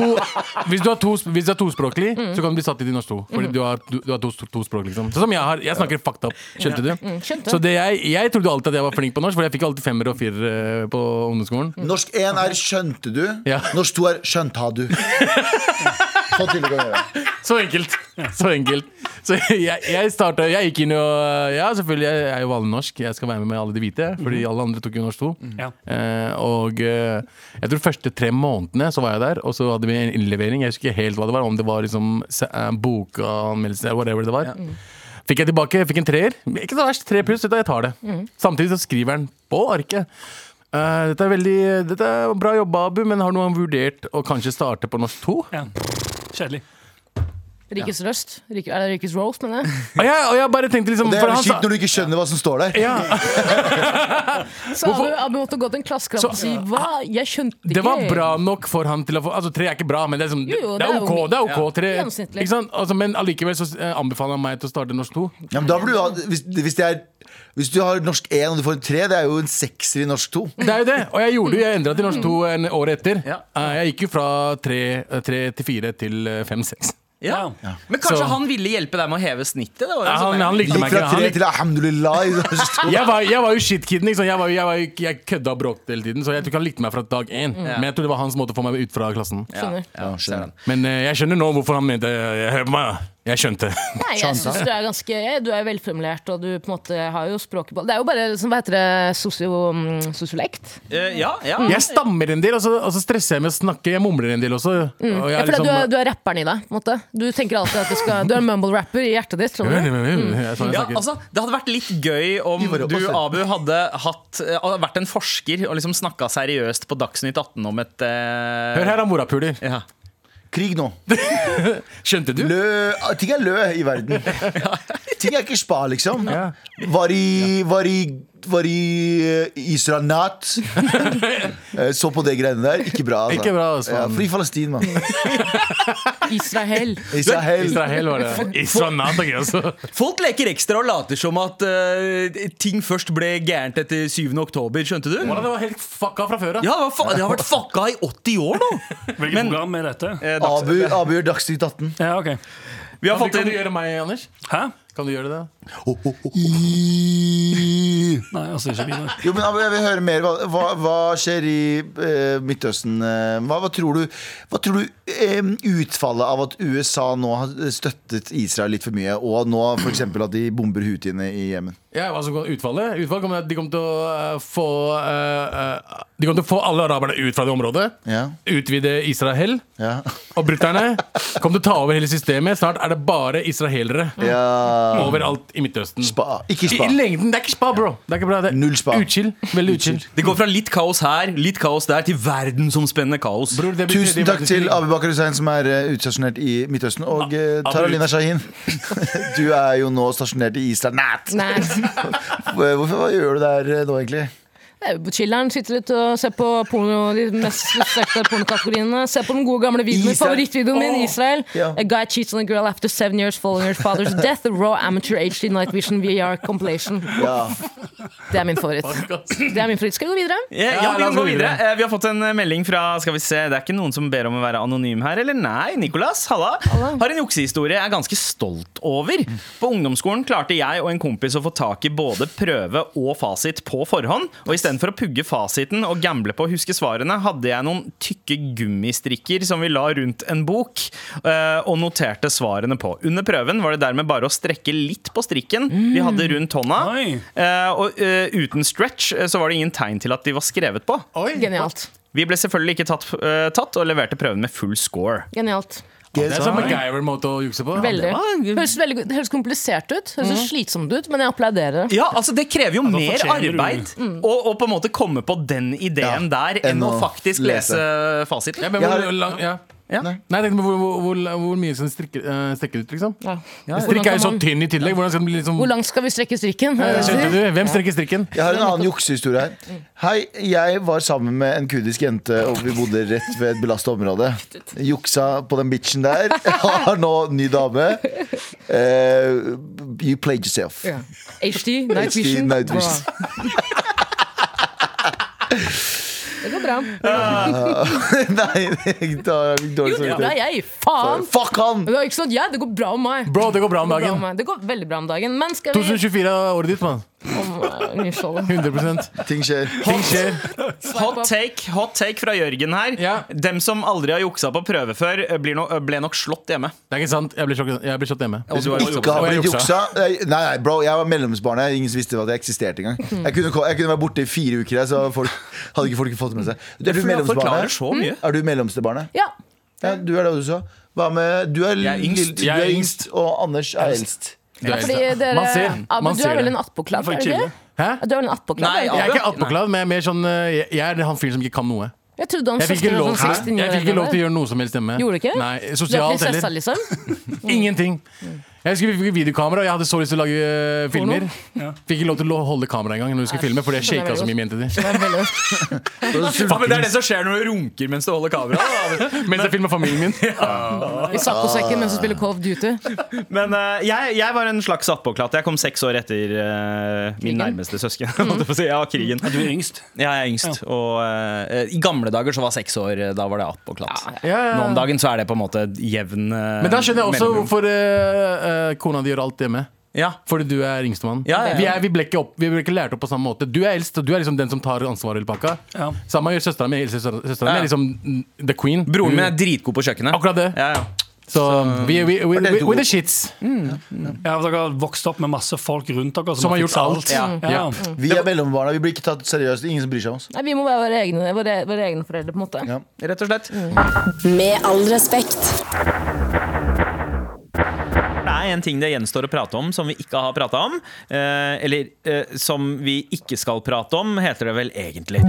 Speaker 8: Hvis du har to Hvis du er tospråklig,
Speaker 3: Mm.
Speaker 8: så kan du bli satt i de norsk to. Fordi du har, du, du har to, to språk, liksom. Sånn som jeg har. Jeg snakker fucked up. Skjønte du?
Speaker 3: Mm,
Speaker 4: skjønte.
Speaker 8: Så det jeg, jeg trodde alltid at jeg var flink på norsk, for jeg fikk alltid femmer og firere eh, på ungdomsskolen.
Speaker 2: Mm. Norsk 1 er 'skjønte du'.
Speaker 8: Ja.
Speaker 2: Norsk 2 er 'skjønta du'. Så tydelig kan vi gjøre det.
Speaker 8: Så enkelt. Så enkelt. Så jeg, jeg starta Jeg gikk inn og Ja, selvfølgelig, jeg er jo vanlig norsk. Jeg skal være med med alle de hvite, fordi alle andre tok jo norsk 2.
Speaker 6: Ja.
Speaker 8: Eh, og eh, jeg tror første tre månedene så var jeg der, og så hadde vi en innlevering. Jeg husker ikke helt hva det var, om det var liksom se- eh, bokanmeldelse eller whatever det var. Fikk jeg tilbake, jeg fikk en treer. Ikke så verst, tre pluss, vet du, jeg tar det. Samtidig så skriver han på arket. eh, dette er veldig Dette er bra jobba, Abu, men har noen vurdert å kanskje starte på norsk 2?
Speaker 6: Ja. Kjedelig.
Speaker 4: Rikets røst. Rik, er det Rikets roast, mener jeg?
Speaker 8: Og jeg, og jeg bare tenkte liksom
Speaker 2: Det
Speaker 8: for
Speaker 2: er
Speaker 8: han sa-
Speaker 2: kjipt når du ikke skjønner hva som står der.
Speaker 8: ja,
Speaker 4: Så Abu, Abu måtte gå til en klassekamp og
Speaker 8: Så-
Speaker 4: si hva? Jeg skjønte ikke.
Speaker 8: Det var bra nok for han til å få Altså, tre er ikke bra, men det er, liksom,
Speaker 4: Jo, jo,
Speaker 8: det
Speaker 4: det
Speaker 8: er
Speaker 4: er
Speaker 8: OK.
Speaker 4: jo
Speaker 8: Det er OK, tre.
Speaker 4: Gjennomsnittlig.
Speaker 8: Ikke sant? Altså, men allikevel så eh, anbefaler han meg til å starte norsk 2.
Speaker 2: Ja, men da blir du, ha- hvis, hvis, det er, hvis du har norsk 1 og du får en 3, det er jo en sekser i norsk 2.
Speaker 8: Det er jo det. Og jeg gjorde jo, jeg endra til norsk 2 en år etter.
Speaker 3: Ja.
Speaker 8: Eh, Jeg gikk jo fra tre, eh, tre til fire til eh, fem-seks.
Speaker 3: ja.
Speaker 6: Ja.
Speaker 3: Men kanskje
Speaker 8: Så-
Speaker 3: han ville hjelpe deg med å heve snittet? Det var jo sånn
Speaker 8: Han,
Speaker 3: der-
Speaker 8: han
Speaker 2: Gikk
Speaker 8: likte meg
Speaker 2: fra 3
Speaker 8: ikke. Han,
Speaker 2: til alhamdulillah i norsk 2.
Speaker 8: jeg, var, jeg var jo shitkiden. Ikke sant? Jeg, var, jo- jeg, var, jo- jeg kødda og bråkte hele tiden, så jeg tror ikke han likte meg fra dag én. Men jeg tror det var hans måte å få meg ut fra klassen.
Speaker 4: Skjønner.
Speaker 2: Mm. Ja, skjønner.
Speaker 8: Men eh, jeg skjønner nå hvorfor han mente eh, Hør på meg, jeg skjønte.
Speaker 4: Nei, jeg synes du er ganske Du er velformulert, og du på en måte har jo språket på Det er jo bare sånn, hva heter det, sosio, mm, sosiolekt?
Speaker 3: Eh, ja, ja.
Speaker 8: Jeg stammer en del, og så, og så stresser jeg med å snakke. Jeg mumler en del også. Og
Speaker 4: Ja,
Speaker 8: jeg er
Speaker 4: for det,
Speaker 8: liksom,
Speaker 4: du, er, du er rapperen i deg. på en måte Du tenker alltid at du skal Du er en mumble-rapper i hjertet ditt. Skjønner du?
Speaker 8: Jeg er sånn jeg
Speaker 3: Ja,
Speaker 8: snakker.
Speaker 3: altså, det hadde vært litt gøy om
Speaker 2: Ivar,
Speaker 3: du,
Speaker 2: også-
Speaker 3: Abu, hadde hatt, eh, hadde vært en forsker og liksom snakka seriøst på Dagsnytt 18 om et eh,
Speaker 8: Hør her, da, morapuler.
Speaker 3: Ja.
Speaker 2: Krig nå.
Speaker 8: Skjønte du?
Speaker 2: Lø, ting er lø i verden. Ting er ikke spa, liksom.
Speaker 8: Ja.
Speaker 2: Var i, var i, var i eh, Israel Nat. Eh, Så på de greiene der. Ikke bra, altså.
Speaker 8: Ikke bra, altså.
Speaker 2: Ja, fri Palestina, mann.
Speaker 4: Israel.
Speaker 2: Israel.
Speaker 8: Israel var det. Israel, tenker jeg også.
Speaker 3: Folk leker ekstra og later som at eh, ting først ble gærent etter 7. oktober, skjønte du?
Speaker 8: Hvordan det var helt fucka fra før
Speaker 3: Ja, det, var fa det har vært fucka i 80 år nå!
Speaker 6: Hvilket program er dette?
Speaker 3: Eh, Dags-
Speaker 2: Abu, Abu gjør Dagsnytt 18.
Speaker 6: Ja, ok
Speaker 3: Vi har
Speaker 8: Kan,
Speaker 3: fått
Speaker 8: du, kan
Speaker 3: inn
Speaker 8: du gjøre meg, Anders?
Speaker 6: Hæ?
Speaker 8: Kan du gjøre det?
Speaker 6: Nei, altså ikke videre.
Speaker 2: Jo, men Abu, jeg vil høre mer. Hva, hva, hva skjer i eh, Midtøsten? eh, Hva, hva tror du, hva tror du eh, utfallet av at USA nå har støttet Israel litt for mye, og nå f.eks. at de bomber houthiene i Jemen?
Speaker 8: Ja, hva som kom utfallet? Utfallet kommer til at de kommer til å eh, få eh, eh, De kommer til å få alle araberne ut fra det området.
Speaker 2: Ja,
Speaker 8: Utvide Israel.
Speaker 2: ja.
Speaker 8: Og bruterne kommer til å ta over hele systemet. Snart er det bare israelere
Speaker 2: ja.
Speaker 8: overalt i Midtøsten.
Speaker 2: Spa. Ikke
Speaker 8: I,
Speaker 2: spa.
Speaker 8: I lengden. Det er ikke spa, bro. Det er ikke bra, det.
Speaker 2: Null spa.
Speaker 8: Utchill. Veldig utchill.
Speaker 3: Det går fra litt kaos her, litt kaos der, til verdensomspennende kaos.
Speaker 8: Bror, det blir
Speaker 2: Tusen
Speaker 8: tredje
Speaker 2: takk til
Speaker 8: verdenskrig.
Speaker 2: Abu Bakar Hussein, som er eh, utstasjonert i Midtøsten. Og eh, Taralina Shahin, du er jo nå stasjonert i Israel. Nat!
Speaker 4: Nei.
Speaker 2: Hvorfor hva gjør du der eh, nå, egentlig?
Speaker 4: Det er jo på Chiller'n, sitter litt og ser på porno, de mest søkte pornokategoriene. Se på den gode gamle videoen min,
Speaker 2: Israel.
Speaker 4: favorittvideoen min, Israel.
Speaker 2: Ja.
Speaker 4: A guy cheats on a girl after seven years following her father's death. A raw amateur HD night vision VR compilation.
Speaker 2: Ja.
Speaker 4: Det er min favoritt. Det er min favoritt. Skal vi gå videre?
Speaker 3: Eh, Ja,
Speaker 8: Ja,
Speaker 3: vi
Speaker 8: la
Speaker 3: kan gå
Speaker 8: oss gå
Speaker 3: videre.
Speaker 8: videre.
Speaker 3: Eh, Vi har fått en eh, melding fra Skal vi se, det er ikke noen som ber om å være anonym her, eller? Nei, Nicolas, halla.
Speaker 4: Halla.
Speaker 3: Har en juksehistorie jeg er ganske stolt over. På ungdomsskolen klarte jeg og en kompis å få tak i både prøve og fasit på forhånd. Og istedenfor å pugge fasiten og gamble på å huske svarene, hadde jeg noen tykke gummistrikker som vi la rundt en bok, eh, og noterte svarene på. Under prøven var det dermed bare å strekke litt på strikken vi hadde rundt hånda.
Speaker 6: Oi.
Speaker 3: Eh, og eh, uten stretch eh, så var det ingen tegn til at de var skrevet på.
Speaker 8: Oi.
Speaker 4: Genialt.
Speaker 3: Vi ble selvfølgelig ikke tatt, eh, tatt og leverte prøven med full score.
Speaker 4: Genialt.
Speaker 2: Ikke
Speaker 8: Det er sånn
Speaker 2: sant?
Speaker 8: MacGyver-måte å jukse på.
Speaker 4: Veldig.
Speaker 3: var-
Speaker 4: Høres, veldig det høres komplisert ut. Høres så slitsomt ut, men jeg applauderer. det.
Speaker 3: Ja, altså Det krever jo mer
Speaker 6: fortjener du-
Speaker 3: arbeid å å på en måte komme på den ideen
Speaker 2: Ja,
Speaker 3: der enn
Speaker 2: enn
Speaker 3: å
Speaker 2: å
Speaker 3: faktisk
Speaker 2: lese.
Speaker 3: lese, fasiten.
Speaker 8: Ja, men
Speaker 2: Jeg
Speaker 8: hvor,
Speaker 2: har-
Speaker 8: hvor lang, ja.
Speaker 3: Ja.
Speaker 8: Nei, jeg tenkte på hvor, hvor, hvor, hvor mye som strikker, eh, strekker ut, liksom.
Speaker 4: Ja. Hvordan
Speaker 8: Strikk er
Speaker 4: kan
Speaker 8: jo så
Speaker 4: man-
Speaker 8: tynn i tillegg. Hvordan skal den bli liksom
Speaker 4: Hvor langt skal vi strekke strikken? Er det det du
Speaker 8: Skjønte
Speaker 4: sier?
Speaker 8: du? Hvem strekker strikken?
Speaker 2: Jeg har en annen juksehistorie her.
Speaker 4: Mm.
Speaker 2: Hei, jeg var sammen med en kurdisk jente, og vi bodde rett ved et belastet område. Juksa på den bitchen der. Har nå ny dame. Eh, you played yourself.
Speaker 4: Ja. HD, Night
Speaker 2: HD,
Speaker 4: Vision.
Speaker 2: night vision.
Speaker 4: Bra. Det går bra.
Speaker 2: Nei, da har jeg dårlig
Speaker 4: Jo, det går bra,
Speaker 2: samvittighet.
Speaker 4: jeg. Faen!
Speaker 2: Fuck han!
Speaker 4: Det var ikke sånn at jeg, det går bra med meg.
Speaker 8: Bro, det går bra om
Speaker 4: Det går, bra
Speaker 8: dagen.
Speaker 4: med meg. det går veldig bra om dagen. Men skal vi
Speaker 8: 2024 er året ditt, mann.
Speaker 4: Om, eh, inshallah.
Speaker 8: 100
Speaker 2: Ting skjer.
Speaker 8: Ting skjer.
Speaker 3: Hot take, hot take fra Jørgen her.
Speaker 8: Ja.
Speaker 3: Dem som aldri har juksa på prøve før, eh, blir no, ble nok slått hjemme.
Speaker 8: Det er ikke sant. Jeg blir sjokket- jeg blir slått hjemme.
Speaker 3: Hvis du har juksa
Speaker 2: Ikke
Speaker 3: på
Speaker 2: har
Speaker 8: Og jeg
Speaker 2: blitt
Speaker 8: juksa.
Speaker 2: juksa. Nei, nei, bro, jeg var mellomsbarn. jeg. Ingen som visste at jeg eksisterte engang.
Speaker 4: Mm.
Speaker 2: Jeg kunne, ko- jeg kunne være borte i fire uker, jeg, så folk, hadde ikke folk fått det med seg. Er du
Speaker 3: prøve. Jeg forklarer
Speaker 2: mellomsbarnet?
Speaker 3: så mye.
Speaker 2: Er du mellomste barnet?
Speaker 4: Ja.
Speaker 2: Ja, du er det også. Hva med Du er,
Speaker 3: Jeg er yngst.
Speaker 2: lill- Du
Speaker 8: Jeg
Speaker 2: er
Speaker 8: er
Speaker 2: yngst, og Anders er eldst.
Speaker 8: Du er
Speaker 4: Fordi
Speaker 8: eldst.
Speaker 4: dere,
Speaker 8: Man ser,
Speaker 4: Abu,
Speaker 8: man
Speaker 4: du er
Speaker 8: ser
Speaker 4: vel
Speaker 8: det.
Speaker 4: en attpåkladd?
Speaker 6: Får
Speaker 4: er du ikke det?
Speaker 6: chille.
Speaker 8: Hæ?
Speaker 4: Du er vel en attpåkladd?
Speaker 3: Nei,
Speaker 4: er du
Speaker 8: Jeg
Speaker 4: ikke
Speaker 8: er
Speaker 4: det?
Speaker 8: ikke attpåkladd, men jeg er mer sånn eh, Jeg jeg er han fyren som ikke kan noe.
Speaker 4: Jeg trodde han
Speaker 8: Jeg fikk ikke lov,
Speaker 4: søster var sånn
Speaker 8: til-
Speaker 4: 69
Speaker 8: jeg fikk ikke lov til å gjøre noe som helst hjemme.
Speaker 4: Gjorde du ikke?
Speaker 8: Nei,
Speaker 4: Du er
Speaker 8: Sosialt
Speaker 4: prinsessa,
Speaker 8: heller.
Speaker 4: liksom?
Speaker 3: Mm.
Speaker 8: Ingenting. Jeg husker vi fikk videokamera, og jeg hadde så lyst til å lage eh, filmer.
Speaker 6: Ja.
Speaker 8: Fikk ikke lov til å holde kamera engang når vi skulle
Speaker 4: Æsj,
Speaker 8: filme, fordi jeg
Speaker 4: skjønner jeg
Speaker 8: shaka så mye med jenta di.
Speaker 3: Ja, men det er det som skjer når du runker mens du holder kameraet. da.
Speaker 8: Mens jeg filma familien min.
Speaker 4: I saccosekken mens du spiller Call of Duty.
Speaker 3: Men eh, jeg, jeg var en slags attpåklatt. Jeg kom seks år etter eh, min
Speaker 4: Krigen.
Speaker 3: nærmeste søsken. holdt jeg på å si. Ja, krigen.
Speaker 6: Du er yngst.
Speaker 3: Ja, jeg er yngst. Og eh, i gamle dager så var seks år, eh, da var det attpåklatt.
Speaker 8: Ja, ja.
Speaker 3: Nå om dagen så er det på en måte jevn eh,
Speaker 8: Men da skjønner jeg også
Speaker 3: mellomrom.
Speaker 8: hvorfor eh, eh, kona di gjør alt hjemme.
Speaker 3: Ja.
Speaker 8: Fordi du er yngstemann.
Speaker 3: Ja, ja, ja.
Speaker 8: Vi, er- vi, ble ikke opp- vi ble ikke lært opp på samme måte. Du er eldst, og du er liksom den som tar ansvaret i pakka.
Speaker 6: Ja.
Speaker 8: Samme gjør søstera mi. Søstera
Speaker 3: Ja.
Speaker 8: mi er liksom the queen.
Speaker 3: Broren min er dritgod på kjøkkenet.
Speaker 8: Mm. Akkurat det.
Speaker 3: Ja, ja.
Speaker 8: Så vi we, we,
Speaker 2: dere to
Speaker 8: we,
Speaker 2: gode?
Speaker 8: with the shits.
Speaker 6: Ja, for dere har vokst opp med masse folk rundt dere
Speaker 8: Som har
Speaker 6: har
Speaker 8: gjort
Speaker 6: fikset
Speaker 8: alt.
Speaker 3: Ja.
Speaker 6: Ja.
Speaker 2: Vi er mellombarna. Vi blir ikke tatt seriøst. Ingen som bryr seg om oss.
Speaker 4: Nei, vi må være våre egne, våre, våre egne foreldre, på en måte.
Speaker 2: Ja.
Speaker 3: Rett og slett.
Speaker 1: Med all respekt.
Speaker 3: Det er en ting det gjenstår å prate om som vi ikke har prata om. Eh, eller eh, som vi ikke skal prate om, heter det vel egentlig.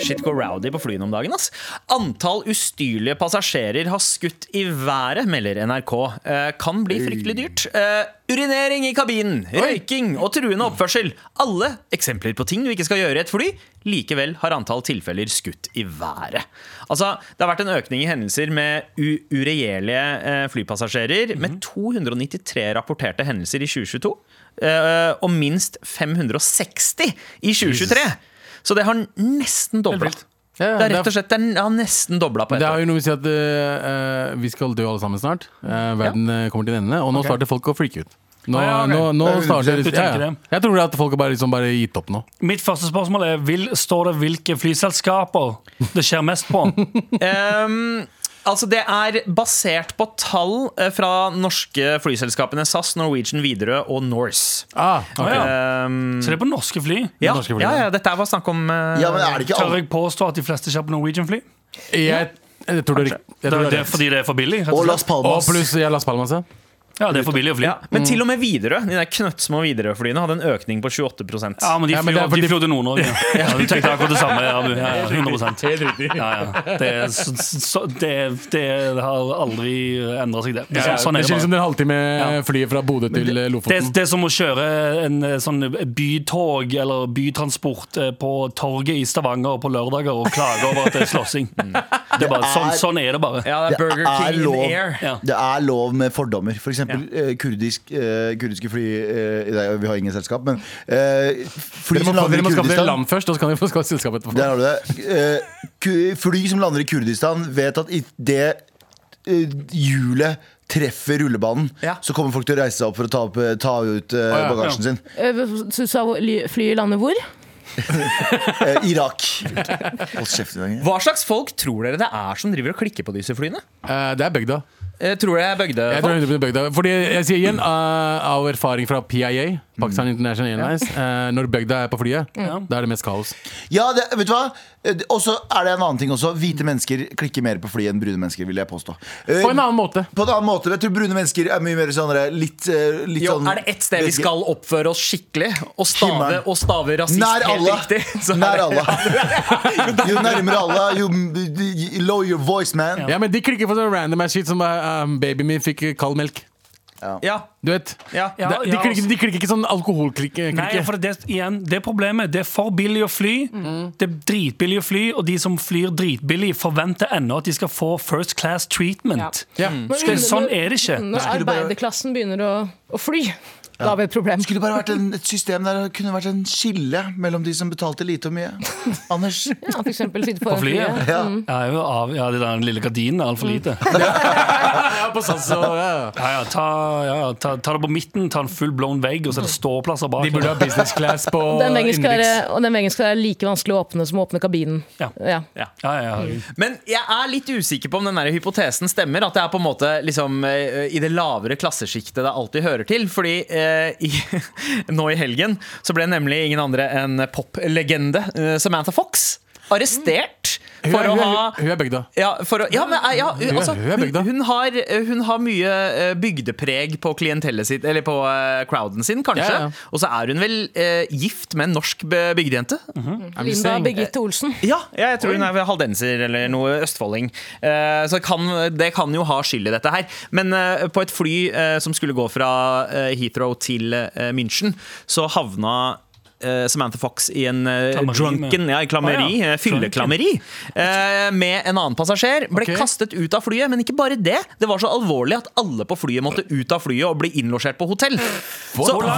Speaker 3: Shit go rowdy på flyene om dagen, ass. Antall ustyrlige passasjerer har skutt i været, melder NRK. Eh, kan bli fryktelig dyrt. Eh, urinering i kabinen, røyking og truende oppførsel. Alle eksempler på ting du ikke skal gjøre i et fly. Likevel har antall tilfeller skutt i været. Altså, det har vært en økning i hendelser med u uregjerlige eh, flypassasjerer, med 293 rapporterte hendelser i 2022. eh, og minst 560 i 2023. Så det har nesten dobla.
Speaker 8: Ja,
Speaker 3: Det er rett og slett det er, det har nesten dobla på
Speaker 8: Det
Speaker 3: ett
Speaker 8: er
Speaker 3: år.
Speaker 8: jo noe vi sier at eh, eh, vi skal dø alle sammen snart. Eh, verden eh, kommer til en ende. Og nå starter folk å freake ut. Nå,
Speaker 6: Ah, ja, ok.
Speaker 8: nå, nå
Speaker 2: Det er
Speaker 8: starter
Speaker 6: du
Speaker 8: ja,
Speaker 6: tenker
Speaker 8: ja.
Speaker 6: det.
Speaker 8: Jeg tror at folk har bare, liksom, bare gitt opp nå.
Speaker 6: Mitt første spørsmål er vil, Står det hvilke flyselskaper det skjer mest på? Mm.
Speaker 3: Ehm, altså Det er basert på tall eh, fra norske flyselskapene SAS, Norwegian, Widerøe og Norse.
Speaker 8: Ah, ok.
Speaker 6: Å, ja.
Speaker 3: Ehm,
Speaker 6: Så det er på norske fly?
Speaker 3: ja,
Speaker 8: norske flyene.
Speaker 3: ja, ja, dette her var snakk om eh,
Speaker 2: ja, men er det ikke
Speaker 6: Tør
Speaker 2: alle
Speaker 6: jeg påstå at de fleste skjer på Norwegian-fly?
Speaker 8: jeg, jeg tror det er riktig.
Speaker 6: Det
Speaker 8: Jeg tror
Speaker 6: er
Speaker 8: det
Speaker 6: det er
Speaker 8: er rett.
Speaker 6: fordi det er for billig? rett
Speaker 2: Og
Speaker 6: og
Speaker 2: Las
Speaker 6: slett.
Speaker 8: Og
Speaker 2: Palmas.
Speaker 8: pluss jeg Las Palmas, ja.
Speaker 6: Ja, det er for billig å fly.
Speaker 3: ja, Men
Speaker 8: Mm.
Speaker 3: til og med Widerøe de der knøttsmå Widerøe-flyene hadde en økning på 28
Speaker 6: Ja, men de
Speaker 8: Ja, men
Speaker 6: flyr
Speaker 8: det er fordi-
Speaker 6: de flyr til Nord-Norge. Ja, du tenkte akkurat det samme. Ja, Abu. ja, ja, 100 ja, ja. Det, er så, så, det, det har aldri endra seg, det.
Speaker 8: Det
Speaker 6: Så, sånn er det bare.
Speaker 8: skjer liksom en halvtime flyet fra Bodø til eh,
Speaker 6: Det,
Speaker 8: Lofoten.
Speaker 6: det er som å kjøre en eh, sånn bytog eller bytransport eh, på torget i Stavanger på lørdager og klage over at det er slåssing. Det er bare, sånn, sånn er det bare.
Speaker 3: Ja, det er Burger
Speaker 2: er
Speaker 3: King
Speaker 2: lov.
Speaker 3: in the air.
Speaker 6: Ja.
Speaker 2: Det er lov med fordommer. For eksempel eh, kurdisk, eh, kurdiske fly eh, nei, Vi har ingen selskap, men eh, fly
Speaker 8: Dere må,
Speaker 2: som lander i
Speaker 8: dere må skaffe dere
Speaker 2: Kurdistan
Speaker 8: land først, og så kan dere få skaffe selskap etterpå.
Speaker 2: Der har du det. Eh, ku- fly som lander i Kurdistan, vet at idet hjulet treffer rullebanen,
Speaker 3: Ja.
Speaker 2: så kommer folk til å reise seg opp for å ta, opp, eh, ta ut eh,
Speaker 8: ja.
Speaker 2: bagasjen sin.
Speaker 4: Eh, Du sa hvor- ly- flyet lander hvor?
Speaker 2: Eh, Irak. Hold kjeft i dag.
Speaker 3: Hva slags folk tror dere det er som driver og klikker på disse flyene?
Speaker 8: Eh, det er bygda.
Speaker 3: Jeg tror det er bøgde.
Speaker 8: Jeg tror 100% bøgda. Fordi jeg sier igjen, eh, av erfaring fra
Speaker 6: Mm.
Speaker 8: PIA, Pakistan International Airlines, eh, når bøgda er på flyet, da er det mest kaos.
Speaker 2: Ja, det, vet du hva? Eh, Og så er det en annen ting også. Hvite mennesker klikker mer på flyet enn brune mennesker, vil jeg påstå. Eh,
Speaker 8: På en annen måte.
Speaker 2: på en annen måte, jeg tror brune mennesker er mye mer sånn der, litt, eh, litt
Speaker 3: Jo,
Speaker 2: sånn
Speaker 3: er det ett sted vi
Speaker 2: vet ikke.
Speaker 3: skal oppføre oss skikkelig og stave,
Speaker 2: Himmelen.
Speaker 3: og stave rasist
Speaker 2: Nær
Speaker 3: helt
Speaker 2: Allah.
Speaker 3: riktig, så er
Speaker 2: Nær
Speaker 3: det-
Speaker 2: Allah. Jo nærmere Allah, jo m- lower your voice, man.
Speaker 8: Ja, men de klikker på sånn random ass shit som eh, um, babyen min fikk eh, kald melk.
Speaker 3: Ja,
Speaker 8: Du vet.
Speaker 3: ja.
Speaker 6: Ja,
Speaker 8: de, de,
Speaker 6: ja,
Speaker 8: klikker,
Speaker 6: altså.
Speaker 8: de klikker ikke sånn alkoholklikke.
Speaker 6: Nei,
Speaker 8: klikke.
Speaker 6: for det, igjen, det er problemet. Det er for billig å fly. Det er dritbillig å fly, og de som flyr dritbillig, forventer ennå at de skal få first class treatment.
Speaker 8: Ja.
Speaker 6: Så- Sånn er det ikke.
Speaker 4: Når arbeiderklassen begynner å, å fly, da har vi et problem.
Speaker 2: Skulle bare vært en, et system der det kunne vært en skille mellom de som betalte lite og mye. Anders.
Speaker 4: Ja, for eksempel sitte foran
Speaker 6: flyet?
Speaker 4: flyet.
Speaker 2: Ja.
Speaker 6: Ja, jo, av, ja, det der lille gardinen er altfor lite.
Speaker 8: Ja, på SAS og ja.
Speaker 6: Ja, ja, ta, ja, ja, ta, ta det på midten, ta en full blown vegg, og så er det ståplasser bak.
Speaker 8: De burde ha business class på
Speaker 4: Og Den veggen skal være,
Speaker 8: innenriks.
Speaker 4: og den veggen skal være like vanskelig å åpne som å åpne kabinen.
Speaker 6: Ja.
Speaker 4: Ja.
Speaker 6: Ja, ja, ja.
Speaker 3: Men jeg er litt usikker på om den der hypotesen stemmer. At det er på en måte liksom, eh, i det lavere klassesjiktet det alltid hører til. Fordi eh, i, nå i helgen så ble nemlig ingen andre enn poplegende eh, Samantha Fox arrestert
Speaker 8: Hun
Speaker 3: for
Speaker 8: er,
Speaker 3: å
Speaker 8: hun er,
Speaker 3: ha
Speaker 8: hun er bygda.
Speaker 3: ja, for å, ja, men, eh, ja,
Speaker 8: er-
Speaker 3: altså,
Speaker 8: hun er
Speaker 3: hun,
Speaker 8: bygda.
Speaker 3: hun, har, hun har mye eh, bygdepreg på klientellet sitt, eller på eh, crowden sin, kanskje.
Speaker 8: Ja, ja.
Speaker 3: Og så er hun vel eh, gift med en norsk be- bygdejente.
Speaker 8: I'm just
Speaker 4: Linda
Speaker 8: saying.
Speaker 4: Birgitte Olsen.
Speaker 3: Ja, ja, jeg tror hun er haldenser eller noe østfolding. Eh, så kan, det kan jo ha skyld i dette her. Men eh, på et fly eh, som skulle gå fra eh, Heathrow til eh, München, så havna eh, Samantha Fox i en eh,
Speaker 6: Klammeri
Speaker 3: drunken
Speaker 6: med-
Speaker 3: ja, i klammeri,
Speaker 6: Å, ja.
Speaker 3: eh, fylleklammeri, eh, med en annen passasjer. Ble
Speaker 8: Ok.
Speaker 3: kastet ut av flyet, men ikke bare det. Det var så alvorlig at alle på flyet måtte ut av flyet og bli innlosjert på hotell. Så
Speaker 6: Hvordan-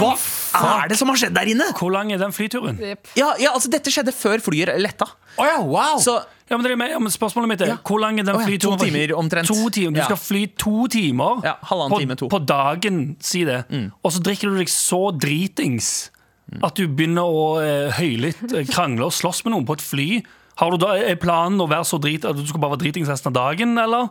Speaker 3: hva er det som har skjedd der inne?
Speaker 6: Hvor lang er den flyturen?
Speaker 3: Ja, ja, altså Dette skjedde før flyet letta.
Speaker 8: Å ja, wow!
Speaker 3: Så
Speaker 6: Ja, men, det er med, ja, men Spørsmålet mitt er hvor lang er den
Speaker 3: Å ja,
Speaker 6: flyturen?
Speaker 3: to
Speaker 6: fra-
Speaker 3: timer omtrent.
Speaker 6: To timer. Du
Speaker 3: Ja.
Speaker 6: skal fly to timer
Speaker 3: Ja, halvannen
Speaker 6: på,
Speaker 3: time, to. Mm.
Speaker 6: på dagen, si det. Og så drikker du deg så dritings at du begynner å eh, høylytt eh, krangle og slåss med noen på et fly. Har du da, er planen å være så drit at du skal bare være dritings resten av dagen, eller?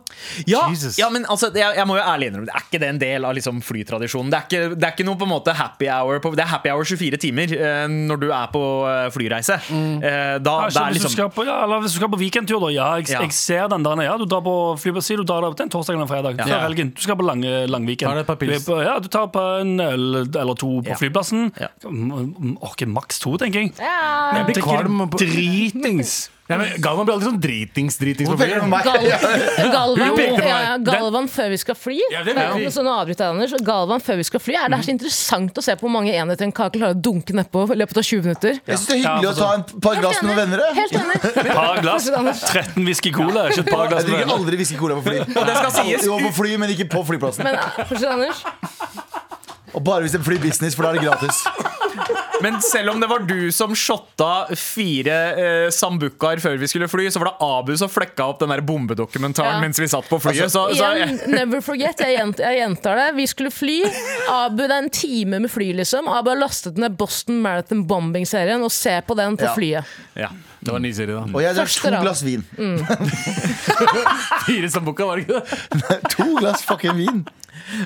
Speaker 3: Ja,
Speaker 8: Jesus.
Speaker 3: ja men altså, jeg, jeg må jo ærlig innrømme Det er ikke det en del av liksom, flytradisjonen. Det er, ikke, det er ikke noe på en måte happy hour på, Det er happy hour 24 timer eh, når du er på eh, flyreise.
Speaker 8: Mm.
Speaker 3: Eh, da,
Speaker 6: Ja,
Speaker 3: det
Speaker 6: så
Speaker 3: er
Speaker 6: hvis, du
Speaker 3: liksom
Speaker 6: skal på, ja, eller hvis du skal på weekendtur, da. Ja, jeg,
Speaker 3: Ja.
Speaker 6: jeg ser den der. Ja, du drar på flyplass, si du drar der den torsdagen eller fredagen. Før
Speaker 8: Ja.
Speaker 6: helgen. Du skal på lange, Langviken.
Speaker 8: Tar deg et par
Speaker 6: Du er
Speaker 8: pils.
Speaker 6: på- Ja, du tar på en øl eller to på
Speaker 3: Ja.
Speaker 6: flyplassen.
Speaker 3: Ja.
Speaker 6: M- m- Orker maks to, tenker jeg.
Speaker 4: Ja.
Speaker 8: Jeg blir
Speaker 6: Drikker
Speaker 8: kvalm på-
Speaker 6: Dritings.
Speaker 8: Nei, men Galvan blir alltid sånn dritings, dritings på
Speaker 2: Hvorfor peker du på
Speaker 8: flyet.
Speaker 2: meg?
Speaker 4: Gal Galvan,
Speaker 8: pekte på meg.
Speaker 4: ja, ja, Galvan før vi skal fly.
Speaker 8: Ja,
Speaker 4: Ja,
Speaker 8: det vet vi.
Speaker 4: sånn avbryter jeg, Anders. Galvan før vi skal fly er det er så interessant å se på hvor mange enheter en kake klarer å dunke nedpå i løpet av 20 minutter.
Speaker 2: Jeg syns det er hyggelig
Speaker 6: Ja,
Speaker 2: å
Speaker 3: sånn.
Speaker 2: ta en par glass med noen venner. jeg.
Speaker 4: Helt enig.
Speaker 6: Par glass.
Speaker 4: Fortsett, Anders.
Speaker 6: 13 whisky cola, ikke et par
Speaker 2: Jeg
Speaker 6: glass med
Speaker 2: drikker
Speaker 6: øl.
Speaker 2: aldri whisky cola på fly.
Speaker 3: det skal sies.
Speaker 2: Jo, på fly, men ikke på flyplassen.
Speaker 4: Men, eh, fortsett, Anders.
Speaker 2: Og bare hvis det er flybusiness, for da er det gratis.
Speaker 3: Men selv om det var du som shotta fire eh, sambucaer før vi skulle fly, så var det Abu som flekka opp den der bombedokumentaren
Speaker 4: Ja.
Speaker 3: mens vi satt på flyet. Så, så,
Speaker 4: Igjen, never forget. Jeg, gjent, jeg gjentar det. Vi skulle fly. Abu, det er en time med fly, liksom. Abu har lastet ned Boston Marathon Bombing-serien og ser på den på
Speaker 2: Ja.
Speaker 4: flyet.
Speaker 3: ja.
Speaker 8: Det var en ny serie, da.
Speaker 2: Og jeg drakk
Speaker 4: Første
Speaker 2: to
Speaker 4: rad.
Speaker 2: glass vin.
Speaker 8: Fire sambuca, var det ikke det?
Speaker 2: To glass fucking vin.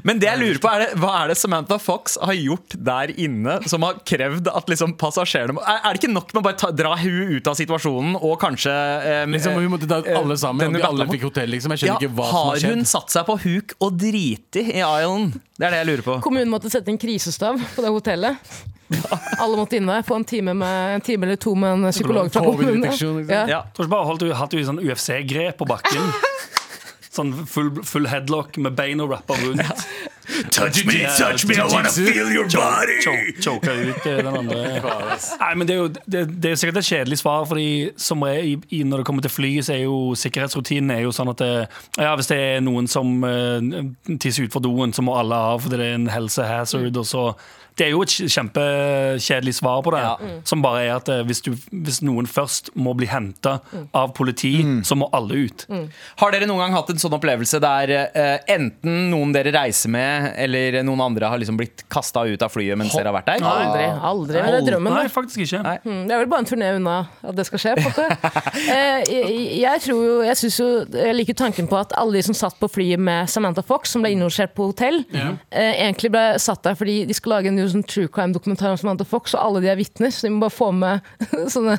Speaker 3: Men det jeg lurer på er det, hva er det Samantha Fox har gjort der inne som har krevd at liksom passasjerene må- Er, er det ikke nok med å bare ta, dra hun ut av situasjonen og kanskje eh,
Speaker 8: Liksom,
Speaker 3: eh,
Speaker 8: Hun måtte ta ut alle sammen,
Speaker 3: den
Speaker 8: og
Speaker 3: du
Speaker 8: de alle
Speaker 3: ventet på?
Speaker 8: fikk hotell, liksom. Jeg skjønner
Speaker 3: ja,
Speaker 8: ikke hva som har
Speaker 3: Har hun
Speaker 8: skjedd.
Speaker 3: satt seg på huk og driti i Island? Det er det jeg lurer på.
Speaker 4: Kommunen måtte sette inn krisestav på det hotellet. Alle måtte inne på en time, med, en time eller to med en psykolog fra kommunen.
Speaker 8: Covid-deteksjon, ikke sant?
Speaker 3: Ja.
Speaker 4: Ja.
Speaker 6: Tror ikke bare holdt du hatt du i sånn UFC-grep på bakken. Sånn full, full headlock med beina rappa rundt.
Speaker 3: Touch
Speaker 6: me, touch me, I wanna
Speaker 3: feel your body!
Speaker 6: Choke- Choka ut eh, den andre. Nei, men det er jo det, det er jo sikkert et kjedelig svar, Fordi som er i, i når det kommer til fly, så er jo sikkerhetsrutinen er jo sånn at det, ja, hvis det er noen som eh, tisser utfor doen, så må alle av fordi det er en helsehazard. Og så, det er jo et kj- kjempekjedelig svar på det,
Speaker 3: Ja.
Speaker 4: Mm.
Speaker 6: som bare er at eh, hvis, du, hvis noen først må bli henta
Speaker 4: Mm.
Speaker 6: av politi, så må alle ut.
Speaker 3: Har dere noen gang hatt en sånn opplevelse der eh, enten noen dere reiser med,
Speaker 7: eller noen andre har liksom blitt kasta ut av flyet mens dere har vært der?
Speaker 4: Aldri. aldri Men det er drømmen.
Speaker 6: Nei,
Speaker 4: da.
Speaker 6: faktisk ikke.
Speaker 7: Nei.
Speaker 4: Mm, Det er vel bare en turné unna at det skal skje. på en måte. Eh, jeg, jeg tror jo, jeg synes jo, jeg liker tanken på at alle de som satt på flyet med Samantha Fox, som ble innlosjert på hotell, eh, egentlig ble satt der fordi de skal lage en ny sånn true crime-dokumentar om Samantha Fox, og alle de er vitner, så de må bare få med sånne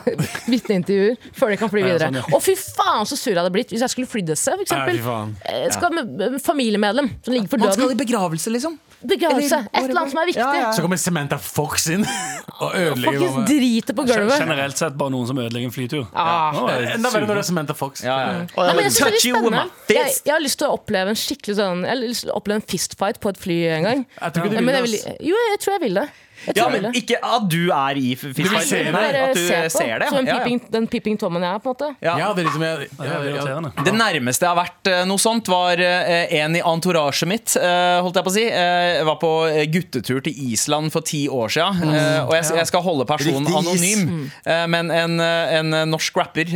Speaker 4: vitneintervjuer før de kan fly videre. Og fy faen så sur jeg hadde blitt hvis jeg skulle flydd SF, f.eks.
Speaker 6: sånn, Ja, fy faen.
Speaker 4: Jeg skal med eh, familiemedlem som ligger for
Speaker 7: Man skal
Speaker 4: døden.
Speaker 7: i begravelse, liksom.
Speaker 4: Begravelse. Et eller annet som er viktig.
Speaker 7: Ja, ja.
Speaker 8: Så kommer Samantha Fox inn og ødelegger
Speaker 4: Fuckings
Speaker 8: hva med-
Speaker 4: drite på gulvet.
Speaker 6: Generelt sett bare noen som ødelegger en flytur.
Speaker 4: Ah.
Speaker 6: Nå er det
Speaker 8: Enda verre når
Speaker 6: super.
Speaker 8: det er Samantha Fox.
Speaker 7: Ja, ja.
Speaker 4: Ja, men jeg, synes det
Speaker 3: Touch
Speaker 4: er
Speaker 3: you with
Speaker 4: spennende.
Speaker 3: my fist.
Speaker 4: Jeg, jeg har lyst til å oppleve en skikkelig sånn Jeg har lyst til å oppleve en fistfight på et fly en gang.
Speaker 8: Jeg tror ikke
Speaker 4: Ja,
Speaker 8: du
Speaker 4: men
Speaker 8: vil
Speaker 4: jeg vil,
Speaker 8: ass.
Speaker 4: jo, jeg tror jeg vil det. Jeg tror
Speaker 3: Ja,
Speaker 4: jeg vil
Speaker 3: men
Speaker 4: det.
Speaker 3: ikke at du er i
Speaker 8: se
Speaker 3: fiskefisken.
Speaker 8: det.
Speaker 3: At du
Speaker 4: se på,
Speaker 3: ser det.
Speaker 4: Som en
Speaker 3: ja, ja.
Speaker 4: peeping, den peeping tommen jeg er, på en måte.
Speaker 8: Ja, det er liksom jeg, ja,
Speaker 6: Det er
Speaker 8: ja, ja.
Speaker 6: irriterende.
Speaker 3: Det nærmeste jeg har vært eh, noe sånt, var eh, en i entouraget mitt, eh, holdt jeg på å si. Eh, Jeg var på eh, guttetur til Island for ti år siden,
Speaker 4: Mm.
Speaker 3: eh, og jeg, jeg skal holde personen
Speaker 2: Riktig is.
Speaker 3: anonym. Eh, Men en, eh, en norsk rapper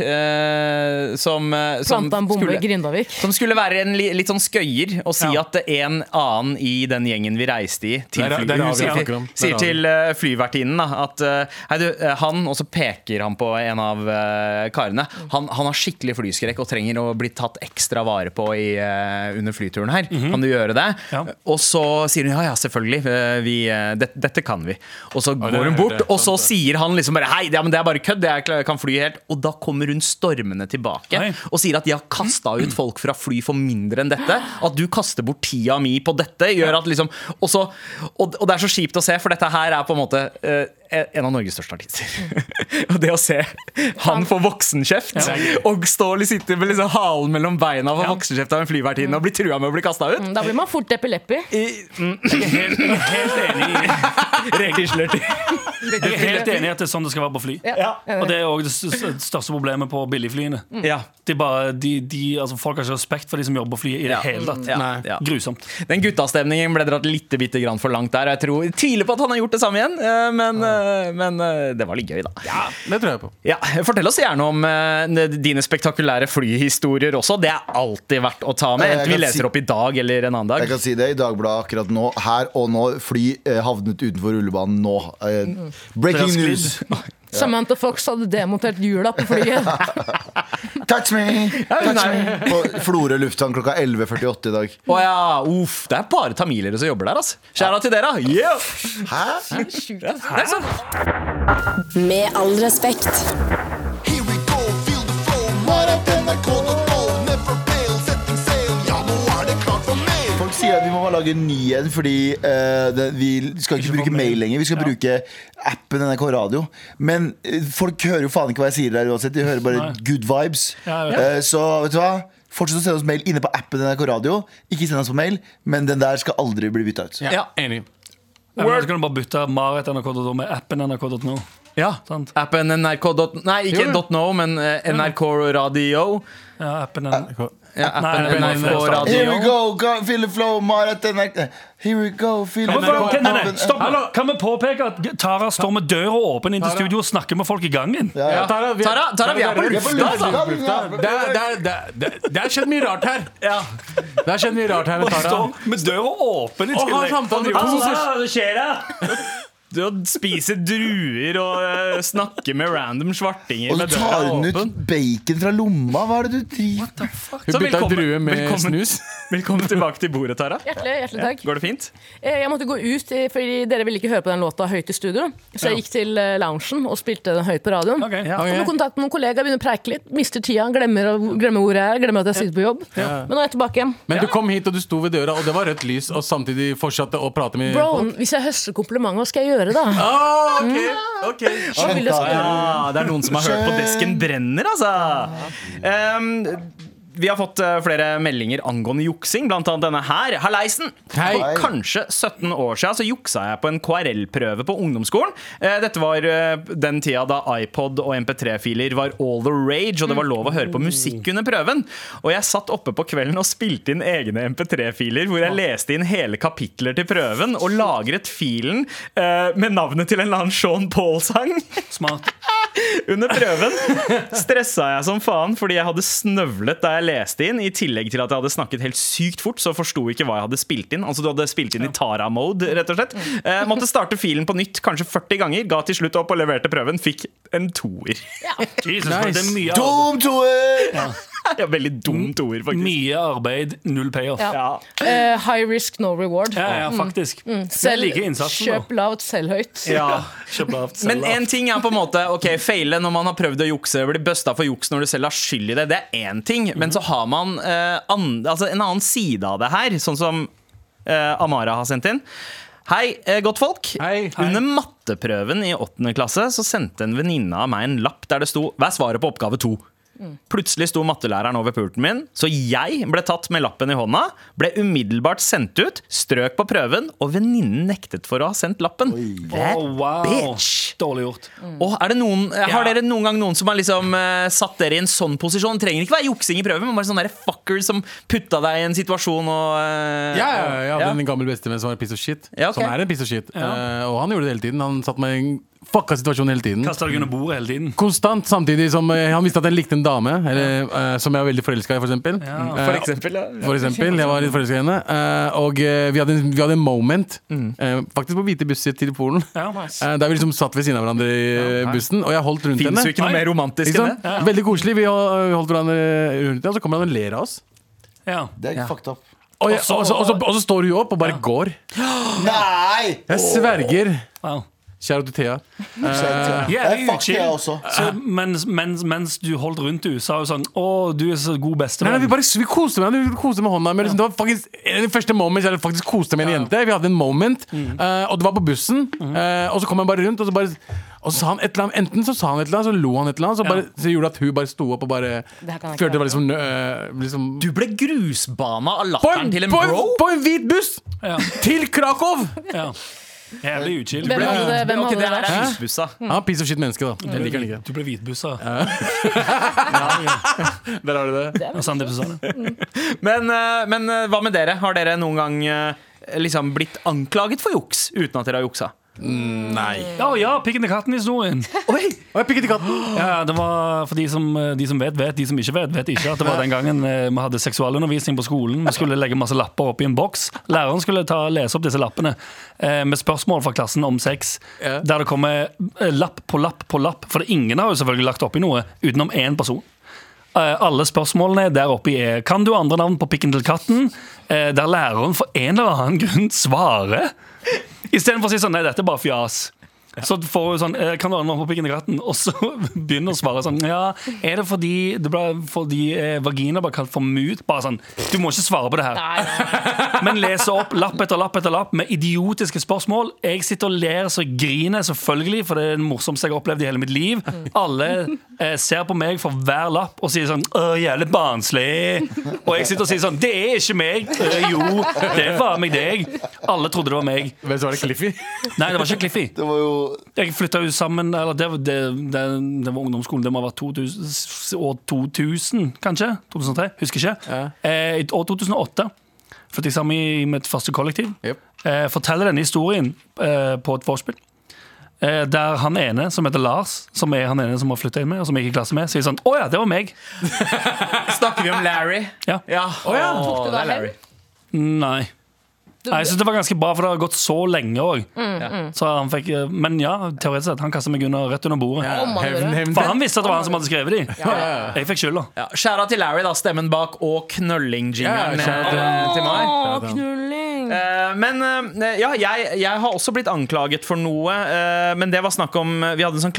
Speaker 3: eh, som, eh, som
Speaker 4: Planta en bombe i
Speaker 3: skulle-
Speaker 4: Grindavik.
Speaker 3: som skulle være en li, litt sånn skøyer og si
Speaker 6: Ja.
Speaker 3: at en annen i den gjengen vi reiste i, til
Speaker 8: Det er-
Speaker 3: fly,
Speaker 8: det er
Speaker 3: hun
Speaker 8: Raga jeg
Speaker 3: sier,
Speaker 8: snakker om.
Speaker 3: til,
Speaker 8: Det
Speaker 3: sier
Speaker 8: er Raga.
Speaker 3: til eh, flyvertinnen da, at eh, Hei, du, eh, han, og så peker han på en av eh, karene. Han, han har skikkelig flyskrekk og trenger å bli tatt ekstra vare på i, eh, under flyturen her.
Speaker 8: Mhm.
Speaker 3: Kan du gjøre det?
Speaker 6: Ja.
Speaker 3: Og så sier hun ja, ja, selvfølgelig. eh, Vi, eh, det, dette kan vi. Og så
Speaker 8: det
Speaker 3: går
Speaker 8: er-
Speaker 3: hun
Speaker 8: det
Speaker 3: bort,
Speaker 8: er
Speaker 3: og så
Speaker 8: sant, det.
Speaker 3: sier han liksom bare Hei, ja, men det er bare kødd, jeg kla- kan fly helt. Og da kommer hun stormende tilbake
Speaker 6: Nei.
Speaker 3: og sier at de har kasta ut folk fra fly for mindre enn dette. At du kaster bort tida mi på dette, gjør at liksom Og, så, og, og det er så kjipt å se, for dette her er på en måte eh, en av Norges største artister. Og det å se han få voksenkjeft, og stå og sitte med liksom halen mellom beina og få voksenkjeft av en flyvertinne og bli trua med å bli kasta ut
Speaker 4: Da blir man fort epileppi.
Speaker 6: Helt enig i Jeg er helt enig i at det er sånn det skal være på fly. Og det er òg det s- s- største problemet på billigflyene.
Speaker 3: Ja.
Speaker 6: Det er bare, de, de, altså, folk har ikke respekt for de som jobber på flyet i det hele tatt.
Speaker 3: Ja. Ja.
Speaker 6: Grusomt.
Speaker 3: Den guttastemningen ble dratt litt bitte grann for langt der. Jeg tror, jeg tviler på at han har gjort det samme igjen, eh, men, eh, men eh, det var litt gøy, da.
Speaker 8: Det tror jeg på.
Speaker 3: Ja, Fortell oss gjerne om eh, dine spektakulære flyhistorier også. Det er alltid verdt å ta med.
Speaker 2: Jeg
Speaker 3: Enten vi
Speaker 2: kan si-
Speaker 3: leser opp i dag eller en annen
Speaker 2: Jeg
Speaker 3: dag.
Speaker 2: kan si det i Dagbladet akkurat nå. Her og nå. Fly eh, havnet utenfor rullebanen nå. Eh,
Speaker 4: Mm.
Speaker 2: breaking
Speaker 6: Det er
Speaker 2: news.
Speaker 4: Samantha Fox hadde demontert hjula på flyet.
Speaker 2: Touch me! Touch me. På Florø lufthavn klokka 11.48 i dag.
Speaker 3: Å ja, uff, Det er bare tamilere som jobber der, altså. Skjæra til dere. Yeah!
Speaker 2: Hæ?
Speaker 3: Det er sånn.
Speaker 1: Med all respekt.
Speaker 9: Here we go, feel the flow. Maraton.nrk.no. Never fail, setting sail. Ja, nå er det klart for mail.
Speaker 2: Folk sier at vi må bare lage en ny en, fordi eh, det, vi skal ikke bruke mail lenger. Vi skal bruke appen NRK Radio. Men eh, folk hører jo faen ikke hva jeg sier der uansett. De hører bare
Speaker 6: Nei.
Speaker 2: good vibes.
Speaker 6: Ja, ja.
Speaker 2: Eh, så vet du hva? Fortsett å sende oss mail inne på appen NRK Radio. Ikke send oss på mail, men den der skal aldri bli bytta ut.
Speaker 8: Ja, enig.
Speaker 6: Eller så kan du bare bytte marit.nrk.no med appen nrk.no.
Speaker 3: Ja.
Speaker 6: Sant.
Speaker 3: Appen nrk. dot- Nei, ikke
Speaker 8: Jo, jo.
Speaker 3: dot .no, men eh, NRK Radio.
Speaker 6: Ja, appen nrk.
Speaker 3: Ja, appen
Speaker 6: Nei, nei, nei,
Speaker 3: NRK
Speaker 6: nei, nei.
Speaker 2: Here we
Speaker 3: Radio.
Speaker 2: go, go feel the flow, Maraton Here we go, feel the
Speaker 6: Kan vi,
Speaker 2: flow.
Speaker 6: bare- nei, nei, nei,
Speaker 2: appen-
Speaker 6: stopp. Kan vi påpeke at Tara står med døra åpen inn til studio og snakker med folk i gangen?
Speaker 2: Ja, ja.
Speaker 8: Tara, vi
Speaker 3: Tara, Tara, vi er på
Speaker 8: vi
Speaker 3: lufta, altså.
Speaker 8: Vi er på lufta. Det er- det er- det er- det er- det har skjedd mye rart her. Det har skjedd mye rart her med Tara.
Speaker 6: Står med døra åpen i
Speaker 8: Og har
Speaker 6: tillegg.
Speaker 8: samtalen driver på sosial-
Speaker 6: det skjer det?
Speaker 3: Du å spise druer og eh, snakke med random svartinger
Speaker 2: Og så
Speaker 3: med døra
Speaker 2: tar hun ut
Speaker 3: åpen.
Speaker 2: bacon fra lomma. Hva er det du driver
Speaker 8: Hun
Speaker 3: Så
Speaker 8: bytta
Speaker 3: velkommen-
Speaker 8: drue med
Speaker 3: velkommen-
Speaker 8: snus.
Speaker 3: Velkommen tilbake til bordet, Tara.
Speaker 4: Hjertelig, hjertelig takk.
Speaker 3: Går det fint?
Speaker 4: Eh, Jeg måtte gå ut, eh, fordi dere ville ikke høre på den låta høyt i studio. Så jeg gikk til eh, loungen og spilte den høyt på radioen.
Speaker 6: Ok.
Speaker 4: Kommer i kontakt med noen kollegaer, begynner å preike litt, mister tida, glemmer, å- glemmer hvor jeg er, glemmer at jeg sitter på jobb. Men nå er jeg tilbake igjen.
Speaker 8: Men du kom hit, og du sto ved døra, og det var rødt lys, og samtidig fortsatte å prate med
Speaker 4: Bro, hvis jeg høster komplimenter, hva skal jeg gjøre da?
Speaker 8: Ah, ok, ok.
Speaker 4: Hva vil jeg skal gjøre?
Speaker 3: Ja, det er noen som har hørt på Desken brenner, altså. Ehm, vi har fått eh, flere meldinger angående juksing, blant annet denne her. Halleisen!
Speaker 8: Hei.
Speaker 3: For kanskje 17 år siden så juksa jeg på en KRL-prøve på ungdomsskolen. Eh, Dette var eh, den tida da iPod og MP3-filer var all the rage, og det var lov å høre på musikk under prøven. Og jeg satt oppe på kvelden og spilte inn egne MP3-filer, hvor jeg leste inn hele kapitler til prøven og lagret filen eh, med navnet til en eller annen Sean Paul-sang.
Speaker 6: Smart.
Speaker 3: Under prøven stressa jeg som faen fordi jeg hadde snøvlet da jeg leste inn, i tillegg til at jeg hadde snakket helt sykt fort, så forsto jeg ikke hva jeg hadde spilt inn. Altså du hadde spilt inn i Tara-mode, rett og slett. Eh, måtte starte filen på nytt kanskje 40 ganger, ga til slutt opp og leverte prøven. Fikk en toer.
Speaker 6: Jesus, Det er mye arbeid,
Speaker 2: Dum toer!
Speaker 3: Ja, veldig dum toer, faktisk.
Speaker 6: mye arbeid null payoff. Ja.
Speaker 3: Ja.
Speaker 4: Eh, high risk, no reward.
Speaker 6: Ja, faktisk. Jeg
Speaker 4: Selv,
Speaker 6: liker innsatsen.
Speaker 4: kjøp
Speaker 6: da.
Speaker 4: lavt, selg høyt.
Speaker 6: Ja, kjøp lavt.
Speaker 3: Men
Speaker 6: selv lavt.
Speaker 3: en ting er på en måte Ok, feile når man har prøvd å jukse, bli busta for juks når du selv har skyld i det. Det er én ting, men så har man eh, an, altså en annen side av det her, sånn som eh, Amara har sendt inn. Hei, eh, godt folk.
Speaker 8: Hei.
Speaker 3: Under matteprøven i åttende klasse så sendte en venninne av meg en lapp der det sto 'Hva er svaret på oppgave to?' Plutselig sto mattelæreren over pulten min, så jeg ble tatt med lappen i hånda, ble umiddelbart sendt ut, strøk på prøven, og venninnen nektet for å ha sendt lappen. That
Speaker 8: Oh,
Speaker 6: Å, wow.
Speaker 3: bitch! Mm.
Speaker 6: Dårlig gjort.
Speaker 3: Åh, er det noen, eh,
Speaker 6: Ja.
Speaker 3: Har dere noen gang noen som har liksom, eh, satt dere i en sånn posisjon? Det trenger ikke være juksing i prøven, men bare sånn der fucker som putta deg i en situasjon og eh,
Speaker 8: Ja, ja, ja,
Speaker 3: ja.
Speaker 8: den gamle bestevenn som var en piece of shit.
Speaker 3: Ja, ok.
Speaker 8: Som er en piece of shit. Eh, og han gjorde det hele tiden. Han satt meg i en fucka situasjon hele tiden.
Speaker 6: Kasta deg under bordet hele tiden.
Speaker 8: Konstant, samtidig som eh, han visste at jeg likte en dame eller, eh, som jeg var veldig forelska i, for eksempel. Eh,
Speaker 3: For eksempel, ja.
Speaker 8: for eksempel. Jeg var litt forelska i henne. eh, og eh, vi, hadde en, vi hadde en moment,
Speaker 3: Mm.
Speaker 8: eh, faktisk på hvite busser til Polen,
Speaker 6: Ja.
Speaker 8: eh, der vi liksom satt ved siden av hverandre i eh, bussen, og jeg holdt rundt
Speaker 3: Fins
Speaker 8: henne.
Speaker 3: jo ikke noe mer romantisk
Speaker 8: Ikke
Speaker 3: enn
Speaker 8: sant?
Speaker 3: det.
Speaker 8: Veldig koselig. Vi hol- holdt hverandre rundt henne, og så kommer han og ler av oss.
Speaker 6: Ja.
Speaker 2: Det er fucked up.
Speaker 8: Og, jeg, og, så, og, så, og så står hun opp og bare går.
Speaker 2: Nei!
Speaker 8: Jeg sverger.
Speaker 6: Wow.
Speaker 8: Kjære til Thea.
Speaker 6: Ja,
Speaker 2: Jeg
Speaker 6: det er
Speaker 2: fucker
Speaker 6: uchill.
Speaker 2: jeg også.
Speaker 6: Så mens, mens, mens du holdt rundt du, sa hun sånn Å, du er så god
Speaker 8: Nei, nei, vi
Speaker 6: bestevenn.
Speaker 8: bare vi koste med henne. Vi koste med hånda. Men liksom, det var faktisk en av de første moments jeg faktisk koste med en jente. Vi hadde en moment,
Speaker 3: Mm.
Speaker 8: eh, og det var på bussen. eh, og så kom han bare rundt, og så bare og så sa han et eller annet Enten så sa han et eller annet, så lo han et eller annet, så, bare, så gjorde det at hun bare sto opp og bare
Speaker 4: Det her kan jeg ikke være
Speaker 8: følte det var liksom, øh, liksom
Speaker 3: Du ble grusbana av
Speaker 8: på,
Speaker 3: latteren
Speaker 8: en,
Speaker 3: til en
Speaker 8: på, en,
Speaker 3: bro.
Speaker 8: på en hvit buss!
Speaker 6: Ja.
Speaker 8: Til Krakow!
Speaker 6: Ja. Jævlig uchill.
Speaker 4: Hvem hadde, det- hvem
Speaker 3: Ok,
Speaker 4: hadde
Speaker 3: det
Speaker 4: det
Speaker 3: her
Speaker 4: vært?
Speaker 3: er
Speaker 8: Hæ?
Speaker 3: husbussa.
Speaker 8: Han er piece of shit menneske, da. Jeg liker han ikke.
Speaker 6: Du ble hvitbussa.
Speaker 8: Mm. Der har du det.
Speaker 6: Ja, Sandeep Susanne.
Speaker 3: Men, eh, men eh, hva med dere? Har dere noen gang eh, liksom blitt anklaget for juks uten at dere har juksa?
Speaker 8: Nei.
Speaker 6: Ja, ja, Pikken til katten-historien.
Speaker 3: Oi,
Speaker 8: Og jeg pikket i katten.
Speaker 6: Ja, det var For de som, eh, de som vet, vet. De som ikke vet, vet ikke. At det var den gangen eh, vi hadde seksualundervisning på skolen. Vi skulle legge masse lapper oppi en boks. Læreren skulle ta, lese opp disse lappene eh, med spørsmål fra klassen om sex.
Speaker 8: Ja.
Speaker 6: Der det kommer eh, lapp på lapp på lapp. For ingen har jo selvfølgelig lagt oppi noe utenom én person. Eh, Alle spørsmålene der oppe er Kan du andre navn på pikken til katten? Eh, Der læreren for en eller annen grunn svarer. Istedenfor å si sånn Nei, dette er bare fjas. Så får hun sånn eh, Kan du andre navn på pikken til katten? Og så begynner hun å svare sånn Ja, er det fordi, det ble, fordi eh, vagina ble kalt for mut? Bare sånn Du må ikke svare på det her.
Speaker 4: Nei, nei, nei.
Speaker 6: Men leser opp lapp etter lapp etter lapp med idiotiske spørsmål. Jeg sitter og ler så jeg griner, selvfølgelig, for det er det morsomste jeg har opplevd i hele mitt liv. Alle eh, ser på meg for hver lapp og sier sånn Å, jævlig barnslig. Og jeg sitter og sier sånn Det er ikke meg. «Øh, jo, det er faen meg deg. Alle trodde det var meg.
Speaker 8: Men så var det Cliffy.
Speaker 6: Nei, det var ikke Cliffy.
Speaker 2: Det var jo
Speaker 6: Jeg flytta jo sammen eller det, var- det, det, det var ungdomsskolen. Det må ha vært 2000, år 2000, kanskje? 2003? Husker ikke. Eh, I år 2008 flytta jeg sammen i mitt første kollektiv.
Speaker 8: Jep.
Speaker 6: Eh, forteller denne historien eh, på et vorspiel. Eh, der han ene som heter Lars, som er han ene som har flytta inn med, og som jeg gikk i klasse med, sier sånn Å ja, det var meg.
Speaker 3: snakker vi om Larry?
Speaker 6: Ja.
Speaker 3: Ja. Åh,
Speaker 4: Tok du
Speaker 3: det
Speaker 4: da
Speaker 3: er Larry.
Speaker 4: hevn?
Speaker 6: Nei. Nei, jeg synes det var ganske bra, for det har gått så lenge òg. mm. eh, Men ja, teoretisk sett. Han kasta meg under, rett under bordet.
Speaker 4: Om man gjør
Speaker 8: Hevn,
Speaker 4: det.
Speaker 8: hevn.
Speaker 6: For han visste at det var han som hadde skrevet de. Jeg fikk skylda.
Speaker 3: Ja, Skjæra til Larry, da, stemmen bak, og knølling-jingeren
Speaker 8: Ja, skjæra til-
Speaker 3: eh, til meg.
Speaker 4: Å, knulling!
Speaker 3: Eh, men eh, ja, jeg, jeg har også blitt anklaget for noe. eh, men det var snakk om Vi hadde en sånn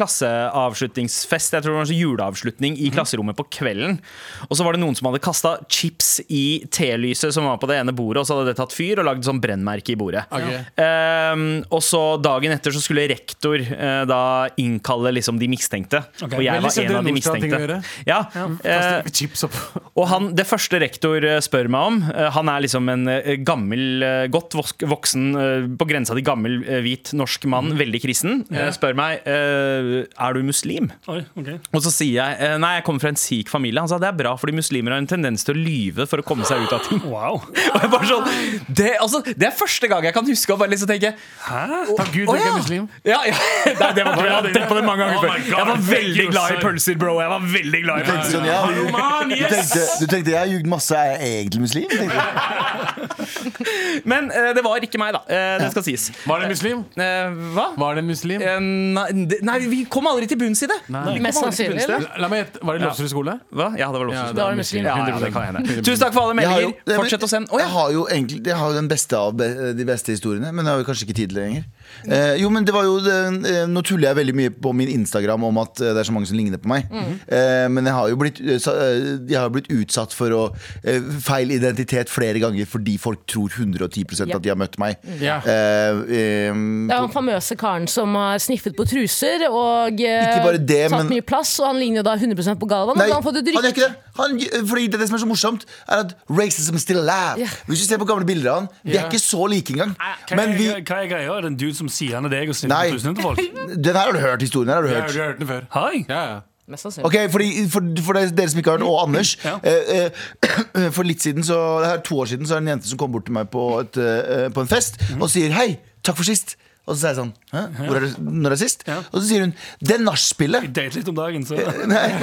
Speaker 3: klasseavslutningsfest. Jeg tror det var en sånn juleavslutning i klasserommet på kvelden. Og så var det noen som hadde kasta chips i telyset som var på det ene bordet, og så hadde det tatt fyr og lagd sånn brennmerke i bordet.
Speaker 8: Ok.
Speaker 3: Eh, og så dagen etter så skulle rektor eh, da innkalle liksom de mistenkte.
Speaker 6: Ok,
Speaker 3: Og jeg
Speaker 8: men
Speaker 3: var
Speaker 8: liksom
Speaker 3: en
Speaker 8: det
Speaker 3: av de
Speaker 8: Nordstrand-ting å
Speaker 3: mistenkte.
Speaker 8: gjøre.
Speaker 3: Ja, eh,
Speaker 8: Chips opp.
Speaker 3: Og han, det første rektor eh, spør meg om eh, Han er liksom en eh, gammel, eh, godt vok- voksen, eh, på grensa til gammel, eh, hvit norsk mann,
Speaker 6: Mhm.
Speaker 3: veldig kristen. eh, Spør meg eh, er du muslim.
Speaker 6: Oi, ok
Speaker 3: Og så sier jeg eh, nei, jeg kommer fra en sikh familie. Han sa det er bra, fordi muslimer har en tendens til å lyve for å komme seg ut av ting.
Speaker 6: Wow.
Speaker 3: Og jeg bare sånn, det, altså, det er første gang jeg kan huske å bare liksom tenke
Speaker 8: Takk Gud, du er
Speaker 3: ja.
Speaker 8: ikke muslim.
Speaker 3: ja, ja. Nei, det var ikke, Jeg hadde tenkt på det mange ganger
Speaker 6: Oh my
Speaker 3: før.
Speaker 6: God,
Speaker 3: Jeg var
Speaker 6: thank
Speaker 3: veldig
Speaker 6: you,
Speaker 3: glad i
Speaker 6: sir.
Speaker 3: pølser, bro. Jeg var veldig glad i
Speaker 2: Tenkte
Speaker 3: pølser
Speaker 2: sånn, ja, du,
Speaker 6: Man,
Speaker 2: du, tenkte, du tenkte jeg har jugd masse, er jeg egentlig muslim? Tenkte, jeg.
Speaker 3: Men eh, det var ikke meg, da. Eh, det skal sies.
Speaker 8: Var det en muslim?
Speaker 3: Eh, hva?
Speaker 8: Var det en muslim?
Speaker 3: Eh, nei, det- nei, vi kom aldri til bunns i det. Vi kom
Speaker 4: Mest
Speaker 3: aldri til
Speaker 4: sannsynlig,
Speaker 3: bunns i det.
Speaker 4: eller?
Speaker 8: La meg gjette. Var det Lofsrud skole?
Speaker 3: Hva? Ja, det var
Speaker 8: Ja,
Speaker 3: lov.
Speaker 4: det var en muslim.
Speaker 3: Ja, ja,
Speaker 8: 100%
Speaker 3: det kan hende.
Speaker 8: Tusen
Speaker 3: Tusen takk for alle
Speaker 2: Jeg har jo-
Speaker 3: meldinger.
Speaker 2: Nei, men-
Speaker 3: Fortsett å sende. Å
Speaker 2: Jeg
Speaker 3: ja.
Speaker 2: har jo egentlig Jeg har jo den beste av be- de beste historiene, men jeg har jo kanskje ikke tid til det lenger. Eh, jo, men det var jo det, eh, Nå tuller jeg veldig mye på min Instagram om at eh, det er så mange som ligner på meg.
Speaker 3: Mhm.
Speaker 2: Eh, men jeg har jo blitt, eh, sa- eh, jeg har jo blitt utsatt for å, eh, feil identitet flere ganger fordi folk tror 110 at de har møtt meg.
Speaker 8: Ja.
Speaker 2: Eh, eh,
Speaker 4: Det er jo den famøse karen som har sniffet på truser og eh,
Speaker 2: Ikke bare det,
Speaker 4: tatt
Speaker 2: men-
Speaker 4: mye plass, og han ligner jo da 100 på Galvan. og så har han fått et
Speaker 2: han gjør
Speaker 4: rykte
Speaker 2: ikke det. Han, fordi det, er det som er så morsomt, er at racism is still alive.
Speaker 4: Ja.
Speaker 2: Hvis du ser på gamle bilder av han, vi er
Speaker 8: Ja.
Speaker 2: ikke så like engang.
Speaker 6: Hva
Speaker 2: Men
Speaker 6: er,
Speaker 2: vi
Speaker 6: hva er greia? Er det en dude som sier han er deg og
Speaker 2: Nei.
Speaker 6: sniffer tusen til folk?
Speaker 2: Den her har du hørt historien her. har du
Speaker 8: Ja, du
Speaker 2: hørt
Speaker 8: har hørt den før.
Speaker 6: Hei!
Speaker 8: Ja, ja.
Speaker 4: Mest sannsynlig.
Speaker 2: Ok, fordi, for, for dere som ikke har hørt, og Anders
Speaker 6: Ja.
Speaker 2: eh, eh, For litt siden, så, det her er to år siden Så er det en jente som kom bort til meg på, et, eh, på en fest Og sier, hei, takk for sist Og så sier jeg sånn, hæ, hvor er det, når er det sist?
Speaker 6: Ja.
Speaker 2: Og så sier hun, det er nachspillet
Speaker 6: Jeg dater litt om dagen, så
Speaker 2: Eh,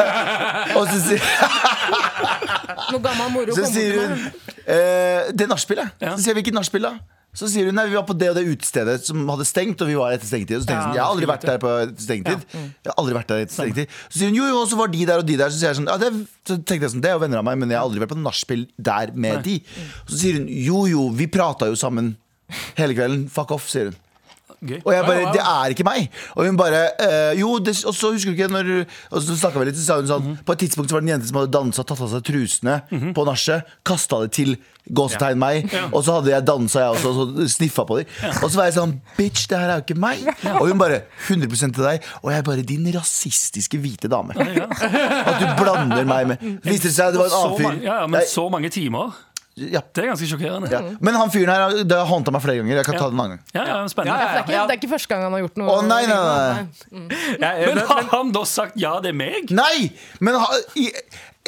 Speaker 2: Og så sier
Speaker 4: Noe gammel moro
Speaker 2: Så
Speaker 4: kommer
Speaker 2: sier
Speaker 4: til
Speaker 2: hun
Speaker 4: meg.
Speaker 2: eh, Det er nachspiel, ja.
Speaker 6: Ja.
Speaker 2: Så sier jeg hvilket nachspiel, da? Så sier hun nei, vi var på det og det utestedet som hadde stengt, og vi var etter stengetid. Og så tenkte jeg sånn, jeg har aldri vært der på stengetid.
Speaker 4: mm.
Speaker 2: Jeg har aldri vært der etter stengetid. Så sier hun jo, jo, og så var de der og de der. Så, sier jeg sånn, ja, det, er- så tenkte jeg sånn, det er jo venner av meg, men jeg har aldri vært på nachspiel der med de. Så sier hun jo, jo, vi prata jo sammen hele kvelden. Fuck off, sier hun.
Speaker 6: Gøy.
Speaker 2: Og jeg bare, det er ikke meg Og hun bare, eh, jo, det, og så husker du ikke når, Og så snakket vi litt, så sa hun sånn På et tidspunkt så var det en jente som hadde danset Tatt av seg trusene
Speaker 6: Mhm.
Speaker 2: på nasje Kastet det til gåsetegn meg Og så hadde jeg danset jeg også, og så sniffet på dem Og så var jeg sånn, bitch, det her er jo ikke meg Og hun bare, 100% til deg Og jeg bare, din rasistiske hvite dame At du blander meg med Viste det seg, at det var en annen
Speaker 6: så
Speaker 2: fyr
Speaker 6: mange, ja, ja, men så mange timer.
Speaker 2: Nei, ja,
Speaker 6: Det er ganske sjokkerende.
Speaker 2: ja. Men han fyren her, det har håndta meg flere ganger Jeg kan ta den en annen gang
Speaker 6: Ja, ja, spennende.
Speaker 4: Det er, ikke, det er ikke første gang han har gjort noe.
Speaker 2: Å, nei, nei, nei, nei.
Speaker 6: Men har han da sagt 'ja, det er meg'?
Speaker 2: Nei, men ha, i-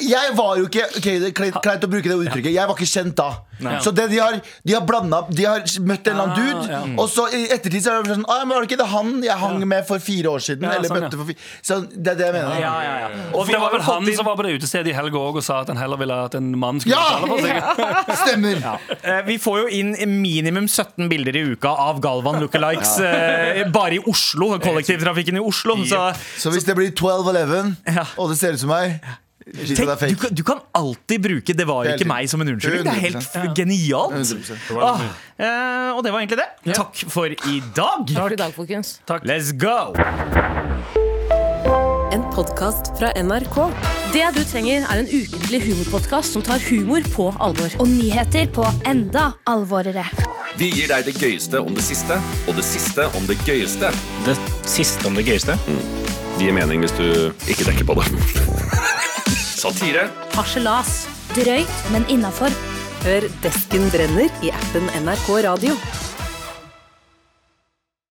Speaker 2: jeg var jo ikke ok, det er kleit- Kleint å bruke det uttrykket. Jeg var ikke kjent da. Så det de har, de har blanda De har møtt en eller annen dude,
Speaker 6: Ah, ja.
Speaker 2: og så i ettertid så er det sånn ah, men Var det ikke det han jeg hang med for fire år siden?
Speaker 6: Ja,
Speaker 2: eller
Speaker 6: sånn,
Speaker 2: møtte
Speaker 6: ja.
Speaker 2: for fire Så det er det jeg mener.
Speaker 3: Ja, ja, ja. Og
Speaker 6: Mm. For det var vel han
Speaker 3: fått inn-
Speaker 6: som var på det utestedet i helga òg og sa at han heller ville at en mann skulle
Speaker 2: Ja!
Speaker 6: betale for seg.
Speaker 2: Stemmer.
Speaker 3: Eh, Vi får jo inn minimum 17 bilder i uka av Galvan lookalikes eh, bare i Oslo. Kollektivtrafikken i Oslo. Så
Speaker 2: Så hvis det blir 12-11,
Speaker 3: Ja.
Speaker 2: og det ser ut som meg Shit, det er
Speaker 3: tenk, du,
Speaker 2: fake.
Speaker 3: kan- du kan alltid bruke 'det var ikke
Speaker 2: Helt-
Speaker 3: meg' som en unnskyldning. Det er helt f- genialt.
Speaker 2: 100%.
Speaker 3: Ah, eh, og det var egentlig det. Takk for i dag.
Speaker 4: Takk for i dag, folkens.
Speaker 3: Let's go!
Speaker 10: En podkast fra NRK.
Speaker 11: Det du trenger er en ukentlig humorpodkast som tar humor på alvor.
Speaker 12: Og nyheter på enda alvorere.
Speaker 9: Vi gir deg det gøyeste om det siste, og det siste om det gøyeste. Mm.
Speaker 7: Det siste om det gøyeste.
Speaker 9: Det gir mening hvis du ikke tenker på det. Satire.
Speaker 11: Harselas.
Speaker 12: Drøyt, men innafor.
Speaker 10: Hør Desken brenner i appen NRK Radio.